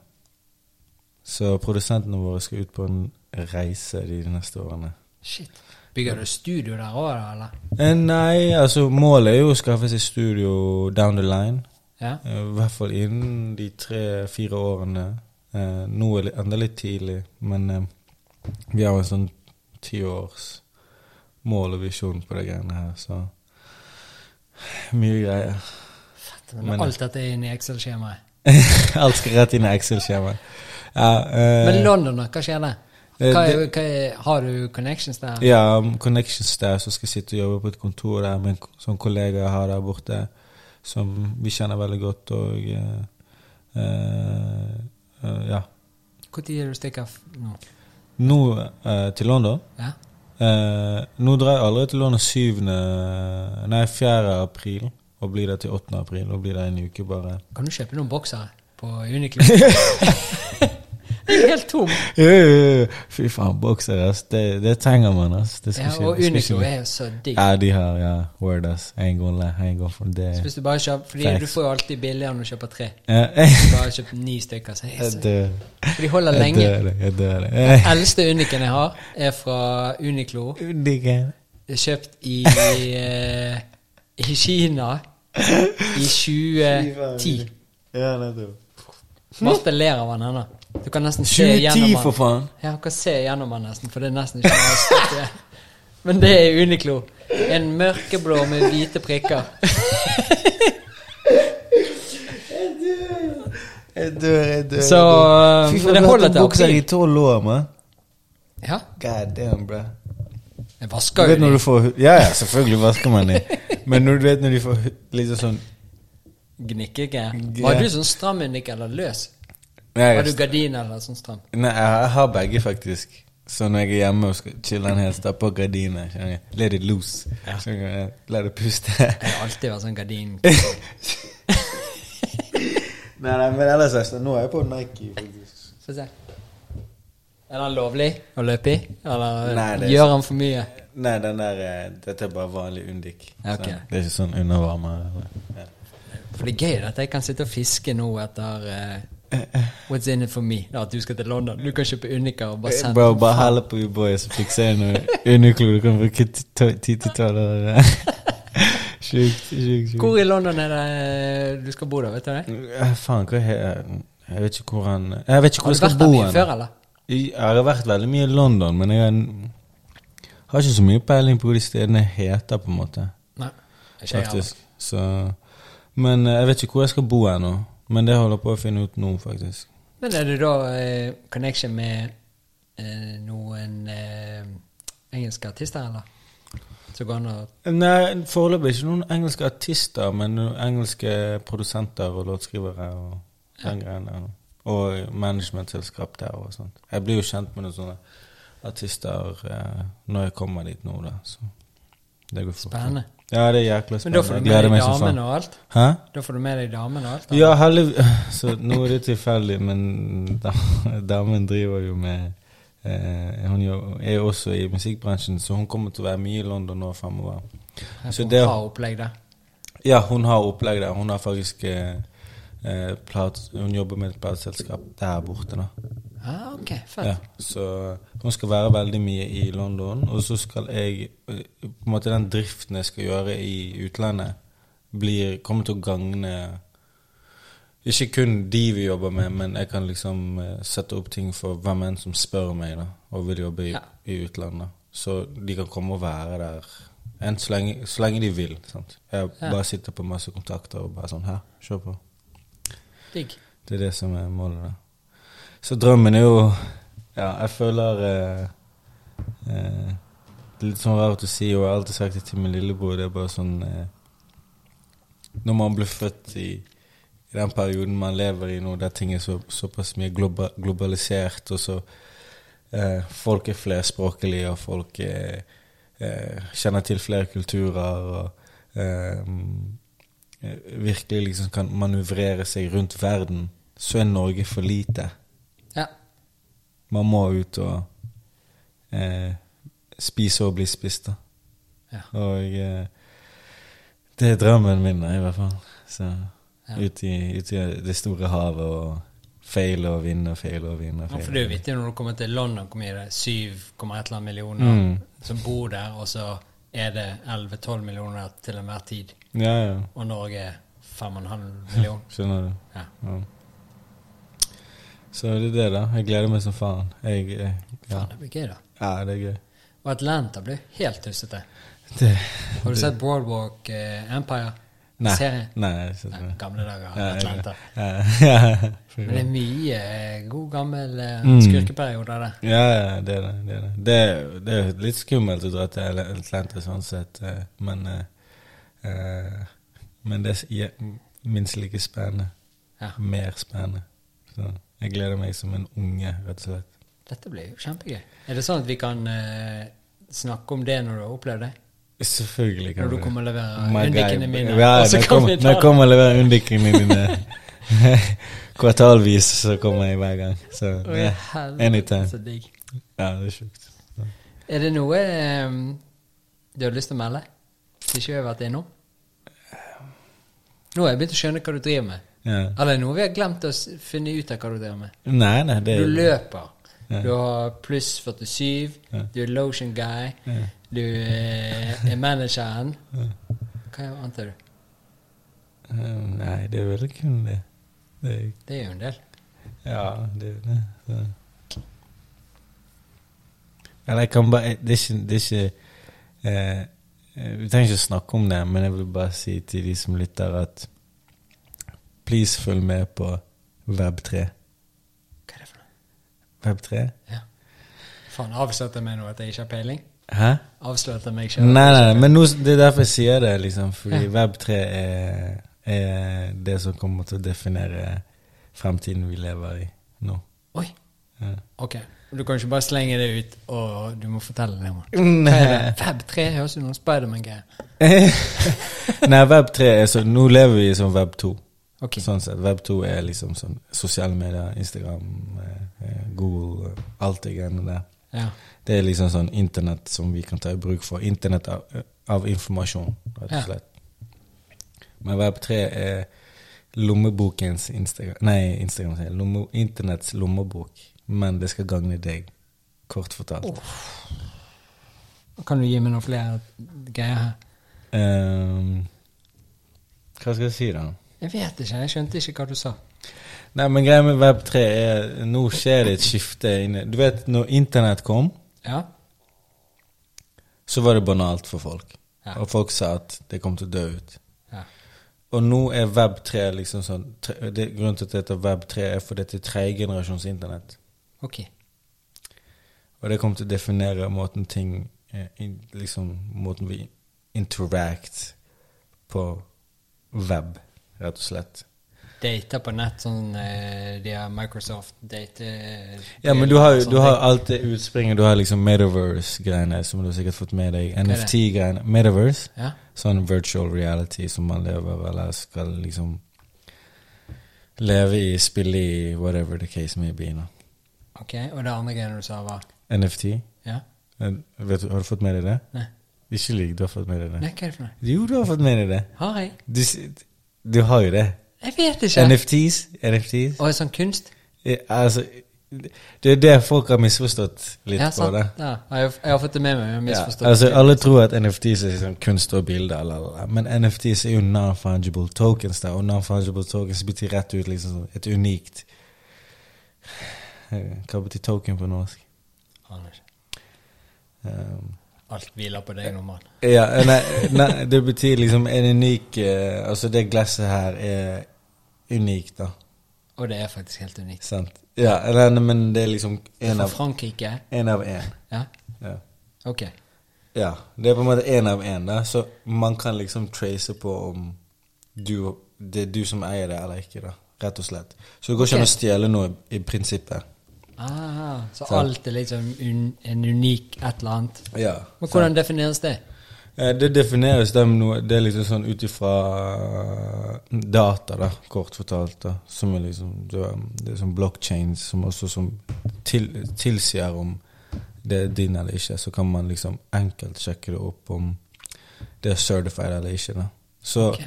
Så produsentene våre skal ut på en reise de neste årene.
Shit. Bygger du studio der òg, eller?
Eh, Nei, altså målet er jo å skaffe seg studio down the line.
Ja.
Eh, I hvert fall innen de tre-fire årene. Eh, Nå er det enda litt tidlig, men eh, vi har jo en sånn tiårs mål og visjon på de greiene her, så mye greier.
Fett, men,
Men-
alt dette er inne i Excel-skjemaet.
Alt skal rett inn i Excel-skjemaet. Ja, eh,
Men London, da? Hva skjer der?
eh,
Hva er,
det-
hva er, har du connections der?
Ja, um, Connections der, så skal jeg sitte og jobbe på et kontor der med en k- sånn kollega jeg har der borte, som vi kjenner veldig godt, og eh, eh, eh, Ja.
Når er det du stikker f- nå?
Nå eh, til London.
Ja?
Eh, nå drar jeg allerede til London 7. eh, Nei, 4. april. Og blir der til 8. april. Og blir der en uke, bare.
Kan du kjøpe noen boksere på Uniclo? det er helt tom.
Eh, Fy faen, bokser, ass. Det, det trenger man, ass. Det skal
Ja,
ikke-
og
det skal
Uniclo
ikke-
er jo så digg.
Ja, de har ja, word, ass. En gang le, en gang for
Så
det.
hvis du bare kjøper, fordi
Facts.
du får jo alltid billigere når du kjøper tre.
Ja,
Hvis du bare kjøper ni stykker, så er jeg
Jeg
så
dør.
For de holder
Jeg
lenge.
dør, jeg dør. Eh,
Eldste uniken jeg har, er fra Uniclo.
digg, eh.
Kjøpt i, eh, i Kina. I 2010.
Ja, nettopp.
Martin ler av han ennå. Du kan nesten se
2010,
gjennom
for
han.
faen!
Ja, du kan se gjennom han nesten, for det er nesten ikke noe støtte. Men det er Uniklo. En mørkeblå med hvite prikker.
Jeg dør, jeg dør.
Så
Fy
eh,
faen,
det
du har
holder
hatt
til
bukser i
april.
tolv år, mann.
Ja,
God damn, bro.
jeg
Du
vasker
vet
jo
når
de.
du får Ja, ja, selvfølgelig vasker man det. Men når du vet når de får liksom sånn
Gnikkegge.
Ja.
Var du sånn stram Henrik, eller løs?
Nei,
Var du gardin eller sånn stram?
nei, jeg har begge, faktisk. Så når jeg er hjemme og skal chille en hel stad på gardinene, kjenner jeg Let it loose. Skjønner jeg, La det puste.
Jeg har alltid vært sånn gardin.
nei, nei, men ellers, Øystein, nå er jeg på Nike, faktisk.
Få se. Er den lovlig å løpe i? Eller
Nei, det er
gjør han for mye?
Nei, den der eh, Dette er bare vanlig Undik.
Ja, ok.
Så Det er ikke sånn undervarmer. Ja.
For det er gøy at jeg kan sitte og fiske nå etter eh, What's in it for me? Da, at du skal til London. Du kan kjøpe Unica og bare sende
Eh, Bro, bare helle på U-boy, så fikser jeg noe underklo. Du kan bruke ti- to- ti til tolv år. Sjukt, sjukt, sjukt.
Hvor i London er det du skal bo, da? Vet du det?
Eh, Faen, hva he- Jeg vet ikke hvor han Jeg vet ikke hvor
Har
jeg
du
skal
vært
bo
der mye
hen.
før, eller?
Jeg har vært veldig mye i London, men jeg har ikke så mye peiling på hva de stedene heter, på en måte.
Nei. Ikke jeg heller.
Faktisk. Så Men eh, jeg vet ikke hvor jeg skal bo ennå. Men det holder jeg på å finne ut nå, faktisk.
Men er det da eh, connection med eh, noen eh, engelske artister, eller? Så går han og
Nei, foreløpig ikke noen engelske artister, men noen engelske produsenter og låtskrivere og den greien der. Og managementselskap der og sånt. Jeg blir jo kjent med noen sånne artister eh, når jeg kommer dit nå, da. Så det går fort.
Spennende.
Ja, det er jækla
Men
spennende.
da får
Jeg
du med
gleder
deg
meg som
damen
faen.
og alt?
Hæ?
Da får du med deg damen og alt? da.
Ja, heldig... Så nå er det tilfeldig, men da, damen driver jo med eh, Hun jo- er jo også i musikkbransjen, så hun kommer til å være mye i London nå fremover.
Jeg
Så
får
det-
ha opplegg der.
Ja, hun har opplegg der. Hun har faktisk eh, eh, plat, Hun jobber med et plateselskap der borte, da.
Ah, ok, fett.
Ja, så hun skal være veldig mye i London. Og så skal jeg eh, På en måte den driften jeg skal gjøre i utlandet, blir, kommer til å gagne ikke kun de vi jobber med, men jeg kan liksom eh, sette opp ting for hvem enn som spør meg da, og vil jobbe i,
Ja.
i utlandet. Så de kan komme og være der enn så lenge, så lenge de vil. Sant? Jeg
Ja.
bare sitter på masse kontakter og bare sånn Her, se på.
Digg.
Det er det som er målet, da. Så drømmen er jo Ja, jeg føler eh, eh, Det er litt sånn rart å si, og jeg har alltid sagt det til min lillebror, det er bare sånn eh, Når man blir født i, i den perioden man lever i nå, der ting er så, såpass mye globa, globalisert, og så eh, Folk er flerspråklige, og folk er, eh, kjenner til flere kulturer, og eh, eh, virkelig liksom kan manøvrere seg rundt verden, så er Norge for lite.
Ja.
Man må ut og eh, spise og bli spist, da.
Ja.
Og eh, det er drømmen min, da, i hvert fall. Så
Ja.
ut, i, ut i det store havet og feile og vinne og feile og vinne. og
Ja,
feile.
for det er jo vittig når du kommer til London, hvor mye er det 7,1 millioner
Mm.
som bor der, og så er det 11-12 millioner til enhver tid.
Ja, ja.
Og Norge er 5,5 millioner.
Skjønner du.
Ja.
Ja. Så det er det, da. Jeg gleder meg som faen. Jeg, jeg, ja.
Faen, det blir gøy, da.
ja, det er gøy.
Og Atlanta blir helt tussete.
Det,
Har du sett Broadwalk eh, Empire?
Nei.
Serien?
Nei, jeg ser
Nei,
ikke det.
gamle dager.
Ja, jeg-
Atlanta.
Ja,
Men det er mye eh, god, gammel eh,
Mm.
skurkeperioder der.
ja, ja, det er det. Det er, det. Det er, det er litt skummelt å dra til Atlanta sånn sett, eh, men eh, eh, Men det er s- je- minst like spennende.
Ja.
Mer spennende. Så jeg gleder meg som en unge, rett og slett.
Dette blir jo kjempegøy. Er det sånn at vi kan eh, snakke om det når du har opplevd det?
Selvfølgelig kan
Når du
det.
kommer og leverer
My
undikkene
guy.
mine?
Ja,
og så
når jeg
kan vi
kommer, når
ta
jeg kommer og leverer undikkene mine kvartalvis, så kommer jeg hver gang. Så
Oi,
ja,
helvete,
anytime.
så digg.
ja det er sjukt.
Er det noe ehm, du har lyst til å melde? Som ikke vi har vært innom? Nå har jeg begynt å skjønne hva du driver med.
Ja.
Eller noe vi har glemt å s- finne ut av hva du driver med.
Nei, nei, det
Du
er
løper.
Ja.
Du har pluss 47.
Ja.
Du er lotion guy.
Ja.
Du eh, er manageren. Hva annet er du?
Eh, Nei, det er vel kun det. det er,
Det er jo en del.
ja, det er det. Så. Eller jeg kan bare Det er ikke, det er ikke eh, eh, Vi trenger ikke snakke om det, men jeg vil bare si til de som lytter, at please følg med på Web3.
Hva er det for noe?
Web3?
Ja. Faen, avslørte jeg meg nå at jeg ikke har peiling?
Hæ?
Avslørte meg
Nei,
selv?
nei, nei, men nå, det er derfor jeg sier det, liksom. Fordi Web3 er, er det som kommer til å definere fremtiden vi lever i nå.
Oi,
Ja.
ok. Du kan ikke bare slenge det ut, og du må fortelle det. Hva er det?
Nei,
Fab 3 høres ut som noen Spiderman-greier.
Eh. Web3 er sånn Nå lever vi som Web2.
Ok,
Sånn sett. Web2 er liksom sånn sosiale medier, Instagram, eh, eh, Google, alt det greiene der.
ja.
Det er liksom sånn internett som vi kan ta i bruk for. Internett av, av informasjon, rett
Ja.
og slett. Men Web3 er lommebokens Instagram Nei, Instagram sier jeg. lomme, internetts lommebok. Men det skal gagne deg, kort fortalt.
Kan du gi meg noen flere greier her?
Ehm, hva skal jeg si, da?
Jeg vet ikke, jeg skjønte ikke hva du sa.
Nei, men greia med Web3 er Nå skjer det et skifte inne Du vet, når internett kom,
Ja?
så var det banalt for folk.
Ja.
Og folk sa at det kom til å dø ut.
Ja.
Og nå er Web3 liksom sånn tre- det, Grunnen til at det heter Web3 er fordi det er tredjegenerasjons internett.
Ok.
Og det kommer til å definere måten ting eh, in, Liksom måten vi interact på web, rett og slett.
Data på nett, sånn eh, de har Microsoft date...
Ja, men du har jo
sånne
du har
ting.
alt det utspringet. Du har liksom Metaverse-greiene, som du har sikkert fått med deg.
er det?
NFT-greiene. Metaverse.
Ja?
sånn virtual reality som man lever eller skal liksom leve i, spille i, whatever the case may be. nå.
Ok, og det andre greiene du sa var...
NFT.
Ja?
Eh, Vet, du- har du fått med deg det?
Nei.
Ikke lik, du har fått med deg det.
Nei, hva er det for noe?
Jo, du har fått med deg det.
Har jeg?
Du, s- du har jo det.
Jeg vet ikke.
NFTs. NFTs.
Og sånn kunst?
Eh, Altså, det er det folk har misforstått litt
ja,
på.
sant.
det.
Ja, jeg, har- jeg har fått det med meg, men jeg har misforstått.
Ja, altså, alle tror at NFTs er liksom kunst og bilder, la, la, la. men NFTs er jo non-fungible tokens, da, og non-fungible tokens betyr rett ut liksom sånn et unikt Eh, Hva betyr token på norsk?
Aner ikke.
Um,
Alt hviler på deg nå, mann.
ja, eh, nei, nei, det betyr liksom en unik eh, Altså, det glasset her er unikt, da.
Og det er faktisk helt unikt.
Sant? Ja, eller, nei, men det er liksom en
Fra
av
Frankrike?
en av en.
Ja,
Ja.
ok.
Ja, det er på en måte én av én, da. Så man kan liksom trace på om du, det er du som eier det eller ikke, da. Rett og slett. Så det går ikke an å stjele noe i prinsippet.
Ah, så
Sant.
alt er liksom un, en unik et eller annet.
Ja.
Men hvordan defineres det?
Eh, Det defineres da med noe Det er liksom sånn ut ifra eh, data, da, kort fortalt. da Som er liksom du har- Det er sånn blockchains som også som til, tilsier om det er din eller ikke. Så kan man liksom enkelt sjekke det opp om det er certified eller ikke. da Så
Ok.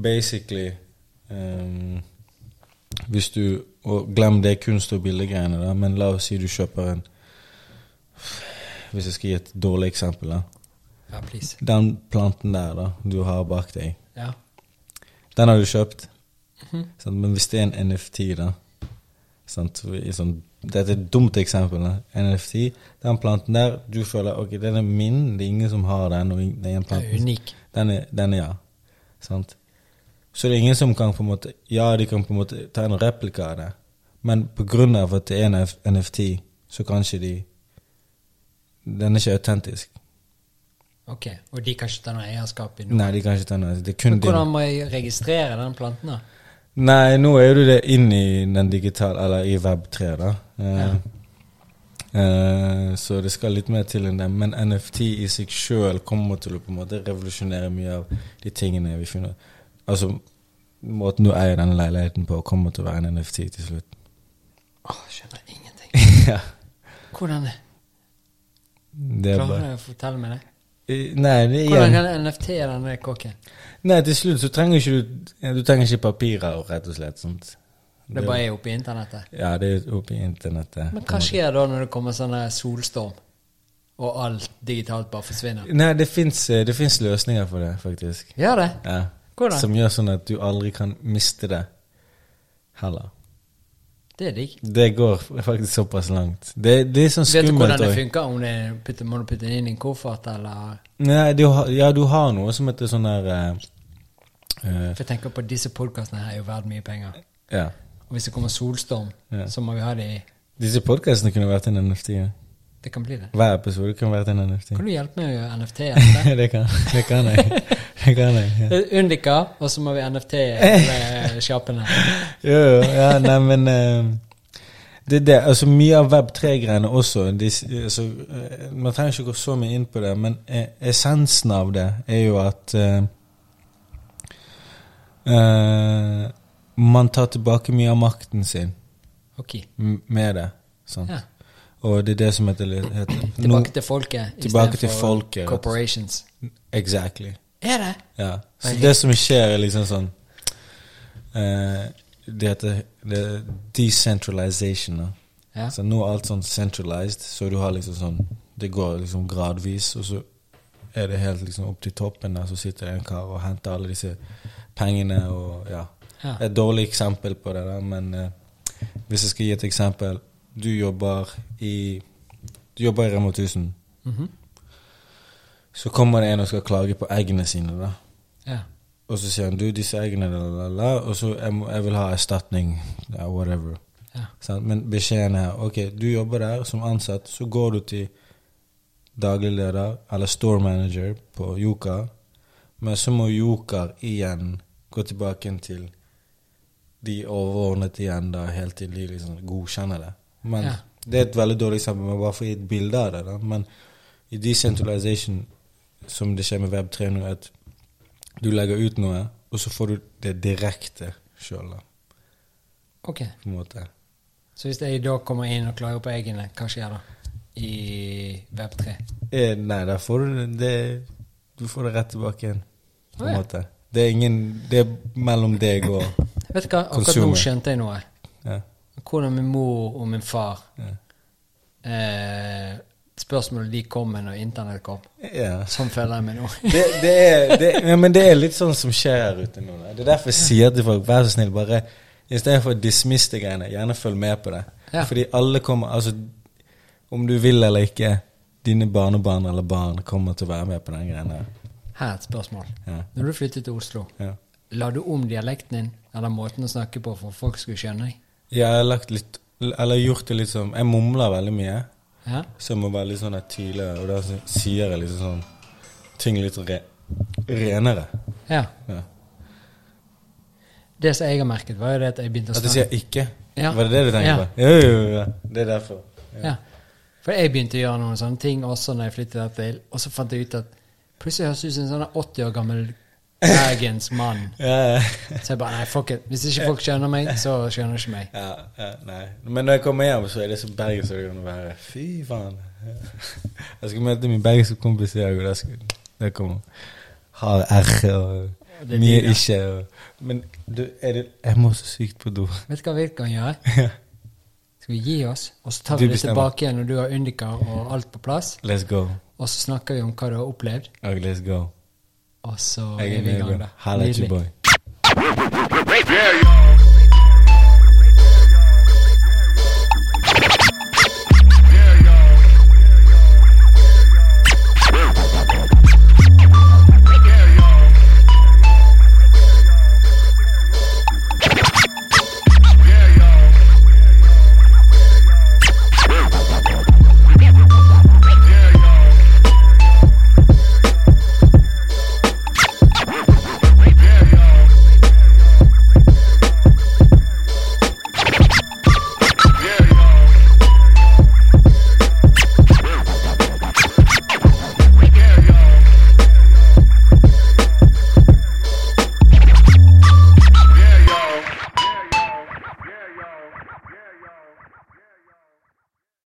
basically ehm, Hvis du Og glem det kunst- og bildegreiene, da, men la oss si du kjøper en Hvis jeg skal gi et dårlig eksempel, da.
Ja, please.
Den planten der da, du har bak deg,
Ja.
den har du kjøpt.
Mhm.
Sant? Men hvis det er en NFT, da sant? I sånn, Dette er et dumt eksempel. Da. NFT, den planten der, du føler ok, den er min, det er ingen som har den. Og ing- det er en
Den
plant,
er unik.
den er, den er ja. Sant? Så det er ingen som kan på en måte Ja, de kan på en måte ta en replika av det, men på grunn av at det er en F- NFT, så kanskje de Den er ikke autentisk.
Ok, og de kan ikke ta noe eierskap i noe.
Nei, de kan ikke ta den. Det er kun
Men
din.
hvordan må jeg registrere den planten da?
Nei, nå er du det inn i den digitale, eller i Web3, da. Eh, eh, så det skal litt mer til enn det. Men NFT i seg sjøl kommer til å på en måte revolusjonere mye av de tingene vi finner Altså, måten du eier denne leiligheten på, kommer til å være en NFT til slutt.
Åh, skjønner ingenting.
ja.
Hvordan det?
Det er
Klarer
bare
du å fortelle meg det?
Eh, Nei, det er
Hvordan
igjen
kan jeg NFT denne kåken?
Nei, til slutt så trenger ikke du ja, Du trenger ikke papirer, rett og slett. Sant?
Det bare er oppe i internettet.
Ja, det er oppe i internettet.
Men hva skjer da når det kommer sånn her solstorm, og alt digitalt bare forsvinner?
eh, Nei, det fins løsninger for det, faktisk.
Gjør det?
Ja.
Hvordan?
Som gjør sånn at du aldri kan miste det heller.
Det er digg.
Det går faktisk såpass langt. Det, det er sånn
Vet du hvordan
skummelt
det
òg.
funker? Om det er putte, må du putte den inn i en koffert, eller
Nei, du har, ja, du har noe som heter sånn der eh, eh,
For jeg tenker på disse podkastene her er jo verdt mye penger.
Ja.
Og hvis det kommer solstorm,
Ja.
så må vi ha det i
Disse podkastene kunne vært en NFT. ja.
Det kan bli det.
Hver episode kunne vært en NFT.
Kan du hjelpe meg å gjøre NFT? Etter?
det, kan, det kan jeg. Det kan jeg. Ja.
Unika, og så må vi NFT hele sjappene.
Jo, jo. Ja, nei, men eh, Det er det. Altså, mye av Web3-greiene også de, s- altså, eh, Man trenger ikke gå så mye inn på det, men eh, essensen av det er jo at eh, eh, Man tar tilbake mye av makten sin
Ok.
m- med det. Sant?
Ja.
Og det er det som heter, heter
Tilbake til folket. i
Tilbake
stedet
til
for
folket, rett og slett.
Corporations.
Exactly.
Er det?
Ja. Så
Nei.
det som skjer, er liksom sånn eh, Det heter det er decentralization. Da.
Ja.
Så nå er alt sånn centralized, så du har liksom sånn Det går liksom gradvis, og så er det helt liksom opp til toppen, der så sitter det en kar og henter alle disse pengene og Ja.
Ja.
Et dårlig eksempel på det, der, men eh, hvis jeg skal gi et eksempel Du jobber i Du jobber i Remo 1000.
Mhm.
Så kommer det en og skal klage på eggene sine, da.
ja.
Og så sier han du, disse eggene la, la, la, Og så jeg, må, jeg vil ha erstatning. Ja, whatever.
Ja.
Sant? Men beskjeden er ok, du jobber der som ansatt, så går du til daglig leder eller store manager på Joker, men så må Joker igjen gå tilbake igjen til de overordnet igjen da, helt til de liksom godkjenner det. Men
Ja.
Det er et veldig dårlig eksempel, men bare for å gi et bilde av det. da. Men i decentralization, som det skjer med Web3 nå, at du legger ut noe, og så får du det direkte sjøl,
Ok.
på en måte.
Så hvis jeg da kommer inn og klarer på eggene, hva skjer da? I Web3?
Eh, nei, da får du det- det Du får det rett tilbake igjen, på en
Å, ja.
måte. Det er ingen Det er mellom deg og
Vet du hva, akkurat
Consumer.
nå skjønte jeg noe.
ja,
Hvordan min mor og min far
ja.
eh, Spørsmålet de kom med når internett kom.
ja.
Sånn føler jeg meg nå.
Det, det er, det, ja, men det er litt sånn som skjer her ute nå. Da. Det er derfor jeg sier til folk, vær så snill, bare i stedet for å dismisse de greiene, gjerne følg med på det.
Ja.
Fordi alle kommer Altså, om du vil eller ikke, dine barnebarn eller barn kommer til å være med på den greia der.
Her er et spørsmål.
Ja.
Når du flyttet til Oslo,
Ja.
la du om dialekten din, eller måten å snakke på, for at folk skulle skjønne deg?
Jeg har lagt litt Eller gjort det litt sånn Jeg mumler veldig mye,
Ja?
så jeg må være litt sånn der tydeligere, og da så- sier jeg liksom sånn ting litt re, renere.
ja.
Ja.
Det som jeg har merket, var jo det at jeg begynte å
At jeg
snakke
sier 'ikke'.
Ja.
Var det det du tenkte
Ja.
på? Jo, jo, jo, jo. Det er derfor.
Ja. For jeg begynte å gjøre noen sånne ting også når jeg flyttet her til, og så fant jeg ut at plutselig høres jeg ut som en sånn 80 år gammel Bergens mann.
Ja, ja.
Så jeg bare nei, fuck it. Hvis ikke folk skjønner meg, så skjønner de ikke meg.
Ja, ja, nei. Men når jeg kommer hjem, så er det så bergensk som det kan være. Fy faen. Jeg skal møte min bergenske kompis i dag, og der skal der kommer Har R og
det
mye
liker jeg.
ikke. Og, men du, er det, jeg må så sykt på do.
Vet du hva vi kan gjøre? Skal vi gi oss, og så tar
Du
vi det
bestemmer.
tilbake igjen når du har Undica og alt på plass,
Let's go.
og så snakker vi om hva du har opplevd,
Og let's go.
og så
Jeg
er
er
vi i
med,
gang,
bro.
da.
Halla,
Nydelig.
boy.
Yeah, y'all.